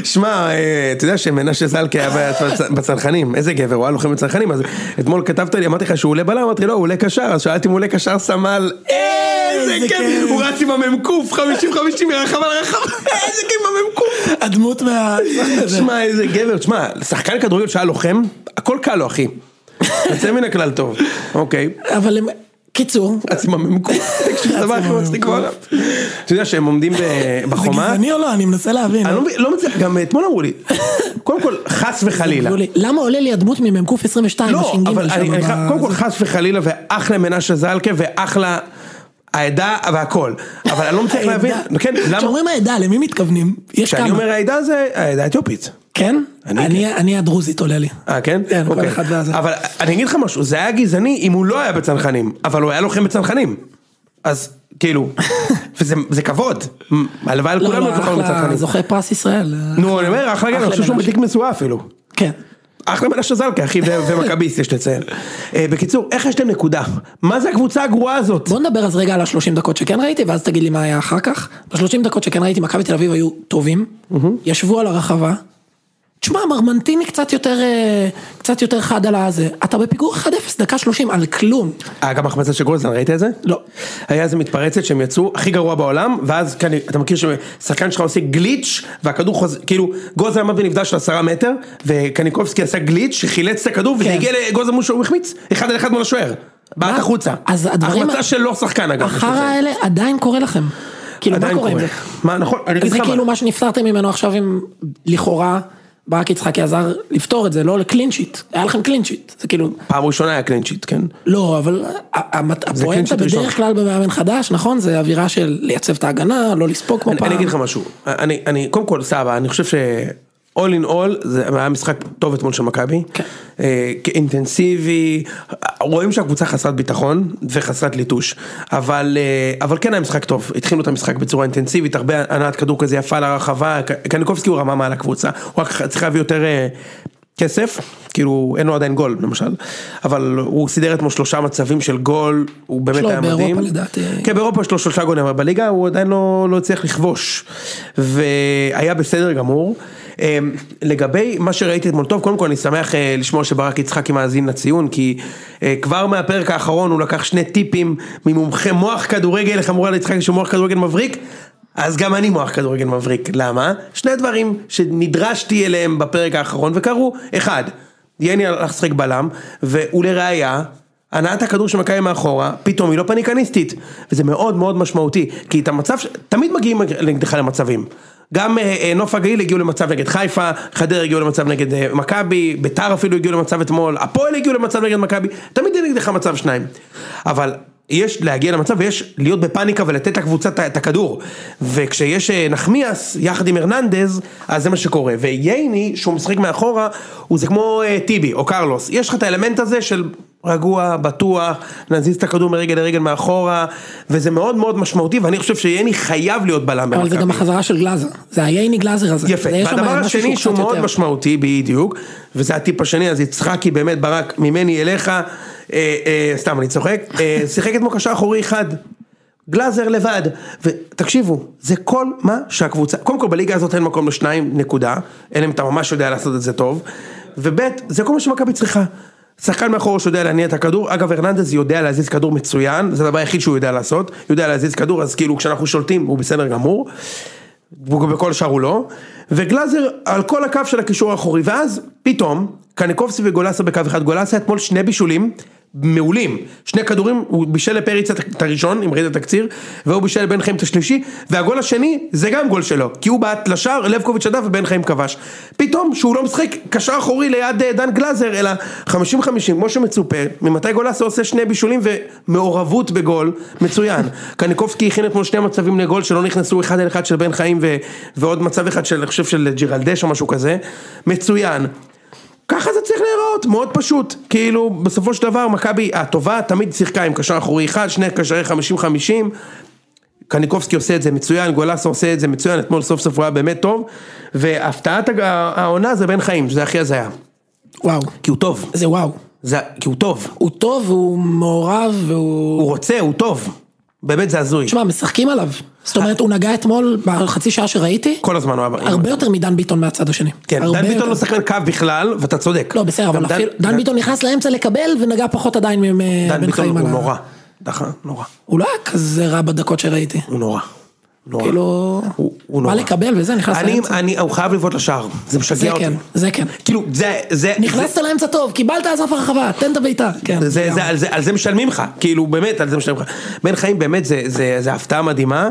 [SPEAKER 2] שמע, אה, אתה יודע שמנשה זלקה היה בצ- בצנחנים, איזה גבר, הוא היה לוחם בצנחנים, אז אתמול כתבת לי, אמרתי לך שהוא עולה בלם, אמרתי לא, הוא עולה קשר, אז שאלתי אם הוא עולה קשר סמל, איזה
[SPEAKER 1] איזה
[SPEAKER 2] כיף,
[SPEAKER 1] כיף.
[SPEAKER 2] הוא רץ עם המ"ק, 50-50 מרחבה לרחבה, איזה כיף עם המ"ק.
[SPEAKER 1] הדמות מה...
[SPEAKER 2] תשמע איזה גבר, תשמע, שחקן כדורגל שהיה לוחם, הכל קל לו אחי. יוצא מן הכלל טוב. אוקיי,
[SPEAKER 1] אבל הם... קיצור,
[SPEAKER 2] אז עם הממקום, תקשיב, זה הדבר הכי מצחיק
[SPEAKER 1] הממקום.
[SPEAKER 2] בעולם. אתה יודע שהם עומדים ב-
[SPEAKER 1] זה
[SPEAKER 2] בחומה,
[SPEAKER 1] גזעני או לא? אני מנסה להבין.
[SPEAKER 2] אני לא מבין, לא מצליח, גם אתמול אמרו לי, קודם כל חס וחלילה.
[SPEAKER 1] אמרו לי, למה עולה לי הדמות ממ"ק 22
[SPEAKER 2] לא,
[SPEAKER 1] בש"ג
[SPEAKER 2] אבל
[SPEAKER 1] שם
[SPEAKER 2] אני, אני,
[SPEAKER 1] ב-
[SPEAKER 2] חייב- קודם כל חס וחלילה ואחלה מנשה זלקה ואחלה העדה והכל. אבל אני לא מצליח להבין,
[SPEAKER 1] העדה.
[SPEAKER 2] כן, למה?
[SPEAKER 1] כשאומרים העדה, למי מתכוונים? יש
[SPEAKER 2] כשאני
[SPEAKER 1] כמה.
[SPEAKER 2] אומר העדה זה העדה האתיופית.
[SPEAKER 1] כן?
[SPEAKER 2] אני
[SPEAKER 1] אני אני הדרוזית עולה לי.
[SPEAKER 2] אה כן?
[SPEAKER 1] כן, כל
[SPEAKER 2] אוקיי.
[SPEAKER 1] אחד והזה.
[SPEAKER 2] אבל אני אגיד לך משהו, זה היה גזעני אם הוא לא היה בצנחנים, אבל הוא היה לוחם בצנחנים. אז כאילו, וזה זה כבוד. מ, הלוואי על
[SPEAKER 1] לא,
[SPEAKER 2] כולם
[SPEAKER 1] לא,
[SPEAKER 2] להיות לוחם
[SPEAKER 1] אחלה,
[SPEAKER 2] בצנחנים.
[SPEAKER 1] זוכה פרס ישראל.
[SPEAKER 2] נו, אני אומר, אחלה גבר, אני חושב שהוא
[SPEAKER 1] מנשה.
[SPEAKER 2] בתיק משואה אפילו.
[SPEAKER 1] כן.
[SPEAKER 2] אחלה מנשה זלקה, אחי, ו- ומכביסט, יש לציין. אה, בקיצור, איך יש להם נקודה? מה זה הקבוצה הגרועה הזאת?
[SPEAKER 1] בוא נדבר אז רגע על השלושים דקות שכן ראיתי, ואז תגיד לי מה היה אחר כך. בשלושים דקות שכן ראיתי, מכבי תל אביב היו טובים, ישבו על הרחבה. תשמע, מרמנטיני קצת יותר, אה, קצת יותר חד על הזה. אתה בפיגור 1-0, דקה 30, על כלום.
[SPEAKER 2] אה, גם החמצה של גולדזן, ראית את זה?
[SPEAKER 1] לא.
[SPEAKER 2] היה איזה מתפרצת שהם יצאו הכי גרוע בעולם, ואז כאן, אתה מכיר ששחקן שלך עושה גליץ', והכדור חוזר, כאילו, גולדזן עמד בנבדל של עשרה מטר, וקניקובסקי עשה גליץ', שחילץ את הכדור, וזה
[SPEAKER 1] כן.
[SPEAKER 2] הגיע לגולדזן מול שהוא החמיץ, אחד על אחד מול השוער. בעט
[SPEAKER 1] מה?
[SPEAKER 2] החוצה.
[SPEAKER 1] אז הדברים-
[SPEAKER 2] החמצה של לא שחקן אגב.
[SPEAKER 1] החרא האלה עדיין קורה לכם. כאילו, מה
[SPEAKER 2] עדיין
[SPEAKER 1] קורה עם זה?
[SPEAKER 2] מה, נכון, אני אגיד
[SPEAKER 1] זה
[SPEAKER 2] לך
[SPEAKER 1] כאילו
[SPEAKER 2] מה.
[SPEAKER 1] מה שנפטרתם ממנו עכשיו עם לכאורה ברק יצחקי עזר לפתור את זה, לא לקלינצ'יט, היה לכם קלינצ'יט, זה כאילו,
[SPEAKER 2] פעם ראשונה היה קלינצ'יט, כן?
[SPEAKER 1] לא, אבל ה- המת-
[SPEAKER 2] clean sheet
[SPEAKER 1] הפואנטה
[SPEAKER 2] ראשון.
[SPEAKER 1] בדרך כלל במאמן חדש, נכון? זה אווירה של לייצב את ההגנה, לא לספוג כמו
[SPEAKER 2] אני-
[SPEAKER 1] פעם.
[SPEAKER 2] אני אגיד לך משהו, אני, אני, קודם כל סבא, אני חושב ש... All in all, זה היה משחק טוב אתמול של מכבי,
[SPEAKER 1] כן.
[SPEAKER 2] אה, אינטנסיבי, רואים שהקבוצה חסרת ביטחון וחסרת ליטוש, אבל, אה, אבל כן היה משחק טוב, התחילו את המשחק בצורה אינטנסיבית, הרבה הנעת כדור כזה יפה לרחבה, ק- קניקובסקי הוא רמה מעל הקבוצה, הוא רק צריך להביא יותר אה, כסף, כאילו אין לו עדיין גול למשל, אבל הוא סידר אתמול שלושה מצבים של גול, הוא באמת
[SPEAKER 1] לו
[SPEAKER 2] היה
[SPEAKER 1] לא, באירופה,
[SPEAKER 2] מדהים.
[SPEAKER 1] לדעתי.
[SPEAKER 2] כן, באירופה יש לו שלושה גולים, אבל בליגה הוא עדיין לא, לא הצליח לכבוש. והיה בסדר גמור. אמ, לגבי מה שראיתי אתמול טוב, קודם כל אני שמח אה, לשמוע שברק יצחקי מאזין לציון, כי אה, כבר מהפרק האחרון הוא לקח שני טיפים ממומחה מוח כדורגל, איך אמרו על יצחקי שהוא מוח כדורגל מבריק. אז גם אני מוח כדורגל מבריק, למה? שני דברים שנדרשתי אליהם בפרק האחרון וקרו, אחד, יני הלך לשחק בלם, ולראיה, הנעת הכדור של מכבי מאחורה, פתאום היא לא פניקניסטית. וזה מאוד מאוד משמעותי, כי את המצב, ש- תמיד מגיעים נגדך למצבים. גם אה, אה, נוף הגליל הגיעו למצב נגד חיפה, חדרה הגיעו למצב נגד אה, מכבי, ביתר אפילו הגיעו למצב אתמול, הפועל הגיעו למצב נגד מכבי, תמיד יהיה נגדך מצב שניים. אבל יש להגיע למצב ויש להיות בפאניקה ולתת לקבוצה את ה- את הכדור. וכשיש אה, נחמיאס יחד עם הרננדז, אז זה מה שקורה. וייני, שהוא משחק מאחורה, הוא זה כמו אה, טיבי או קרלוס. יש לך את האלמנט הזה של... רגוע, בטוח, להזיז את הכדור מרגל לרגל מאחורה, וזה מאוד מאוד משמעותי, ואני חושב שיני חייב להיות בלם
[SPEAKER 1] אבל זה גם החזרה של גלאזר, זה הייני גלאזר הזה.
[SPEAKER 2] יפה,
[SPEAKER 1] זה יש שם
[SPEAKER 2] והדבר
[SPEAKER 1] משהו
[SPEAKER 2] השני שהוא
[SPEAKER 1] קצת
[SPEAKER 2] מאוד
[SPEAKER 1] יותר.
[SPEAKER 2] משמעותי בדיוק, וזה הטיפ השני, אז יצחקי באמת ברק ממני אליך, אה, אה, סתם אני צוחק, אה, שיחק אתמול קשר אחורי אחד, גלאזר לבד, ותקשיבו, זה כל מה שהקבוצה, קודם כל בליגה הזאת אין מקום לשניים, נקודה, אלא אם אתה ממש יודע לעשות את זה טוב, וב' זה כל מה שמכבי צריכה. שחקן מאחור שיודע להניע את הכדור, אגב הרננדז יודע להזיז כדור מצוין, זה הדבר היחיד שהוא יודע לעשות, יודע להזיז כדור, אז כאילו כשאנחנו שולטים הוא בסדר גמור, בכל שאר הוא לא, וגלאזר על כל הקו של הקישור האחורי, ואז פתאום, קניקובסקי וגולסה בקו אחד, גולסה אתמול שני בישולים מעולים, שני כדורים, הוא בישל לפריץ את את הראשון, אם ראית את התקציר, והוא בישל לבן חיים את השלישי, והגול השני זה גם גול שלו, כי הוא בעט לשער, לבקוביץ' הדף ובן חיים כבש. פתאום שהוא לא משחק קשר אחורי ליד אה, דן גלאזר, אלא 50-50, כמו שמצופה, ממתי גולסה עושה שני בישולים ומעורבות בגול, מצוין. קניקובסקי הכין אתמול שני מצבים לגול שלא נכנסו אחד על אחד של בן חיים ו... ועוד מצב אחד של, אני חושב של ג'ירלדש או משהו כזה, מצוין. ככה זה צריך להיראות, מאוד פשוט. כאילו, בסופו של דבר, מכבי הטובה תמיד שיחקה עם קשר אחורי אחד, שני קשרי 50-50. קניקובסקי עושה את זה מצוין, גולסה עושה את זה מצוין, אתמול סוף סוף הוא היה באמת טוב. והפתעת הג- העונה זה בן חיים, שזה הכי הזיה.
[SPEAKER 1] וואו,
[SPEAKER 2] כי הוא טוב.
[SPEAKER 1] זה וואו.
[SPEAKER 2] זה, כי הוא טוב.
[SPEAKER 1] הוא טוב, הוא מעורב, והוא...
[SPEAKER 2] הוא רוצה, הוא טוב. באמת זה הזוי.
[SPEAKER 1] תשמע, משחקים עליו. זאת אומרת, הוא נגע אתמול, בחצי שעה שראיתי,
[SPEAKER 2] כל הזמן הוא היה...
[SPEAKER 1] הרבה יותר מדן ביטון מהצד השני.
[SPEAKER 2] כן,
[SPEAKER 1] הרבה
[SPEAKER 2] דן ביטון
[SPEAKER 1] יותר.
[SPEAKER 2] לא שחקן קו בכלל, ואתה צודק.
[SPEAKER 1] לא, בסדר,
[SPEAKER 2] גם
[SPEAKER 1] אבל אפילו... דן ביטון נכנס לאמצע לקבל, ונגע פחות עדיין מבן חיים.
[SPEAKER 2] דן ביטון
[SPEAKER 1] על
[SPEAKER 2] הוא
[SPEAKER 1] ה-
[SPEAKER 2] נורא. דחה, נורא.
[SPEAKER 1] הוא לא היה כזה רע בדקות שראיתי.
[SPEAKER 2] הוא נורא. נורא.
[SPEAKER 1] כאילו...
[SPEAKER 2] הוא- הוא
[SPEAKER 1] בא
[SPEAKER 2] נורא.
[SPEAKER 1] לקבל וזה, נכנס
[SPEAKER 2] אני,
[SPEAKER 1] לאמצע.
[SPEAKER 2] אני, הוא חייב לבעוט לשער, זה
[SPEAKER 1] זה
[SPEAKER 2] משגע אותי.
[SPEAKER 1] כן, זה כן.
[SPEAKER 2] כאילו, זה, זה,
[SPEAKER 1] נכנסת לאמצע טוב, קיבלת אז אף הרחבה, תן את הבעיטה. כן.
[SPEAKER 2] זה, זה, זה, על זה, על זה משלמים לך, כאילו באמת, על זה משלמים לך. בן חיים באמת זה, זה, זה הפתעה מדהימה,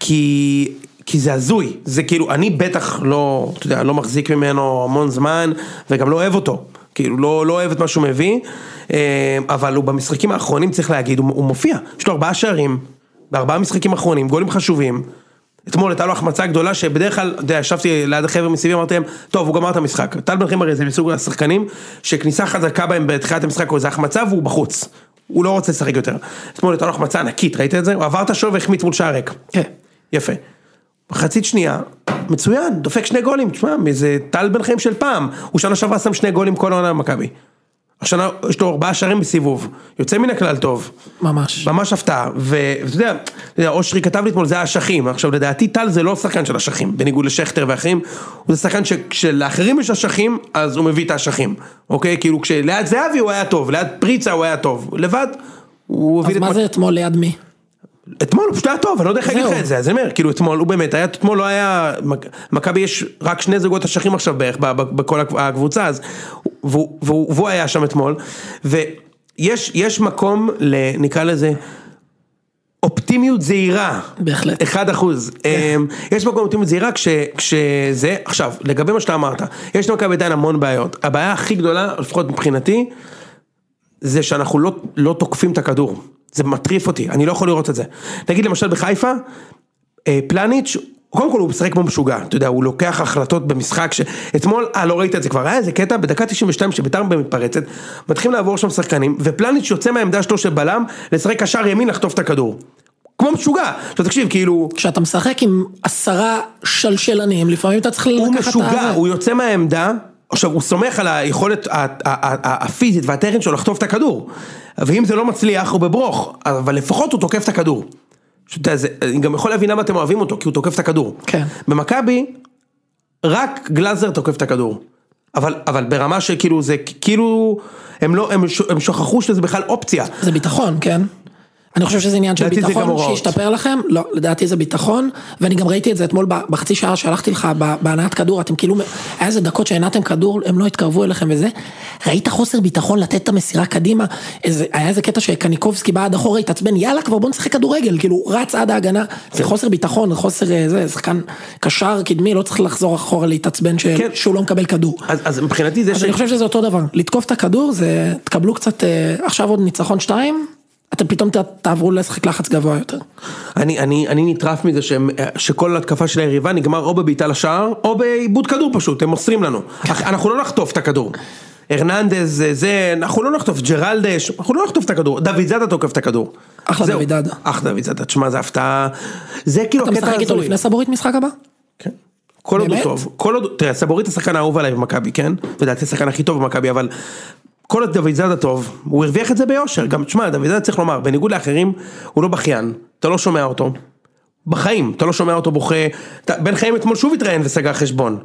[SPEAKER 2] כי, כי זה הזוי, זה כאילו, אני בטח לא, אתה יודע, לא מחזיק ממנו המון זמן, וגם לא אוהב אותו. כאילו לא, לא אוהב את מה שהוא מביא, אה, אבל הוא במשחקים האחרונים צריך להגיד, הוא, הוא מופיע, יש לו ארבעה שערים, בארבעה משחקים האחרונים, גולים חשובים, אתמול הייתה לו החמצה גדולה שבדרך כלל, אתה יודע, ישבתי ליד החבר'ה מסביבי, אמרתי להם, טוב, הוא גמר את המשחק. טל בן חיים הרי זה מסוג השחקנים, שכניסה חזקה בהם בתחילת המשחק, או איזה החמצה והוא בחוץ. הוא לא רוצה לשחק יותר. אתמול הייתה לו החמצה ענקית, ראית את זה? הוא עבר את השוער והחמיץ מול שער ריק.
[SPEAKER 1] כן.
[SPEAKER 2] יפה. מחצית שנייה, מצוין, דופק שני גולים, תשמע, מי זה טל בן חיים של פעם, הוא שנה שעברה שם שני גולים כל העונה במכבי. השנה יש לו ארבעה שערים בסיבוב, יוצא מן הכלל טוב.
[SPEAKER 1] ממש.
[SPEAKER 2] ממש הפתעה, ואתה יודע, אתה יודע, אושרי כתב לי אתמול, זה האשכים, עכשיו לדעתי טל זה לא שחקן של אשכים, בניגוד לשכטר ואחרים, הוא שחקן שכשלאחרים יש אשכים, אז הוא מביא את האשכים, אוקיי? כאילו כשליד זהבי הוא היה טוב, ליד פריצה הוא היה טוב, לבד, הוא
[SPEAKER 1] אז
[SPEAKER 2] הביא את...
[SPEAKER 1] מה
[SPEAKER 2] מק-
[SPEAKER 1] זה אתמול ליד מי?
[SPEAKER 2] אתמול הוא פשוט היה טוב, אני לא יודע איך להגיד לך
[SPEAKER 1] זהו.
[SPEAKER 2] את זה, אז אני אומר, כאילו אתמול הוא באמת היה, אתמול לא היה, מק- מכבי יש רק שני זוגות אשכים עכשיו בערך ב- ב- בכל הקב- הקבוצה, אז, והוא- והוא והוא היה שם אתמול, ויש יש מקום, ל- נקרא לזה, אופטימיות זהירה.
[SPEAKER 1] בהחלט.
[SPEAKER 2] אחד אחוז. אמ, יש מקום אופטימיות זהירה כש, כשזה, עכשיו, לגבי מה שאתה אמרת, יש למכבי עדיין המון בעיות. הבעיה הכי גדולה, לפחות מבחינתי, זה שאנחנו לא, לא תוקפים את הכדור. זה מטריף אותי, אני לא יכול לראות את זה. נגיד למשל בחיפה, אה, פלניץ', קודם כל הוא משחק כמו משוגע, אתה יודע, הוא לוקח החלטות במשחק ש... אתמול, אה, לא ראית את זה כבר, היה איזה קטע בדקה 92 שביתר מתפרצת, מתחילים לעבור שם שחקנים, ופלניץ' יוצא מהעמדה שלו של בלם, לשחק קשר ימין לחטוף את הכדור. כמו משוגע. עכשיו תקשיב, כאילו...
[SPEAKER 1] כשאתה משחק עם עשרה שלשלנים, לפעמים אתה צריך
[SPEAKER 2] הוא
[SPEAKER 1] לקחת את
[SPEAKER 2] משוגע,
[SPEAKER 1] ה...
[SPEAKER 2] הוא יוצא מהעמדה, עכשיו הוא סומך על היכולת ה- ה- ה- הפיזית והטכנית שלו לחטוף את הכדור. ואם זה לא מצליח הוא בברוך, אבל לפחות הוא תוקף את הכדור. שאתה יודע, זה- אני גם יכול להבין למה אתם אוהבים אותו, כי הוא תוקף את הכדור.
[SPEAKER 1] כן.
[SPEAKER 2] במכבי, רק גלאזר תוקף את הכדור. אבל, אבל ברמה שכאילו זה כאילו, הם לא, הם, ש- הם שכחו שזה בכלל אופציה.
[SPEAKER 1] זה ביטחון, כן? אני חושב שזה עניין של
[SPEAKER 2] לדעתי זה גם
[SPEAKER 1] ביטחון
[SPEAKER 2] הוראות.
[SPEAKER 1] שהשתפר לכם, לא, לדעתי זה ביטחון, ואני גם ראיתי את זה אתמול ב- בחצי שעה שהלכתי לך ב- בהנעת כדור, אתם כאילו, היה איזה דקות שהנעתם כדור, הם לא התקרבו אליכם וזה, ראית חוסר ביטחון לתת את המסירה קדימה, איזה, היה איזה קטע שקניקובסקי בא עד אחורה, התעצבן, יאללה כבר בוא נשחק כדורגל, כאילו הוא רץ עד ההגנה, זה
[SPEAKER 2] כן.
[SPEAKER 1] חוסר ביטחון, חוסר אה, זה, שחקן קשר קדמי, לא צריך לחזור אחורה להתעצבן ש-
[SPEAKER 2] כן.
[SPEAKER 1] שהוא לא מקבל כדור.
[SPEAKER 2] אז, אז מבחינתי זה
[SPEAKER 1] אז אני חושב שזה אותו דבר, לתקוף את הכדור זה, תקבלו קצת, אה, עכשיו עוד ניצחון שתיים, אתם פתאום ת- תעברו לשחק לחץ גבוה יותר.
[SPEAKER 2] אני, אני, אני נטרף מזה שהם, שכל התקפה של היריבה נגמר או בבעיטה לשער, או בעיבוד כדור פשוט, הם מוסרים לנו. אך- אנחנו לא נחטוף את הכדור. הרננדז זה, זה, אנחנו לא נחטוף, ג'רלדש, אנחנו לא נחטוף את הכדור, דוד זאדה תוקף את הכדור.
[SPEAKER 1] אחלה
[SPEAKER 2] זהו.
[SPEAKER 1] דוד זאדה.
[SPEAKER 2] אחלה דוד זאדה, תשמע, זה הפתעה, זה כאילו
[SPEAKER 1] אתה
[SPEAKER 2] הקטע
[SPEAKER 1] משחק איתו
[SPEAKER 2] ההזוי.
[SPEAKER 1] לפני סבורית משחק הבא?
[SPEAKER 2] כן. כל עוד הוא
[SPEAKER 1] באמת?
[SPEAKER 2] טוב, כל עוד, תראה, סבורית השחקן האהוב עליי במכבי, כן? לדעתי השחקן הכי טוב במכבי, אבל כל עוד דוד זאדה טוב, הוא הרוויח את זה ביושר, גם תשמע, דוד זאדה צריך לומר, בניגוד לאחרים, הוא לא בכיין, אתה לא שומע אותו, בחיים, אתה לא שומע אותו בוכה, אתה- בן חיים אתמול שוב התראיין וסגר חשבון,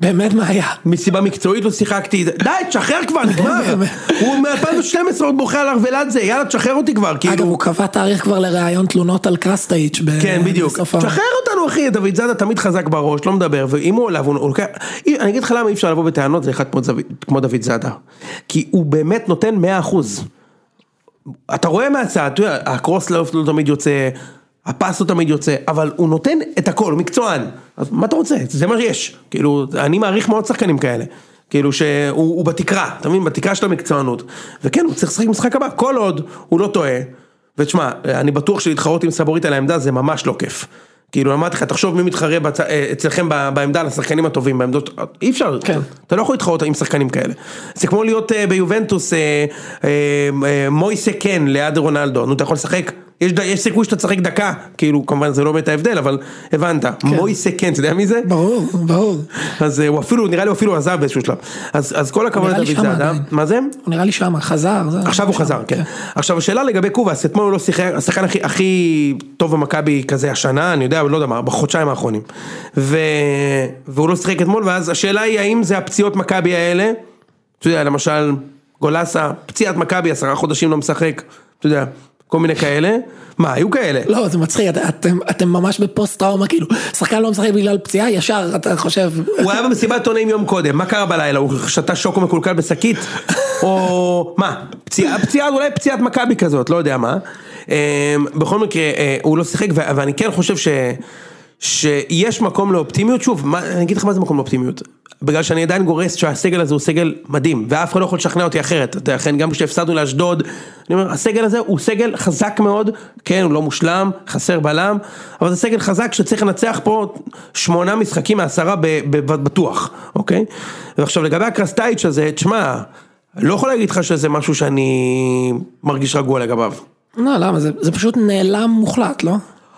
[SPEAKER 1] באמת מה היה?
[SPEAKER 2] מסיבה מקצועית לא שיחקתי, די, תשחרר כבר, נגמר, הוא מ-2012 עוד בוכה על ארוולדזה, יאללה, תשחרר אותי כבר,
[SPEAKER 1] אגב,
[SPEAKER 2] כאילו,
[SPEAKER 1] הוא קבע תאריך כבר לראיון תלונות על קרסטייץ'. ב-
[SPEAKER 2] כן, בדיוק.
[SPEAKER 1] בסוף ה-
[SPEAKER 2] שחרר אותנו אחי, דוד זאדה תמיד חזק בראש, לא מדבר, ואם הוא עליו, הוא הוא לוקח... אי- אני אגיד לך למה אי אפשר לבוא בטענות לאחד כמו דוד- כמו דוד זאדה. כי הוא באמת נותן 100%. אתה רואה מהצד, אתה יודע, הקרוס לא לא תמיד יוצא, הפס לא תמיד יוצא, אבל הוא נותן את הכל, הוא מקצוען. אז מה אתה רוצה? זה מה שיש. כאילו, אני מעריך מאוד שחקנים כאלה. כאילו שהוא הוא בתקרה, אתה מבין? בתקרה של המקצוענות. וכן, הוא צריך לשחק במשחק הבא, כל עוד הוא לא טועה. ותשמע, אני בטוח שלהתחרות עם סבורית על העמדה זה ממש לא כיף. כאילו, אמרתי לך, תחשוב מי מתחרה בצ... אה, אצלכם ב- בעמדה על השחקנים הטובים, בעמדות... אי אפשר,
[SPEAKER 1] כן.
[SPEAKER 2] אתה לא יכול להתחרות עם שחקנים כאלה. זה כמו להיות אה, ביובנטוס אה, אה, אה, מויסה כן ליד רונלדו, נו אתה יכול לשחק, יש, ד- יש סיכוי שאתה תשחק דקה, כאילו כמובן זה לא באמת ההבדל, אבל הבנת, מויסה כן, אתה יודע מי זה?
[SPEAKER 1] ברור, ברור.
[SPEAKER 2] אז אה, הוא אפילו, נראה לי הוא אפילו עזב באיזשהו שלב. אז, אז כל הכבוד
[SPEAKER 1] נראה לי
[SPEAKER 2] לדוד
[SPEAKER 1] שמה
[SPEAKER 2] זאדה,
[SPEAKER 1] עדיין.
[SPEAKER 2] מה זה?
[SPEAKER 1] הוא נראה לי שם, חזר. זה-
[SPEAKER 2] עכשיו הוא
[SPEAKER 1] שם,
[SPEAKER 2] חזר, כן. עכשיו השאלה לגבי קובאס, אתמול הוא לא שיחק, השחקן הכי, הכי טוב במכבי כזה השנה, אני יודע, אבל לא יודע מה, בחודשיים האחרונים. ו... והוא לא שיחק אתמול, ואז השאלה היא האם זה הפציעות מכבי האלה, אתה יודע, למשל, גולסה, פציעת מכבי עשרה חודשים לא משחק, אתה יודע, כל מיני כאלה, מה, היו כאלה.
[SPEAKER 1] לא, זה מצחיק, את- אתם- אתם ממש בפוסט טראומה, כאילו, שחקן לא משחק בגלל פציעה, ישר, אתה חושב,
[SPEAKER 2] הוא היה במסיבת עיתונאים יום קודם, מה קרה בלילה? הוא שתה שוקו מקולקל בשקית? או מה? פציעה, פציעה, אולי פציעת מכבי כזאת, לא יודע מה. אמ, בכל מקרה, אה, הוא לא שיחק, ו- ואני כן חושב ש... שיש מקום לאופטימיות, שוב, מה, אני אגיד לך מה זה מקום לאופטימיות. בגלל שאני עדיין גורס שהסגל הזה הוא סגל מדהים, ואף אחד לא יכול לשכנע אותי אחרת. אתה יודע, לכן גם כשהפסדנו לאשדוד, אני אומר, הסגל הזה הוא סגל חזק מאוד, כן, הוא לא מושלם, חסר בלם, אבל זה סגל חזק שצריך לנצח פה שמונה משחקים מעשרה ב- ב- בטוח, אוקיי? ועכשיו לגבי הקרסטייץ' הזה, תשמע, לא יכול להגיד לך שזה משהו שאני מרגיש רגוע לגביו.
[SPEAKER 1] לא, למה, זה זה פשוט נעלם מוחלט, לא?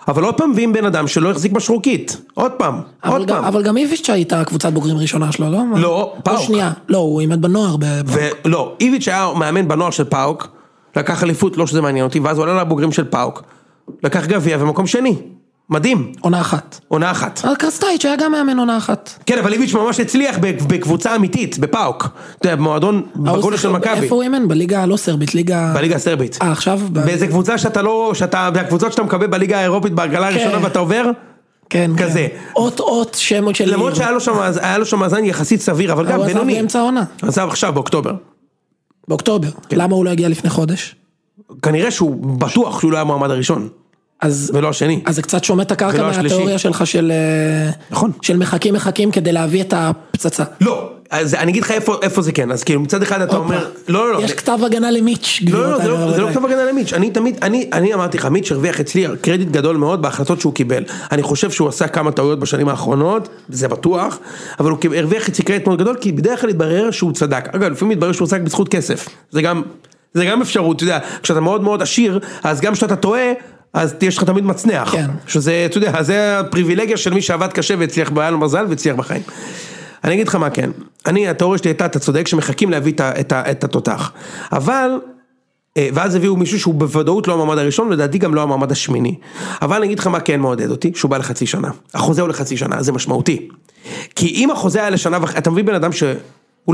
[SPEAKER 2] אבל עוד פעם מביאים בן אדם שלא החזיק בשרוקית, עוד פעם,
[SPEAKER 1] אבל
[SPEAKER 2] עוד
[SPEAKER 1] גם-
[SPEAKER 2] פעם.
[SPEAKER 1] אבל גם איביץ' הייתה קבוצת בוגרים ראשונה שלו, לא?
[SPEAKER 2] לא,
[SPEAKER 1] או
[SPEAKER 2] פאוק.
[SPEAKER 1] שנייה, לא, הוא אימד בנוער, ב-
[SPEAKER 2] ולא, איביץ' היה מאמן בנוער של פאוק, לקח אליפות, לא שזה מעניין אותי, ואז הוא עלה לבוגרים של פאוק, לקח גביע ומקום שני, מדהים,
[SPEAKER 1] בעונה אחת.
[SPEAKER 2] עונה אחת.
[SPEAKER 1] אבל קרסטייץ' היה גם מאמן עונה אחת.
[SPEAKER 2] כן, אבל איביץ' ממש הצליח בק- בקבוצה אמיתית, בפאוק, אתה יודע, במועדון, בגודל של
[SPEAKER 1] ההוא שיחק-
[SPEAKER 2] מכבי,
[SPEAKER 1] איפה הוא אימן? בליגה הלא סרבית, ליגה...
[SPEAKER 2] בליגה הסרבית.
[SPEAKER 1] אה, עכשיו? ב-
[SPEAKER 2] באיזה קבוצה שאתה לא, שאתה, הקבוצות שאתה מקבל בליגה האירופית בהגרלה הראשונה ואתה עובר,
[SPEAKER 1] כן, כן.
[SPEAKER 2] כזה.
[SPEAKER 1] אות אות שם של...
[SPEAKER 2] למרות
[SPEAKER 1] עיר.
[SPEAKER 2] שהיה לו שם- היה לו שם מאזן יחסית סביר, אבל גם
[SPEAKER 1] כאילו. אה, הוא
[SPEAKER 2] בינוני.
[SPEAKER 1] עזב באמצע העונה,
[SPEAKER 2] עזב עכשיו באוקטובר.
[SPEAKER 1] באוקטובר.
[SPEAKER 2] כן.
[SPEAKER 1] למה הוא לא הגיע לפני חודש?
[SPEAKER 2] כנראה שהוא בטוח שהוא לא היה המועמד הראשון,
[SPEAKER 1] אז
[SPEAKER 2] ולא השני.
[SPEAKER 1] אז זה קצת שומט את הקרקע
[SPEAKER 2] ולא השלישי.
[SPEAKER 1] מהתיאוריה שלך של... אה,
[SPEAKER 2] נכון.
[SPEAKER 1] של מחכים מחכים כדי להביא את הפצצה.
[SPEAKER 2] לא, אז אני אגיד לך איפה, איפה זה כן, אז כאילו מצד אחד אתה אומר, לא לא לא,
[SPEAKER 1] יש כתב הגנה למיץ'.
[SPEAKER 2] לא, לא,
[SPEAKER 1] גבירותיי
[SPEAKER 2] זה לא, זה לא
[SPEAKER 1] ורבותיי.
[SPEAKER 2] כתב הגנה למיץ', אני תמיד, אני, אני אמרתי לך, מיץ' הרוויח אצלי קרדיט גדול מאוד בהחלטות שהוא קיבל. אני חושב שהוא עשה כמה טעויות בשנים האחרונות, זה בטוח, אבל הוא קיב- הרוויח אצלי קרדיט מאוד גדול, כי בדרך כלל התברר שהוא צדק. אגב, לפעמים מתברר שהוא צדק בזכות כסף, זה גם, זה גם אפשרות, אתה יודע, כשאתה מאוד מאוד עשיר, אז גם כשאתה טועה, אז יש לך תמיד מצנח.
[SPEAKER 1] כן.
[SPEAKER 2] שזה, אתה יודע, זה הפריבילגיה של מי שעבד קשה והצליח, והיה לו מזל והצליח בחיים. אני אגיד לך מה כן, אני, התיאוריה שלי הייתה, אתה צודק, שמחכים להביא את ה- את ה- את התותח. אבל אה, ואז הביאו מישהו שהוא בוודאות לא המעמד הראשון, ולדעתי גם לא המעמד השמיני. אבל אני אגיד לך מה כן מעודד אותי, שהוא בא לחצי שנה. החוזה הוא לחצי שנה, זה משמעותי. כי אם החוזה היה לשנה וחצי, אתה מביא בן אדם שהוא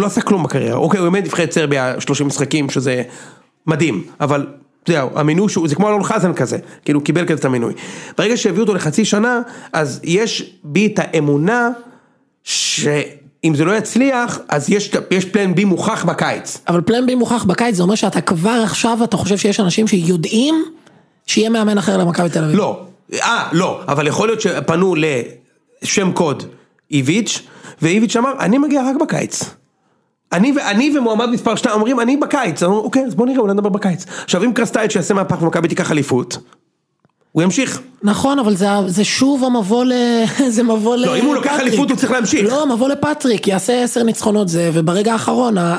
[SPEAKER 2] לא עשה כלום בקריירה, אוקיי, הוא אימן נבחרת סרביה 30 משחקים, שזה מדהים, אבל... אתה יודע, המינוי שהוא, זה כמו אלון חזן כזה, כאילו הוא קיבל כזה את המינוי. ברגע שהביאו אותו לחצי שנה, אז יש בי את האמונה שאם זה לא יצליח, אז יש, יש פלן בי מוכח בקיץ.
[SPEAKER 1] אבל פלן בי מוכח בקיץ, זה אומר שאתה כבר עכשיו, אתה חושב שיש אנשים שיודעים שיהיה מאמן אחר למכבי תל אביב.
[SPEAKER 2] לא. אה, לא. אבל יכול להיות שפנו לשם קוד איביץ', ואיביץ' אמר, אני מגיע רק בקיץ. אני, ו- אני ומועמד מספר 2 אומרים, אני בקיץ. אמרו, אוקיי, אז בוא נראה, אולי נדבר בקיץ. עכשיו, אם קרסטייץ' יעשה מהפך ומכבי תיקח אליפות, הוא ימשיך.
[SPEAKER 1] נכון, אבל זה, זה שוב המבוא ל... זה מבוא ל...
[SPEAKER 2] לא, אם הוא לוקח
[SPEAKER 1] פטריק.
[SPEAKER 2] אליפות, הוא צריך להמשיך.
[SPEAKER 1] לא, המבוא לפטריק, יעשה עשר ניצחונות זה, וברגע האחרון, ה...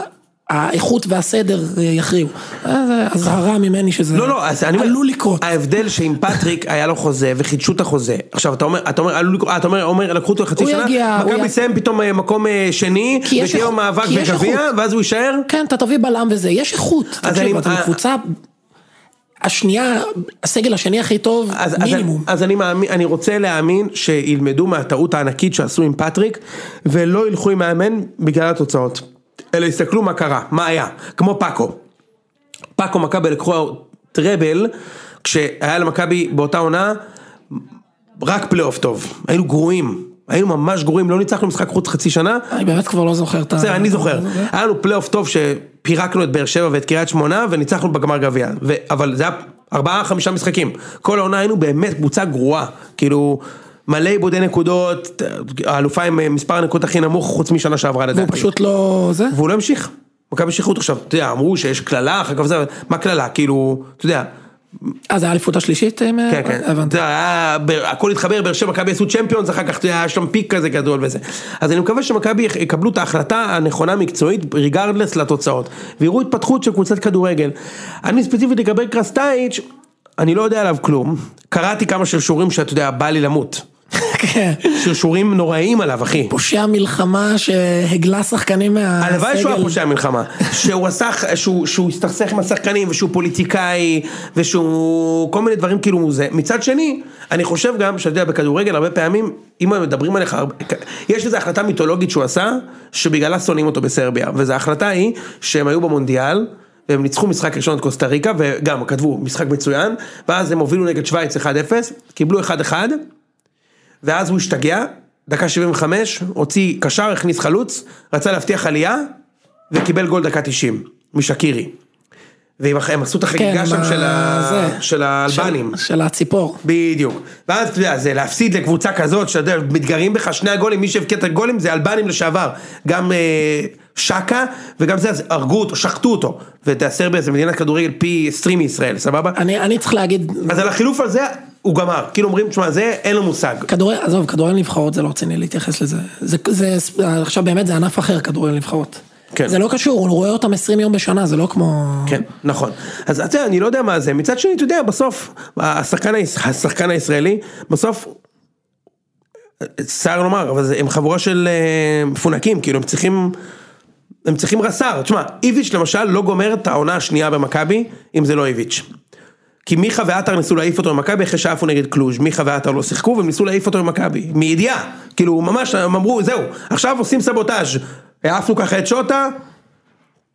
[SPEAKER 1] האיכות והסדר אה, יכריעו. אה, זה אזהרה ממני שזה
[SPEAKER 2] לא, לא, אז אני אומר,
[SPEAKER 1] עלול לקרות.
[SPEAKER 2] ההבדל שעם פטריק היה לו חוזה וחידשו את החוזה. עכשיו אתה אומר, אתה אומר, עלול לקרות, אה, אתה אומר, אומר, לקחו אותו לחצי
[SPEAKER 1] הוא יגיע,
[SPEAKER 2] שנה,
[SPEAKER 1] הוא
[SPEAKER 2] מכבי
[SPEAKER 1] יגיע.
[SPEAKER 2] יסיים פתאום אה, מקום אה, שני,
[SPEAKER 1] כי יש
[SPEAKER 2] ותהיה לו
[SPEAKER 1] איכות,
[SPEAKER 2] מאבק
[SPEAKER 1] כי יש
[SPEAKER 2] בגביע,
[SPEAKER 1] איכות.
[SPEAKER 2] ואז הוא יישאר.
[SPEAKER 1] כן, אתה תביא בלם וזה, יש איכות. תקשיב,
[SPEAKER 2] אני-
[SPEAKER 1] אתה
[SPEAKER 2] אה,
[SPEAKER 1] בקבוצה השנייה, הסגל השני הכי טוב,
[SPEAKER 2] אז, אז,
[SPEAKER 1] מינימום.
[SPEAKER 2] אז אני, מאמין, אני רוצה להאמין שילמדו מהטעות הענקית שעשו עם פטריק ולא ילכו עם מאמן בגלל התוצאות. אלא יסתכלו מה קרה, מה היה, כמו פאקו. פאקו מכבי לקחו טראבל כשהיה למכבי באותה עונה רק פלייאוף טוב. היינו גרועים, היינו ממש גרועים, לא ניצחנו משחק חוץ חצי שנה,
[SPEAKER 1] אני באמת כבר לא זוכר את ה...
[SPEAKER 2] בסדר, אני זוכר.
[SPEAKER 1] אוקיי.
[SPEAKER 2] היה לנו פלייאוף טוב שפירקנו את באר שבע ואת קריית שמונה וניצחנו בגמר גביע. ו- אבל זה היה ארבעה, חמישה משחקים. כל העונה היינו באמת קבוצה גרועה. כאילו, מלא עיבודי נקודות, האלופה עם אה, מספר הנקודות הכי נמוך חוץ משנה שעברה לדעתי.
[SPEAKER 1] והוא פשוט לא... זה?
[SPEAKER 2] והוא לא המשיך. מכבי שחררות עכשיו, אתה יודע, אמרו שיש קללה, אחר כך זה, מה קללה? כאילו, אתה יודע,
[SPEAKER 1] אה, זה היה האליפות השלישית? עם-
[SPEAKER 2] כן, כן.
[SPEAKER 1] הבנתי.
[SPEAKER 2] אתה יודע, היה- באר- הכל התחבר, באר שבע, מכבי עשו צ'מפיונס, אחר כך אתה יודע, היה שם פיק כזה גדול וזה. אז אני מקווה שמכבי יק- יקבלו את ההחלטה הנכונה מקצועית, ריגרדלס לתוצאות, ויראו התפתחות של קבוצת כדורגל. אני ספציפית לגבי קרסטייץ', אני לא יודע עליו כלום. קראתי כמה שרשורים שאתה יודע, בא לי למות.
[SPEAKER 1] כן.
[SPEAKER 2] שרשורים נוראים עליו, אחי.
[SPEAKER 1] פושע מלחמה שהגלה שחקנים מהסגל.
[SPEAKER 2] הלוואי שהוא היה פושע מלחמה, שהוא עשה, שהוא, שהוא הסתכסך עם השחקנים ושהוא פוליטיקאי ושהוא כל מיני דברים כאילו זה. מצד שני, אני חושב גם שאתה יודע בכדורגל הרבה פעמים, אם הם מדברים עליך, הרבה- יש איזו החלטה מיתולוגית שהוא עשה, שבגללה שונאים אותו בסרביה, וזו ההחלטה היא שהם היו במונדיאל. והם ניצחו משחק ראשון את קוסטה ריקה, וגם כתבו משחק מצוין, ואז הם הובילו נגד שווייץ 1-0, קיבלו 1-1, ואז הוא השתגע, דקה 75, הוציא קשר, הכניס חלוץ, רצה להבטיח עלייה, וקיבל גול דקה 90, משקירי. והם הם עשו את החגיגה
[SPEAKER 1] כן,
[SPEAKER 2] שם
[SPEAKER 1] מה-
[SPEAKER 2] של, ה...
[SPEAKER 1] זה.
[SPEAKER 2] של האלבנים.
[SPEAKER 1] של- של הציפור.
[SPEAKER 2] בדיוק. ואז אתה יודע, זה להפסיד לקבוצה כזאת, שאתה יודע, מתגרים בך שני הגולים, מי שהבקיע את הגולים זה אלבנים לשעבר. גם אה, שקה, וגם זה, אז הרגו אותו, שחטו אותו. ואתה יודע, סרביה זה מדינת כדורגל פי 20 מישראל, סבבה?
[SPEAKER 1] אני אני צריך להגיד,
[SPEAKER 2] אז על החילוף הזה, הוא גמר. כאילו אומרים, תשמע, זה, אין לו מושג.
[SPEAKER 1] כדורגל, עזוב, כדורגל נבחרות זה לא רציני להתייחס לזה. זה, זה, עכשיו באמת זה ענף אחר, כדורגל נבחרות.
[SPEAKER 2] כן.
[SPEAKER 1] זה לא קשור, הוא רואה אותם 20 יום בשנה, זה לא כמו...
[SPEAKER 2] כן, נכון. אז אתה יודע, אני לא יודע מה זה. מצד שני, אתה יודע, בסוף, השחקן, היש- השחקן הישראלי, בסוף, צער לומר, אבל זה, הם חבורה של אה, מפונקים, כאילו, הם צריכים, הם צריכים רס"ר. תשמע, איביץ' למשל לא גומר את העונה השנייה במכבי, אם זה לא איביץ'. כי מיכה ועטר ניסו להעיף אותו ממכבי אחרי שעפו נגד קלוז', מיכה ועטר לא שיחקו והם ניסו להעיף אותו ממכבי, מידיעה, כאילו ממש הם אמרו זהו, עכשיו עושים סבוטאז', העפנו ככה את שוטה,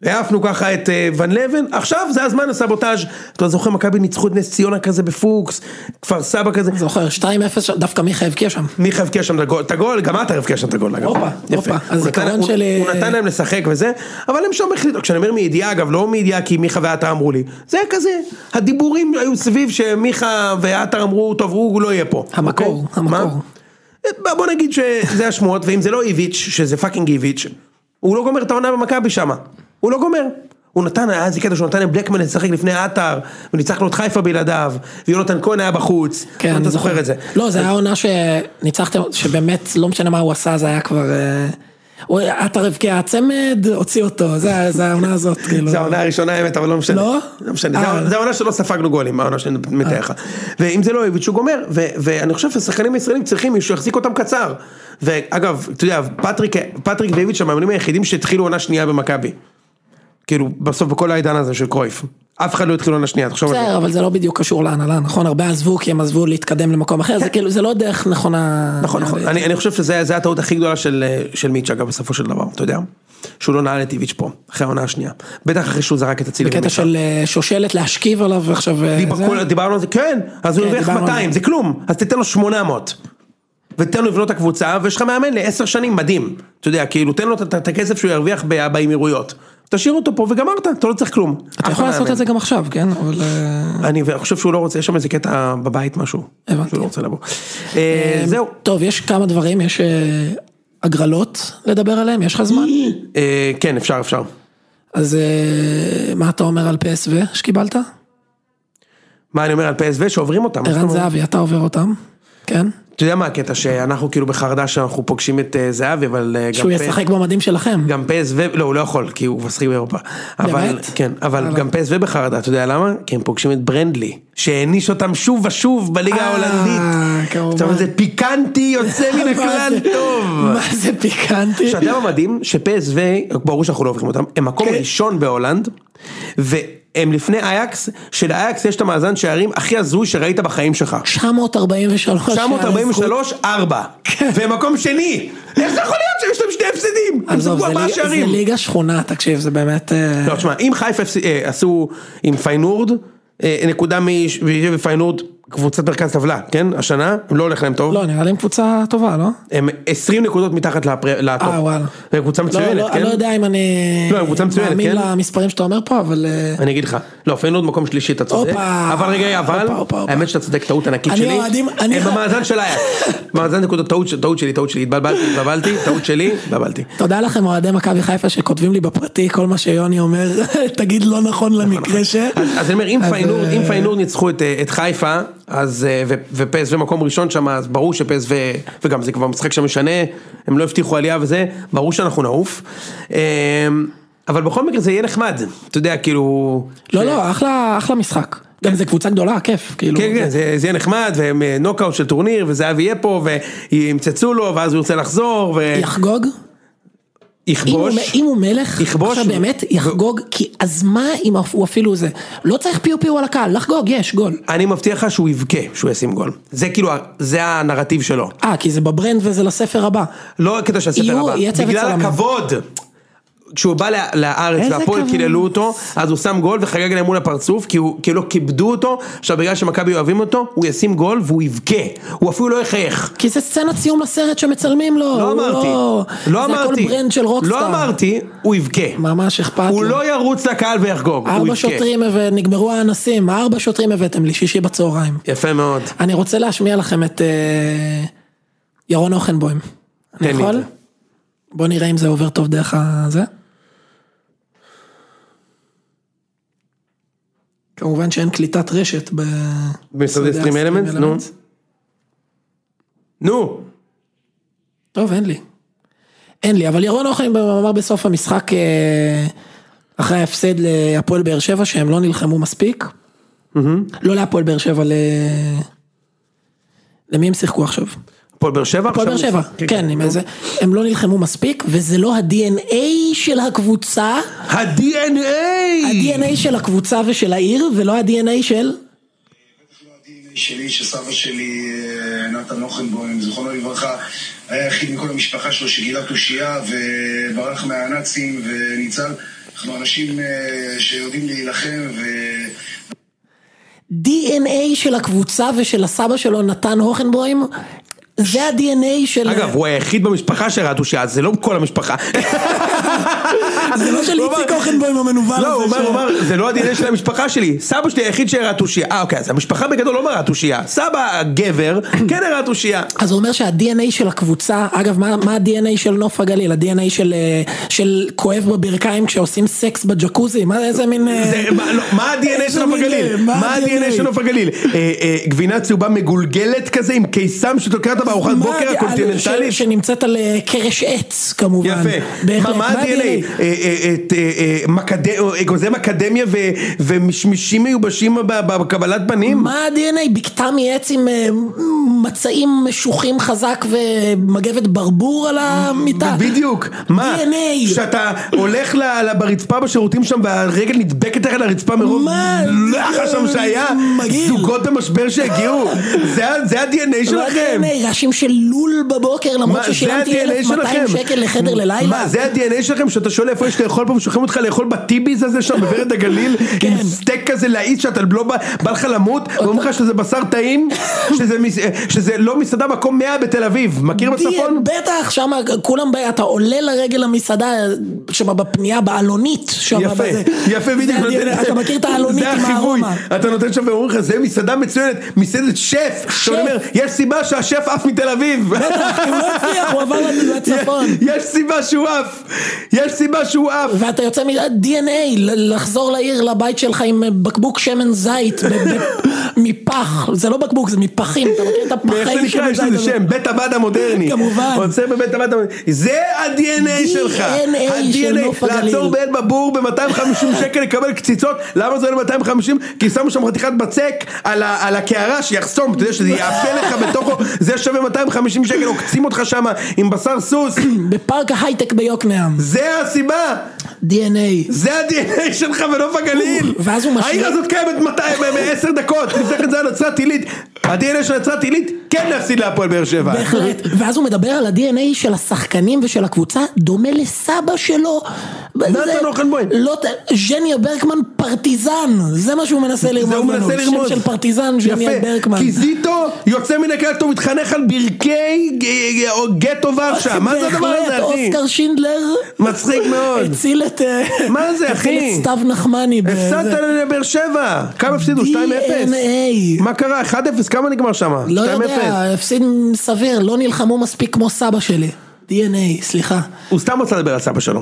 [SPEAKER 2] העפנו ככה את אה, ון לבן, עכשיו זה הזמן לסבוטאז', אתה זוכר מכבי ניצחו את נס ציונה כזה בפוקס, כפר סבא כזה,
[SPEAKER 1] זוכר, 2-0, שם, דווקא מיכה הבקיע שם.
[SPEAKER 2] מיכה הבקיע שם את הגול, את הגול, גם אתה הבקיע שם את הגול, אגב.
[SPEAKER 1] הופה,
[SPEAKER 2] יפה.
[SPEAKER 1] הופה, אז
[SPEAKER 2] הוא נתן-
[SPEAKER 1] זיכרון
[SPEAKER 2] הוא-
[SPEAKER 1] של,
[SPEAKER 2] הוא
[SPEAKER 1] אה,
[SPEAKER 2] נתן להם לשחק וזה, אבל הם שם החליטו, כשאני אומר מידיעה אגב, לא מידיעה כי מיכה ועטר אמרו לי, זה היה כזה, הדיבורים היו סביב שמיכה ועטר אמרו, טוב הוא לא יהיה פה.
[SPEAKER 1] המקור,
[SPEAKER 2] אוקיי? מה?
[SPEAKER 1] המקור.
[SPEAKER 2] בוא- בוא נגיד שזה השמועות, ואם זה לא איביץ', שזה פאקינג איביץ', הוא לא גומר את העונה במכבי שמה. הוא לא גומר. הוא נתן, היה איזה קטע שהוא נתן לבלקמן לשחק לפני עטר, וניצחנו את חיפה בלעדיו, ויונתן כהן היה בחוץ,
[SPEAKER 1] כן,
[SPEAKER 2] אתה
[SPEAKER 1] אני
[SPEAKER 2] זוכר את זה.
[SPEAKER 1] לא, זה היה עונה שניצחתם, שבאמת, לא משנה מה הוא עשה, זה היה כבר... אה, הוא- עטר הבקיע הצמד, הוציא אותו, זה היה- זה העונה הזאת, כאילו.
[SPEAKER 2] זה העונה הראשונה האמת, אבל לא משנה.
[SPEAKER 1] לא?
[SPEAKER 2] לא משנה, זה
[SPEAKER 1] אה.
[SPEAKER 2] העונה- זה העונה שלא ספגנו גולים, העונה שאני מתאר לך. ואם זה לא איביץ' הוא גומר, ו- ואני חושב שהשחקנים הישראלים צריכים מישהו שיחזיק אותם קצר. ואגב, אתה יודע, פטריק, פטריק ואיביץ' המאמנים היחידים שהתחילו עונה שנייה במכבי. כאילו, בסוף בכל העידן הזה של קרויף. אף אחד לא התחיל עונה שנייה, תחשוב על זה.
[SPEAKER 1] בסדר, אבל זה לא בדיוק קשור להנהלה, נכון? הרבה עזבו כי הם עזבו להתקדם למקום אחר, זה כאילו, זה לא דרך נכונה...
[SPEAKER 2] כן.
[SPEAKER 1] אה,
[SPEAKER 2] נכון, נכון. אני אני חושב שזה זה הטעות הכי גדולה של, אה, של מיץ' אגב, בסופו של דבר, אתה יודע? שהוא לא נעל את איביץ' פה, אחרי העונה השנייה. בטח אחרי שהוא זרק את אצילי.
[SPEAKER 1] בקטע
[SPEAKER 2] ומיכה.
[SPEAKER 1] של אה, שושלת להשכיב עליו עכשיו... אה,
[SPEAKER 2] דיבר-
[SPEAKER 1] זה.
[SPEAKER 2] כול- דיברנו על זה, כן, אז הוא
[SPEAKER 1] כן,
[SPEAKER 2] הרוויח
[SPEAKER 1] דיברנו על
[SPEAKER 2] 200,
[SPEAKER 1] זה.
[SPEAKER 2] זה כלום, אז תיתן לו 800. ותן לו לבנות את הקבוצה, ויש לך מאמן לעשר שנים, מדהים. אתה יודע, כאילו, תן לו את- את את הכסף שהוא ירוויח ב- באמירויות. תשאיר אותו פה וגמרת, אתה לא צריך כלום.
[SPEAKER 1] אתה יכול לעשות את זה גם עכשיו, כן? אבל... אה,
[SPEAKER 2] אני ו- חושב שהוא לא רוצה, יש שם איזה קטע בבית משהו.
[SPEAKER 1] הבנתי. אמ,
[SPEAKER 2] שהוא לא רוצה לבוא. אה, זהו.
[SPEAKER 1] טוב, יש כמה דברים, יש אה, הגרלות לדבר עליהם, יש לך זמן?
[SPEAKER 2] אה, כן, אפשר, אפשר.
[SPEAKER 1] אז אה, מה אתה אומר על PSV שקיבלת?
[SPEAKER 2] מה אני אומר על PSV שעוברים אותם? מה זאת
[SPEAKER 1] ערן
[SPEAKER 2] אומרת?
[SPEAKER 1] זהבי, אתה עובר אותם. כן?
[SPEAKER 2] אתה יודע מה הקטע שאנחנו כאילו בחרדה שאנחנו פוגשים את אה, זהבי, אבל אה, גם...
[SPEAKER 1] שהוא
[SPEAKER 2] פס-
[SPEAKER 1] ישחק במדים שלכם.
[SPEAKER 2] גם פסו, לא הוא לא יכול כי הוא משחק באירופה. אבל,
[SPEAKER 1] באמת?
[SPEAKER 2] כן, אבל גם פסו בחרדה, אתה יודע למה? כי הם פוגשים את ברנדלי, שהעניש אותם שוב ושוב בליגה
[SPEAKER 1] אה,
[SPEAKER 2] ההולנדית.
[SPEAKER 1] כמובן.
[SPEAKER 2] זאת אומרת, זה פיקנטי יוצא מן
[SPEAKER 1] מה
[SPEAKER 2] הכלל
[SPEAKER 1] זה-
[SPEAKER 2] טוב.
[SPEAKER 1] מה זה פיקנטי?
[SPEAKER 2] עכשיו, אתה יודע מה מדהים? שפסו, ברור שאנחנו לא הופכים אותם, הם מקום
[SPEAKER 1] כן.
[SPEAKER 2] ראשון בהולנד, והם לפני אייקס, שלאייקס יש את המאזן שערים הכי הזוי שראית בחיים שלך.
[SPEAKER 1] 943.
[SPEAKER 2] 943, 4.
[SPEAKER 1] כן.
[SPEAKER 2] והם מקום שני! איך זה יכול להיות שיש להם שני הפסדים? הם
[SPEAKER 1] עזוב,
[SPEAKER 2] זרקו
[SPEAKER 1] זה
[SPEAKER 2] ארבעה
[SPEAKER 1] ליגה- זה
[SPEAKER 2] שערים.
[SPEAKER 1] ליגה שכונה, תקשיב, זה באמת... אה,
[SPEAKER 2] לא, תשמע, אם חיפה הפס- אה, עשו עם פיינורד, אה, נקודה מפיינורד, קבוצת מרכז טבלה, כן? השנה, לא הולך להם טוב.
[SPEAKER 1] לא, נראה לי הם קבוצה טובה, לא?
[SPEAKER 2] הם 20 נקודות מתחת לפר- לטופ.
[SPEAKER 1] אה, וואלה.
[SPEAKER 2] הם קבוצה
[SPEAKER 1] לא,
[SPEAKER 2] מצוינת,
[SPEAKER 1] לא,
[SPEAKER 2] כן?
[SPEAKER 1] אני לא יודע אם אני...
[SPEAKER 2] לא, הם קבוצה מצוינת,
[SPEAKER 1] מאמין
[SPEAKER 2] כן?
[SPEAKER 1] למספרים שאתה אומר פה, אבל... אה,
[SPEAKER 2] אני אגיד לך, לא, פיינורד מקום שלישי, אתה צודק,
[SPEAKER 1] הופה.
[SPEAKER 2] אבל רגע, אבל,
[SPEAKER 1] הופה, הופה, הופה.
[SPEAKER 2] האמת שאתה צודק, טעות ענקית
[SPEAKER 1] אני
[SPEAKER 2] שלי,
[SPEAKER 1] אוהדים- אני-
[SPEAKER 2] הם במאזן של אייקס, במאזן נקודות, טעות ש- טעות שלי, טעות שלי, התבלבלתי, התבלבלתי, טעות שלי, התבלבלתי.
[SPEAKER 1] תודה לכם אוהדי מכבי חיפה שכותבים לי בפרטי כל מה שיוני אומר, תגיד לא נכון למקרה ש...
[SPEAKER 2] אז אז אני אומר, אם
[SPEAKER 1] אז,
[SPEAKER 2] פיינורד,
[SPEAKER 1] אה,
[SPEAKER 2] אם פיינורד ניצחו את, אה, את חיפה, אז, אה, ו- ופסו מקום ראשון שם, אז ברור שפסו, וגם זה כבר משחק שמשנה, הם לא הבטיחו עלייה וזה, ברור שאנחנו נעוף. אה, אבל בכל מקרה זה יהיה נחמד, אתה יודע, כאילו...
[SPEAKER 1] לא, לא, אחלה, אחלה משחק. גם זה קבוצה גדולה, כיף, כאילו.
[SPEAKER 2] כן, כן, זה, זה יהיה נחמד, והם אה, נוקאוט של טורניר, וזהבי יהיה פה, וימצצו לו, ואז הוא ירצה לחזור,
[SPEAKER 1] יחגוג? אם הוא,
[SPEAKER 2] ויכבוש.
[SPEAKER 1] אם הוא מלך,
[SPEAKER 2] יכבוש.
[SPEAKER 1] עכשיו באמת, יחגוג, כי אז מה אם הוא אפילו זה? לא צריך פיו פיו על הקהל, לחגוג, יש, גול.
[SPEAKER 2] אני מבטיח לך שהוא יבכה שהוא ישים גול. זה כאילו, ה- זה הנרטיב שלו.
[SPEAKER 1] אה, כי זה בברנד וזה לספר הבא.
[SPEAKER 2] לא הקטע של הספר
[SPEAKER 1] יהיו-
[SPEAKER 2] הבא,
[SPEAKER 1] יהיה צוות
[SPEAKER 2] בגלל
[SPEAKER 1] צלמים.
[SPEAKER 2] הכבוד. כשהוא בא לה- לארץ
[SPEAKER 1] איזה
[SPEAKER 2] והפועל
[SPEAKER 1] כבוד.
[SPEAKER 2] קיללו אותו, אז הוא שם גול וחגג להם מול הפרצוף, כי, הוא, כי לא כיבדו אותו, עכשיו בגלל שמכבי אוהבים אותו, הוא ישים גול והוא יבכה, הוא אפילו לא יחייך.
[SPEAKER 1] כי זה סצנת סיום לסרט שמצלמים לו.
[SPEAKER 2] לא
[SPEAKER 1] הוא
[SPEAKER 2] אמרתי,
[SPEAKER 1] לא,
[SPEAKER 2] לא
[SPEAKER 1] זה
[SPEAKER 2] אמרתי,
[SPEAKER 1] הכל ברנד של רוקסטאר.
[SPEAKER 2] לא אמרתי, הוא יבכה.
[SPEAKER 1] ממש אכפת
[SPEAKER 2] הוא
[SPEAKER 1] לי.
[SPEAKER 2] לא ירוץ לקהל ויחגוג, הוא
[SPEAKER 1] ארבע
[SPEAKER 2] יבכה.
[SPEAKER 1] שוטרים, הבא- נגמרו האנסים, ארבע שוטרים הבאתם לי, שישי בצהריים.
[SPEAKER 2] יפה מאוד.
[SPEAKER 1] אני רוצה להשמיע לכם את אה, ירון אוכנבוים. אני
[SPEAKER 2] תן לי
[SPEAKER 1] יכול?
[SPEAKER 2] את זה.
[SPEAKER 1] בוא נראה אם זה עובר טוב דרך הזה. כמובן שאין קליטת רשת ב...
[SPEAKER 2] במשרדי
[SPEAKER 1] אתה יודע,
[SPEAKER 2] סטרים אלמנט,
[SPEAKER 1] Stream
[SPEAKER 2] נו.
[SPEAKER 1] Elements.
[SPEAKER 2] נו,
[SPEAKER 1] טוב, אין לי. אין לי, אבל ירון אוכנבוים אמר בסוף המשחק, אה, אחרי ההפסד להפועל באר שבע, שהם לא נלחמו מספיק. לא להפועל באר שבע, ל... למי הם שיחקו עכשיו?
[SPEAKER 2] הפועל באר שבע?
[SPEAKER 1] הפועל באר
[SPEAKER 2] עכשיו
[SPEAKER 1] שבע,
[SPEAKER 2] הוא-
[SPEAKER 1] כן, עם איזה, הם לא נלחמו מספיק, וזה לא ה-DNA של הקבוצה,
[SPEAKER 2] ה-DNA!
[SPEAKER 1] ה-DNA של הקבוצה ושל העיר, ולא ה-DNA של...
[SPEAKER 5] שלי, שסבא שלי, אה, נתן אוכנבוים, זיכרונו לברכה, היה היחיד מכל המשפחה שלו שגילה תושייה וברח מהנאצים וניצל. אנחנו אנשים אה, שיודעים להילחם ו...
[SPEAKER 1] DNA של הקבוצה ושל הסבא שלו, נתן הוכנבוים, זה ה-DNA של...
[SPEAKER 2] אגב, הוא היחיד במשפחה שראה תושייה, זה לא כל המשפחה.
[SPEAKER 1] זה לא של
[SPEAKER 2] הוא אמר-
[SPEAKER 1] איציק הוכנבוים המנוול הזה.
[SPEAKER 2] לא, הוא אומר,
[SPEAKER 1] ש-
[SPEAKER 2] הוא אמר, זה לא הדין של המשפחה שלי, סבא שלי היחיד שהראה תושייה. אה, אוקיי, אז המשפחה בגדול לא מראה תושייה. סבא הגבר כן הראה תושייה.
[SPEAKER 1] אז הוא אומר שה-DNA של הקבוצה, אגב, מה, מה ה-DNA של נוף הגליל? ה-DNA של, אה, של כואב בברכיים כשעושים סקס בג'קוזי? מה, איזה מין... אה,
[SPEAKER 2] זה- מה- לא, מה ה-DNA של
[SPEAKER 1] איזה
[SPEAKER 2] נוף
[SPEAKER 1] מין,
[SPEAKER 2] הגליל?
[SPEAKER 1] אה,
[SPEAKER 2] מה ה-DNA של נוף הגליל? אה, אה, גבינה צהובה מגולגלת כזה עם קיסם שתוקעת בארוחת
[SPEAKER 1] מה
[SPEAKER 2] בוקר
[SPEAKER 1] ה- על-
[SPEAKER 2] הקונטיננטלית?
[SPEAKER 1] ש- שנמצאת על אה, קרש עץ, כמובן.
[SPEAKER 2] יפה.
[SPEAKER 1] בהחלט.
[SPEAKER 2] מה- מה ה-DNA? אה, אה, את, אה, אה, מקד- אה, אגוזי מקדמיה ו- ומשמישים מיובשים ב- ב- בקבלת פנים?
[SPEAKER 1] מה ה-DNA? בקתה מעץ עם אה, מצעים משוחים חזק ומגבת ברבור על המיטה?
[SPEAKER 2] בדיוק, מה?
[SPEAKER 1] DNA.
[SPEAKER 2] שאתה הולך ל- ל- ברצפה בשירותים שם והרגל נדבקת לך לרצפה מרוב
[SPEAKER 1] מה?
[SPEAKER 2] לחש שם שהיה,
[SPEAKER 1] מגעיל. לא
[SPEAKER 2] זוגות במשבר שהגיעו, זה ה- זה ה-DNA
[SPEAKER 1] מה
[SPEAKER 2] שלכם.
[SPEAKER 1] ה-DNA? רעשים של לול בבוקר למרות
[SPEAKER 2] מה, זה
[SPEAKER 1] ששילמתי
[SPEAKER 2] ה-DNA
[SPEAKER 1] 1,200
[SPEAKER 2] שלכם?
[SPEAKER 1] שקל לחדר ללילה?
[SPEAKER 2] מה, זה ה-DNA שלכם? שאתה שואל איפה יש לאכול פה, ושולחים אותך לאכול בטיביס הזה שם בוורד הגליל, עם
[SPEAKER 1] כן.
[SPEAKER 2] סטייק כזה להיט שאתה לא בא בא לך למות, ואומרים לך שזה בשר טעים, שזה מס- שזה לא מסעדה מקום 100 בתל אביב, מכיר בצפון?
[SPEAKER 1] די- בטח, שם כולם, ב- אתה עולה לרגל למסעדה, שם בפנייה, בעלונית, שם
[SPEAKER 2] יפה,
[SPEAKER 1] בזה.
[SPEAKER 2] יפה בדיוק,
[SPEAKER 1] זה
[SPEAKER 2] נותן-
[SPEAKER 1] ה- אתה מכיר את העלונית
[SPEAKER 2] זה
[SPEAKER 1] עם
[SPEAKER 2] החיווי.
[SPEAKER 1] הארומה.
[SPEAKER 2] אתה נותן שם ואומרים לך זה מסעדה מצוינת, מסעדת שף, אתה אומר יש סיבה שהשף עף מתל אביב,
[SPEAKER 1] בטח, כי הוא לא הצליח, הוא עבר לנו לצפון.
[SPEAKER 2] יש סיבה שהוא עף, יש סיבה שהוא עף,
[SPEAKER 1] ואתה יוצא מ-DNA, לחזור לעיר, לבית שלך עם בקבוק שמן זית, ב- ב- מפח, זה לא בקבוק, זה מפחים, אתה מכיר את הפחי
[SPEAKER 2] איך זה נקרא? יש לזה שם, בית הבד המודרני.
[SPEAKER 1] לא? כמובן.
[SPEAKER 2] עוצר בבית הבד המודרני. זה ה-DNA שלך.
[SPEAKER 1] DNA של
[SPEAKER 2] ה-DNA,
[SPEAKER 1] נוף הגליל.
[SPEAKER 2] לעצור בעין בבור ב-250 שקל לקבל קציצות, למה זה עולה 250? כי שמו שם חתיכת בצק על ה- על הקערה שיחסום, אתה יודע שזה יאפה לך בתוכו, זה שווה 250 שקל, עוקצים אותך שם עם בשר סוס.
[SPEAKER 1] בפארק ההייטק ביוקנעם,
[SPEAKER 2] זה הסיבה,
[SPEAKER 1] DNA.
[SPEAKER 2] זה ה-DNA שלך בנוף הגליל.
[SPEAKER 1] ואז הוא משווה-
[SPEAKER 2] העיר הזאת קיימת 200, ב-10 דקות, לפני כן זה היה נצרת עילית. ה-DNA של נצרת עילית כן להפסיד להפועל באר שבע.
[SPEAKER 1] בהחלט, ואז הוא מדבר על ה-DNA של השחקנים ושל הקבוצה, דומה לסבא שלו. זה-
[SPEAKER 2] אוחנבוים.
[SPEAKER 1] לא, ת- ז'ניה ברקמן פרטיזן, זה מה שהוא מנסה לרמוז
[SPEAKER 2] זה הוא
[SPEAKER 1] לנו.
[SPEAKER 2] מנסה לרמוז.
[SPEAKER 1] שם של פרטיזן, ז'ניה ברקמן.
[SPEAKER 2] כי זיטו יוצא מן הכלל, הוא מתחנך על ברכי ג- ג- או גטו ורשה. מה זה הדבר הזה,
[SPEAKER 1] בהחלט,
[SPEAKER 2] אחי?
[SPEAKER 1] אה, אוסקר אה, שינדלר
[SPEAKER 2] מצחיק מאוד.
[SPEAKER 1] הציל את... אה,
[SPEAKER 2] כן. מה זה,
[SPEAKER 1] הציל
[SPEAKER 2] אחי?
[SPEAKER 1] את סתיו נחמני. בזה.
[SPEAKER 2] הפסדת לבאר שבע. כמה הפסידו? 2-0?
[SPEAKER 1] DNA.
[SPEAKER 2] מה קרה? 1-0? כמה נגמר שם? 2-0.
[SPEAKER 1] לא יודע, הפסיד סביר, לא נלחמו מספיק כמו סבא שלי. DNA, סליחה.
[SPEAKER 2] הוא סתם רוצה לדבר על סבא שלו.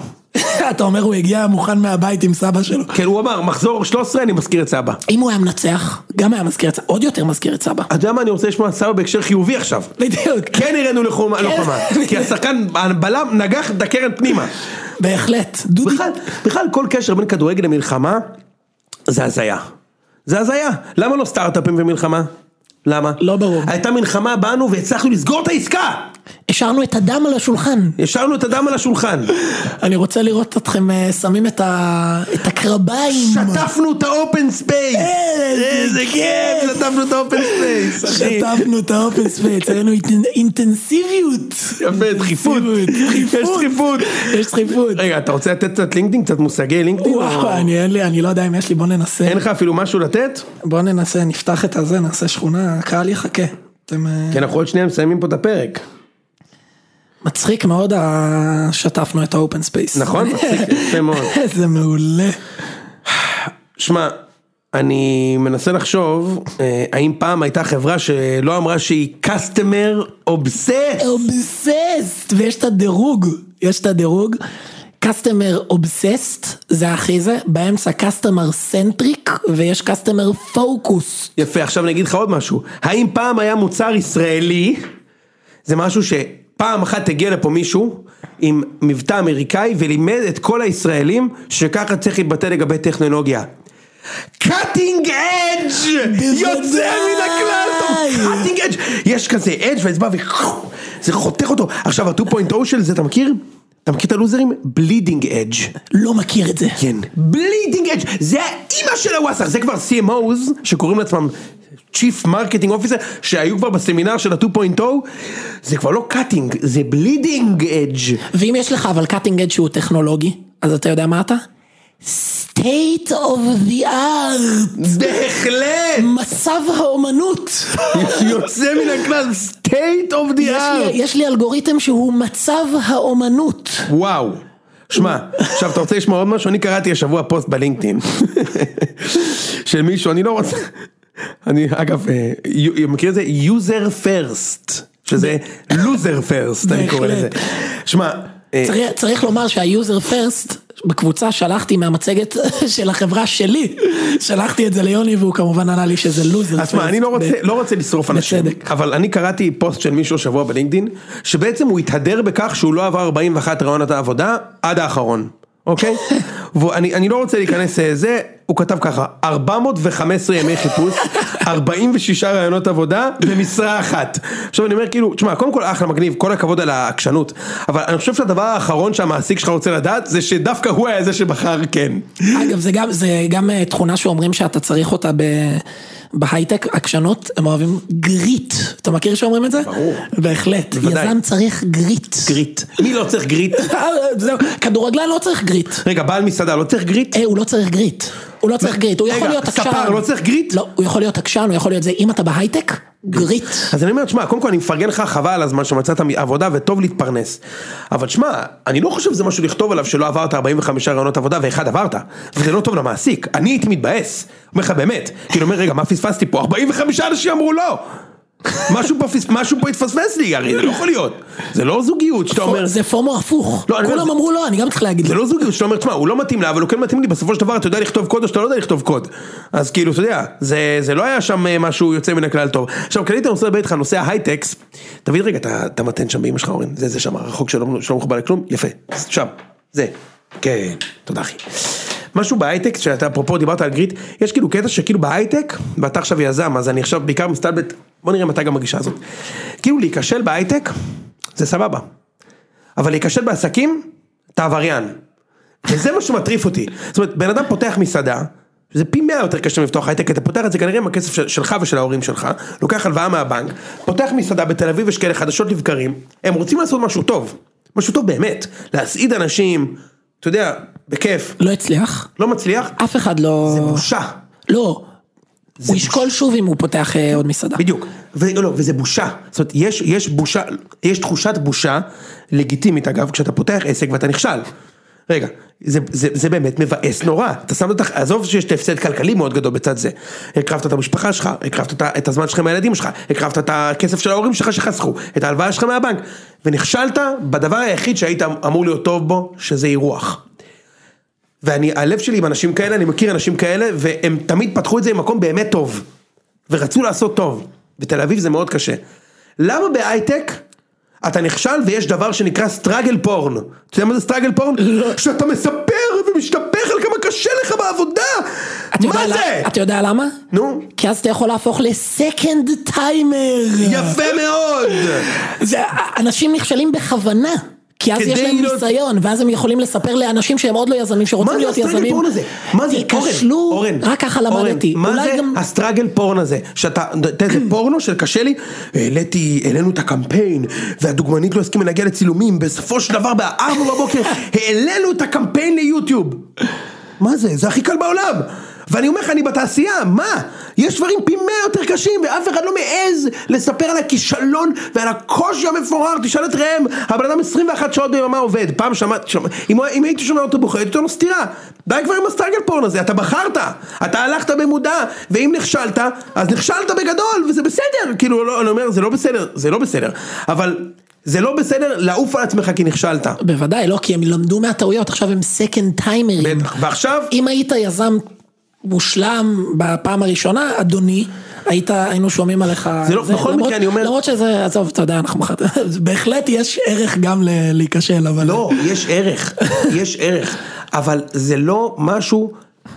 [SPEAKER 1] אתה אומר הוא הגיע מוכן מהבית עם סבא שלו.
[SPEAKER 2] כן, הוא אמר, מחזור 13 אני מזכיר את סבא.
[SPEAKER 1] אם הוא היה מנצח, גם היה מזכיר את סבא, עוד יותר מזכיר את סבא.
[SPEAKER 2] אתה יודע מה אני רוצה לשמוע על סבא בהקשר חיובי עכשיו?
[SPEAKER 1] בדיוק.
[SPEAKER 2] כן הראינו לחומה,
[SPEAKER 1] כן.
[SPEAKER 2] לוחמה, כי השחקן, הבלם נגח את הקרן פנימה.
[SPEAKER 1] בהחלט. דודי,
[SPEAKER 2] בכלל, בכלל כל קשר בין כדורגל למלחמה זה הזיה. זה הזיה. למה לא סטארט-אפים ומלחמה? למה?
[SPEAKER 1] לא ברור.
[SPEAKER 2] הייתה מלחמה בנו והצלחנו לסגור את העסקה!
[SPEAKER 1] השארנו את הדם על השולחן.
[SPEAKER 2] השארנו את הדם על השולחן.
[SPEAKER 1] אני רוצה לראות אתכם אה, שמים את ה- את הקרביים.
[SPEAKER 2] שטפנו את האופן ספייס!
[SPEAKER 1] איזה
[SPEAKER 2] איזה כיף! שטפנו את האופן ספייס! אחי.
[SPEAKER 1] שטפנו את האופן ספייס, היינו אינטנסיביות.
[SPEAKER 2] יפה, דחיפות. יש דחיפות.
[SPEAKER 1] יש דחיפות.
[SPEAKER 2] רגע, אתה רוצה לתת קצת לינקדאין? קצת מושגי לינקדאין? או-
[SPEAKER 1] וואו, אני אין לי, אני לא יודע אם יש לי, בוא ננסה.
[SPEAKER 2] אין לך אפילו משהו לתת?
[SPEAKER 1] בוא ננסה, נפתח את הזה, נעשה שכונה, הקהל יחכה. אתם... אה,
[SPEAKER 2] כי אנחנו עוד שנייה מסיימים פה את הפרק.
[SPEAKER 1] מצחיק מאוד, ה- שטפנו את האופן ספייס.
[SPEAKER 2] נכון? מצחיק, יפה מאוד.
[SPEAKER 1] איזה מעולה.
[SPEAKER 2] שמע, אני מנסה לחשוב, אה, האם פעם הייתה חברה שלא אמרה שהיא customer obsessed?
[SPEAKER 1] אובססט, ויש את הדירוג, יש את הדירוג. customer obsessed, זה הכי זה, באמצע customer centric, ויש customer focus.
[SPEAKER 2] יפה, עכשיו אני אגיד לך עוד משהו. האם פעם היה מוצר ישראלי, זה משהו שפעם אחת הגיע לפה מישהו עם מבטא אמריקאי ולימד את כל הישראלים שככה צריך להתבטא לגבי טכנולוגיה. קאטינג אדג' יוצא מן הכלל, קאטינג אדג', יש כזה אדג' ואצבע וזה חותך אותו, עכשיו ה-2.0 של זה אתה מכיר? אתה מכיר את הלוזרים? בלידינג אדג'
[SPEAKER 1] לא מכיר את זה.
[SPEAKER 2] כן, בלידינג אדג', זה האימא של הוואסך, זה כבר CMOs שקוראים לעצמם Chief Marketing Officer שהיו כבר בסמינר של ה-2.0 זה כבר לא קאטינג, זה בלידינג אדג'
[SPEAKER 1] ואם יש לך אבל קאטינג אד שהוא טכנולוגי, אז אתה יודע מה אתה? state of the art,
[SPEAKER 2] בהחלט,
[SPEAKER 1] מצב האומנות.
[SPEAKER 2] יוצא מן הכלל, state of the
[SPEAKER 1] יש לי-
[SPEAKER 2] art
[SPEAKER 1] יש לי אלגוריתם שהוא מצב האומנות.
[SPEAKER 2] וואו. שמע, עכשיו אתה רוצה לשמוע עוד משהו? אני קראתי השבוע פוסט בלינקדאין. של מישהו, אני לא רוצה... אני, אגב, אה, יו- מכיר את זה? user first. שזה loser first, אני קורא לזה.
[SPEAKER 1] בהחלט.
[SPEAKER 2] שמע, אה,
[SPEAKER 1] צריך- צריך לומר שהיוזר פרסט בקבוצה שלחתי מהמצגת של החברה שלי, שלחתי את זה ליוני והוא כמובן ענה לי שזה לוזר פרסט.
[SPEAKER 2] אז מה, אני לא רוצה, לא רוצה לשרוף אנשים,
[SPEAKER 1] בצדק.
[SPEAKER 2] אבל אני קראתי פוסט של מישהו השבוע בלינקדאין, שבעצם הוא התהדר בכך שהוא לא עבר 41 ראיונות העבודה עד האחרון, אוקיי? ואני אני לא רוצה להיכנס לזה, הוא כתב ככה, 415 ימי חיפוש, 46 ראיונות עבודה ומשרה אחת. עכשיו אני אומר כאילו, תשמע, קודם כל אחלה מגניב, כל הכבוד על העקשנות, אבל אני חושב שהדבר האחרון שהמעסיק שלך רוצה לדעת, זה שדווקא הוא היה זה שבחר כן.
[SPEAKER 1] אגב, זה גם, זה גם אה, תכונה שאומרים שאתה צריך אותה ב... בהייטק, עקשנות, הם אוהבים גריט. אתה מכיר שאומרים את זה? ברור. בהחלט.
[SPEAKER 2] בוודאי.
[SPEAKER 1] יזם צריך גריט.
[SPEAKER 2] גריט. מי לא צריך גריט?
[SPEAKER 1] אה, זהו, כדורגלן לא צריך גריט.
[SPEAKER 2] רגע, בעל מסעדה לא צריך גריט?
[SPEAKER 1] אה, הוא לא צריך גריט. הוא לא צריך גריט, הוא
[SPEAKER 2] רגע,
[SPEAKER 1] יכול להיות
[SPEAKER 2] ספר
[SPEAKER 1] עקשן.
[SPEAKER 2] לא צריך גריט?
[SPEAKER 1] לא, הוא יכול להיות עקשן, הוא יכול להיות זה. אם אתה בהייטק, גריט.
[SPEAKER 2] אז אני אומר, תשמע, קודם כל אני מפרגן לך חבל על הזמן שמצאת עבודה וטוב להתפרנס. אבל שמע, אני לא חושב שזה משהו לכתוב עליו שלא עברת 45 רעיונות עבודה ואחד עברת. וזה לא טוב למעסיק, אני הייתי מתבאס. אומר לך באמת. כאילו אומר, רגע, מה פספסתי פה? 45 אנשים אמרו לא! משהו פה פס- משהו פה התפספס לי, הרי זה לא יכול להיות. זה לא זוגיות שאתה אומר...
[SPEAKER 1] זה פורמו הפוך.
[SPEAKER 2] לא, אני אומר,
[SPEAKER 1] כולם
[SPEAKER 2] זה-
[SPEAKER 1] אמרו לא, אני גם צריך להגיד.
[SPEAKER 2] זה לא זוגיות שאתה אומר, תשמע, הוא לא מתאים לה, אבל הוא כן מתאים לי, בסופו של דבר אתה יודע לכתוב קוד או שאתה לא יודע לכתוב קוד. אז כאילו, אתה יודע, זה, זה לא היה שם אה, משהו יוצא מן הכלל טוב. עכשיו, כללית אני רוצה לדבר איתך על נושא ההייטקס, תביא לי רגע את ה- את המתן שם באמא שלך, אורן, זה, זה שם, הרחוק שלא, שלא מחובר לכלום, יפה, שם, זה. כן, תודה אחי. משהו בהייטק, שאתה אפרופו דיברת על גריט, יש כאילו קטע שכאילו בהייטק, ואתה עכשיו יזם, אז אני עכשיו בעיקר מסתלבט, בוא נראה מתי גם הגישה הזאת. כאילו להיכשל בהייטק, זה סבבה. אבל להיכשל בעסקים, אתה עבריין. וזה מה שמטריף אותי. זאת אומרת, בן אדם פותח מסעדה, זה פי מאה יותר קשה מלפתוח הייטק, אתה פותח את זה כנראה עם הכסף של, שלך ושל ההורים שלך, לוקח הלוואה מהבנק, פותח מסעדה בתל אביב, יש כאלה חדשות לבקרים, הם רוצים לעשות משהו טוב, משהו טוב באמת, להסעיד אנשים, אתה יודע, בכיף,
[SPEAKER 1] לא הצליח.
[SPEAKER 2] לא מצליח,
[SPEAKER 1] אף אחד לא...
[SPEAKER 2] זה בושה.
[SPEAKER 1] לא. הוא ישקול שוב אם הוא פותח אה, עוד מסעדה.
[SPEAKER 2] בדיוק, ו- לא, וזה בושה, זאת אומרת, יש, יש בושה, יש תחושת בושה, לגיטימית אגב, כשאתה פותח עסק ואתה נכשל. רגע, זה, זה, זה באמת מבאס נורא, אתה שם אותך, עזוב שיש את ההפסד כלכלי מאוד גדול בצד זה, הקרבת את המשפחה שלך, הקרבת את, ה- את הזמן שלך עם הילדים שלך, הקרבת את הכסף של ההורים שלך שחסכו, את ההלוואה שלך מהבנק, ונכשלת בדבר היחיד שהיית אמ- אמור להיות טוב בו, שזה אירוח. ואני, הלב שלי עם אנשים כאלה, אני מכיר אנשים כאלה, והם תמיד פתחו את זה ממקום באמת טוב. ורצו לעשות טוב. בתל אביב זה מאוד קשה. למה בהייטק אתה נכשל ויש דבר שנקרא סטראגל פורן? אתה יודע מה זה סטראגל פורן?
[SPEAKER 1] לא.
[SPEAKER 2] שאתה מספר ומשתפך על כמה קשה לך בעבודה!
[SPEAKER 1] אתה יודע
[SPEAKER 2] מה
[SPEAKER 1] למה-
[SPEAKER 2] זה?
[SPEAKER 1] אתה יודע למה?
[SPEAKER 2] נו,
[SPEAKER 1] כי אז אתה יכול להפוך לסקנד טיימר.
[SPEAKER 2] יפה מאוד!
[SPEAKER 1] זה, אנשים נכשלים בכוונה. כי אז
[SPEAKER 2] כדי
[SPEAKER 1] יש להם
[SPEAKER 2] לא-
[SPEAKER 1] ניסיון, ואז הם יכולים לספר לאנשים שהם עוד לא יזמים,
[SPEAKER 2] מה
[SPEAKER 1] שרוצים
[SPEAKER 2] זה
[SPEAKER 1] להיות
[SPEAKER 2] הסטראגל
[SPEAKER 1] יזמים.
[SPEAKER 2] פורן הזה? מה זה? אורן,
[SPEAKER 1] תיכשלו,
[SPEAKER 2] אורן,
[SPEAKER 1] רק ככה
[SPEAKER 2] אורן,
[SPEAKER 1] למדתי.
[SPEAKER 2] מה
[SPEAKER 1] אולי
[SPEAKER 2] זה
[SPEAKER 1] גם...
[SPEAKER 2] הסטראגל פורן הזה? שאתה, אתה יודע, זה פורנו של קשה לי, העליתי, העלינו את הקמפיין, והדוגמנית לא הסכימה להגיע לצילומים, בסופו של דבר בארבע בבוקר, העלינו את הקמפיין ליוטיוב. מה זה? זה הכי קל בעולם. ואני אומר לך, אני בתעשייה, מה? יש דברים פי מאה יותר קשים, ואף אחד לא מעז לספר על הכישלון ועל הקושי המפורר, תשאל את ראם, הבן אדם 21 שעות ביממה עובד, פעם שמעתי, שמע, אם, הוא- אם הייתי שומע אותו בוכה, הייתי נותן לו סטירה. די כבר עם הסטרגל פורן הזה, אתה בחרת, אתה הלכת במודע, ואם נכשלת, אז נכשלת בגדול, וזה בסדר, כאילו, לא, אני אומר, זה לא בסדר, זה לא בסדר, אבל זה לא בסדר לעוף על עצמך כי נכשלת.
[SPEAKER 1] בוודאי, לא, כי הם למדו מהטעויות, עכשיו הם סקנד טיימרים.
[SPEAKER 2] בטח, ועכשיו,
[SPEAKER 1] אם היית יזם מושלם בפעם הראשונה, אדוני, היית, היינו שומעים עליך...
[SPEAKER 2] זה לא- בכל
[SPEAKER 1] למרות-
[SPEAKER 2] מקרה, אני אומר-
[SPEAKER 1] למרות שזה, עזוב, אתה יודע, אנחנו... מחת- בהחלט יש ערך גם ל- להיכשל, אבל...
[SPEAKER 2] לא, יש ערך, יש ערך, אבל זה לא משהו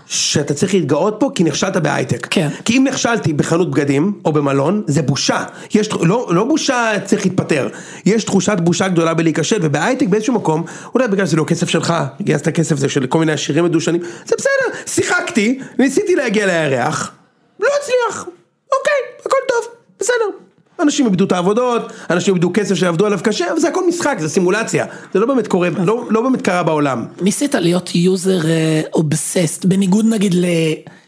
[SPEAKER 2] שאתה צריך להתגאות פה כי נכשלת בהייטק.
[SPEAKER 1] כן.
[SPEAKER 2] כי אם נכשלתי בחנות בגדים או במלון, זה בושה. יש, לא, לא בושה צריך להתפטר, יש תחושת בושה גדולה בלהיכשל, ובהייטק באיזשהו מקום, אולי בגלל שזה לא כסף שלך, גייסת כסף זה של כל מיני עשירים מדושנים, זה בסדר, שיחקתי, ניסיתי להגיע לירח, לא הצליח, אוקיי, הכל טוב, בסדר. אנשים איבדו את העבודות, אנשים איבדו כסף שעבדו עליו קשה, אבל זה הכל משחק, זה סימולציה. זה לא באמת קורה, לא, לא באמת קרה בעולם.
[SPEAKER 1] ניסית להיות יוזר אובססט, בניגוד נגיד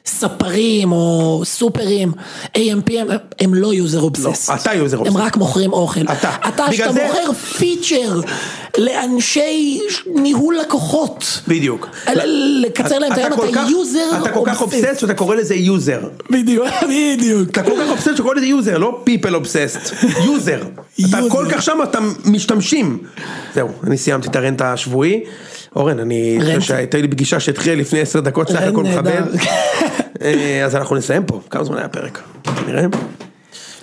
[SPEAKER 1] לספרים או סופרים, AMP, הם, הם לא יוזר אובססט.
[SPEAKER 2] לא, אתה user obsessed.
[SPEAKER 1] הם רק מוכרים אוכל.
[SPEAKER 2] אתה.
[SPEAKER 1] אתה,
[SPEAKER 2] בגלל
[SPEAKER 1] שאתה
[SPEAKER 2] זה-
[SPEAKER 1] מוכר פיצ'ר לאנשי ש- ניהול לקוחות.
[SPEAKER 2] בדיוק.
[SPEAKER 1] ל- לקצר להם את היום,
[SPEAKER 2] לא. כל
[SPEAKER 1] אתה
[SPEAKER 2] כך-
[SPEAKER 1] יוזר
[SPEAKER 2] אתה כל כך אובססט שאתה קורא לזה יוזר.
[SPEAKER 1] בדיוק, בדיוק.
[SPEAKER 2] אתה כל כך אובססט שאתה קורא לזה יוזר, לא people obsessed, יוזר. אתה
[SPEAKER 1] יוזר.
[SPEAKER 2] כל כך שם, אתה משתמשים. זהו, אני סיימתי את הרנט השבועי. אורן, אני חושב
[SPEAKER 1] רנט.
[SPEAKER 2] שהייתה לי פגישה שהתחילה לפני עשר דקות, סך
[SPEAKER 1] רנט
[SPEAKER 2] הכל מכבד.
[SPEAKER 1] נהדר.
[SPEAKER 2] אה, אז אנחנו נסיים פה, כמה זמן היה הפרק? נראה.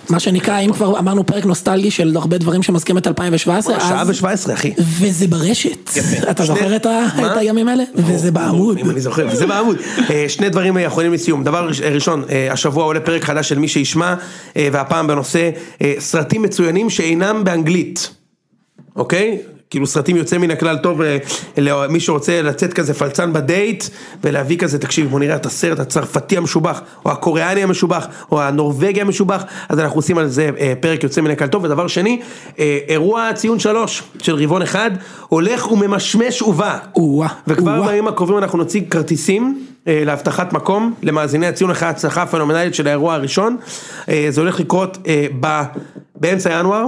[SPEAKER 1] מה שנקרא, אם כבר אמרנו פרק נוסטלגי של הרבה דברים שמזכירים את 2017,
[SPEAKER 2] שעה
[SPEAKER 1] אז...
[SPEAKER 2] ושבע עשרה, אחי.
[SPEAKER 1] וזה ברשת.
[SPEAKER 2] יפה.
[SPEAKER 1] אתה
[SPEAKER 2] שני-
[SPEAKER 1] זוכר את ה-
[SPEAKER 2] מה? לא,
[SPEAKER 1] את הימים האלה? וזה בעמוד.
[SPEAKER 2] אם אני זוכר, וזה בעמוד. אה, שני דברים אה, אחרונים לסיום. דבר ראש- אה, ראשון, אה, השבוע עולה פרק חדש של מי שישמע, אה, והפעם בנושא אה, סרטים מצוינים שאינם באנגלית. אוקיי? כאילו סרטים יוצא מן הכלל טוב אה, למי שרוצה לצאת כזה פלצן בדייט ולהביא כזה, תקשיב בוא נראה את הסרט הצרפתי המשובח או הקוריאני המשובח או הנורבגי המשובח אז אנחנו עושים על זה אה, פרק יוצא מן הכלל טוב ודבר שני, אה, אירוע ציון שלוש של רבעון אחד הולך וממשמש ובא
[SPEAKER 1] או-אה,
[SPEAKER 2] וכבר
[SPEAKER 1] או-אה.
[SPEAKER 2] בימים הקרובים אנחנו נציג כרטיסים אה, להבטחת מקום למאזיני הציון אחרי ההצלחה הפנומנלית של האירוע הראשון אה, זה הולך לקרות אה, ב- באמצע ינואר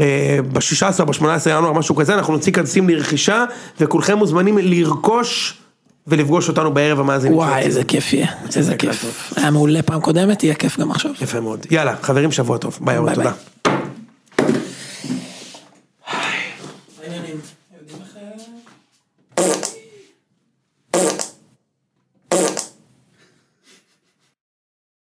[SPEAKER 2] אה, ב-16, ב-18 ינואר, משהו כזה, אנחנו נוציא כנסים לרכישה, וכולכם מוזמנים לרכוש ולפגוש אותנו בערב המאזינים.
[SPEAKER 1] וואי,
[SPEAKER 2] שלנו.
[SPEAKER 1] איזה כיף יהיה, איזה כיף. היה מעולה פעם קודמת, יהיה כיף גם עכשיו.
[SPEAKER 2] יפה מאוד. יאללה, חברים, שבוע טוב. ביי, אורן,
[SPEAKER 1] ביי,
[SPEAKER 2] תודה.
[SPEAKER 1] ביי.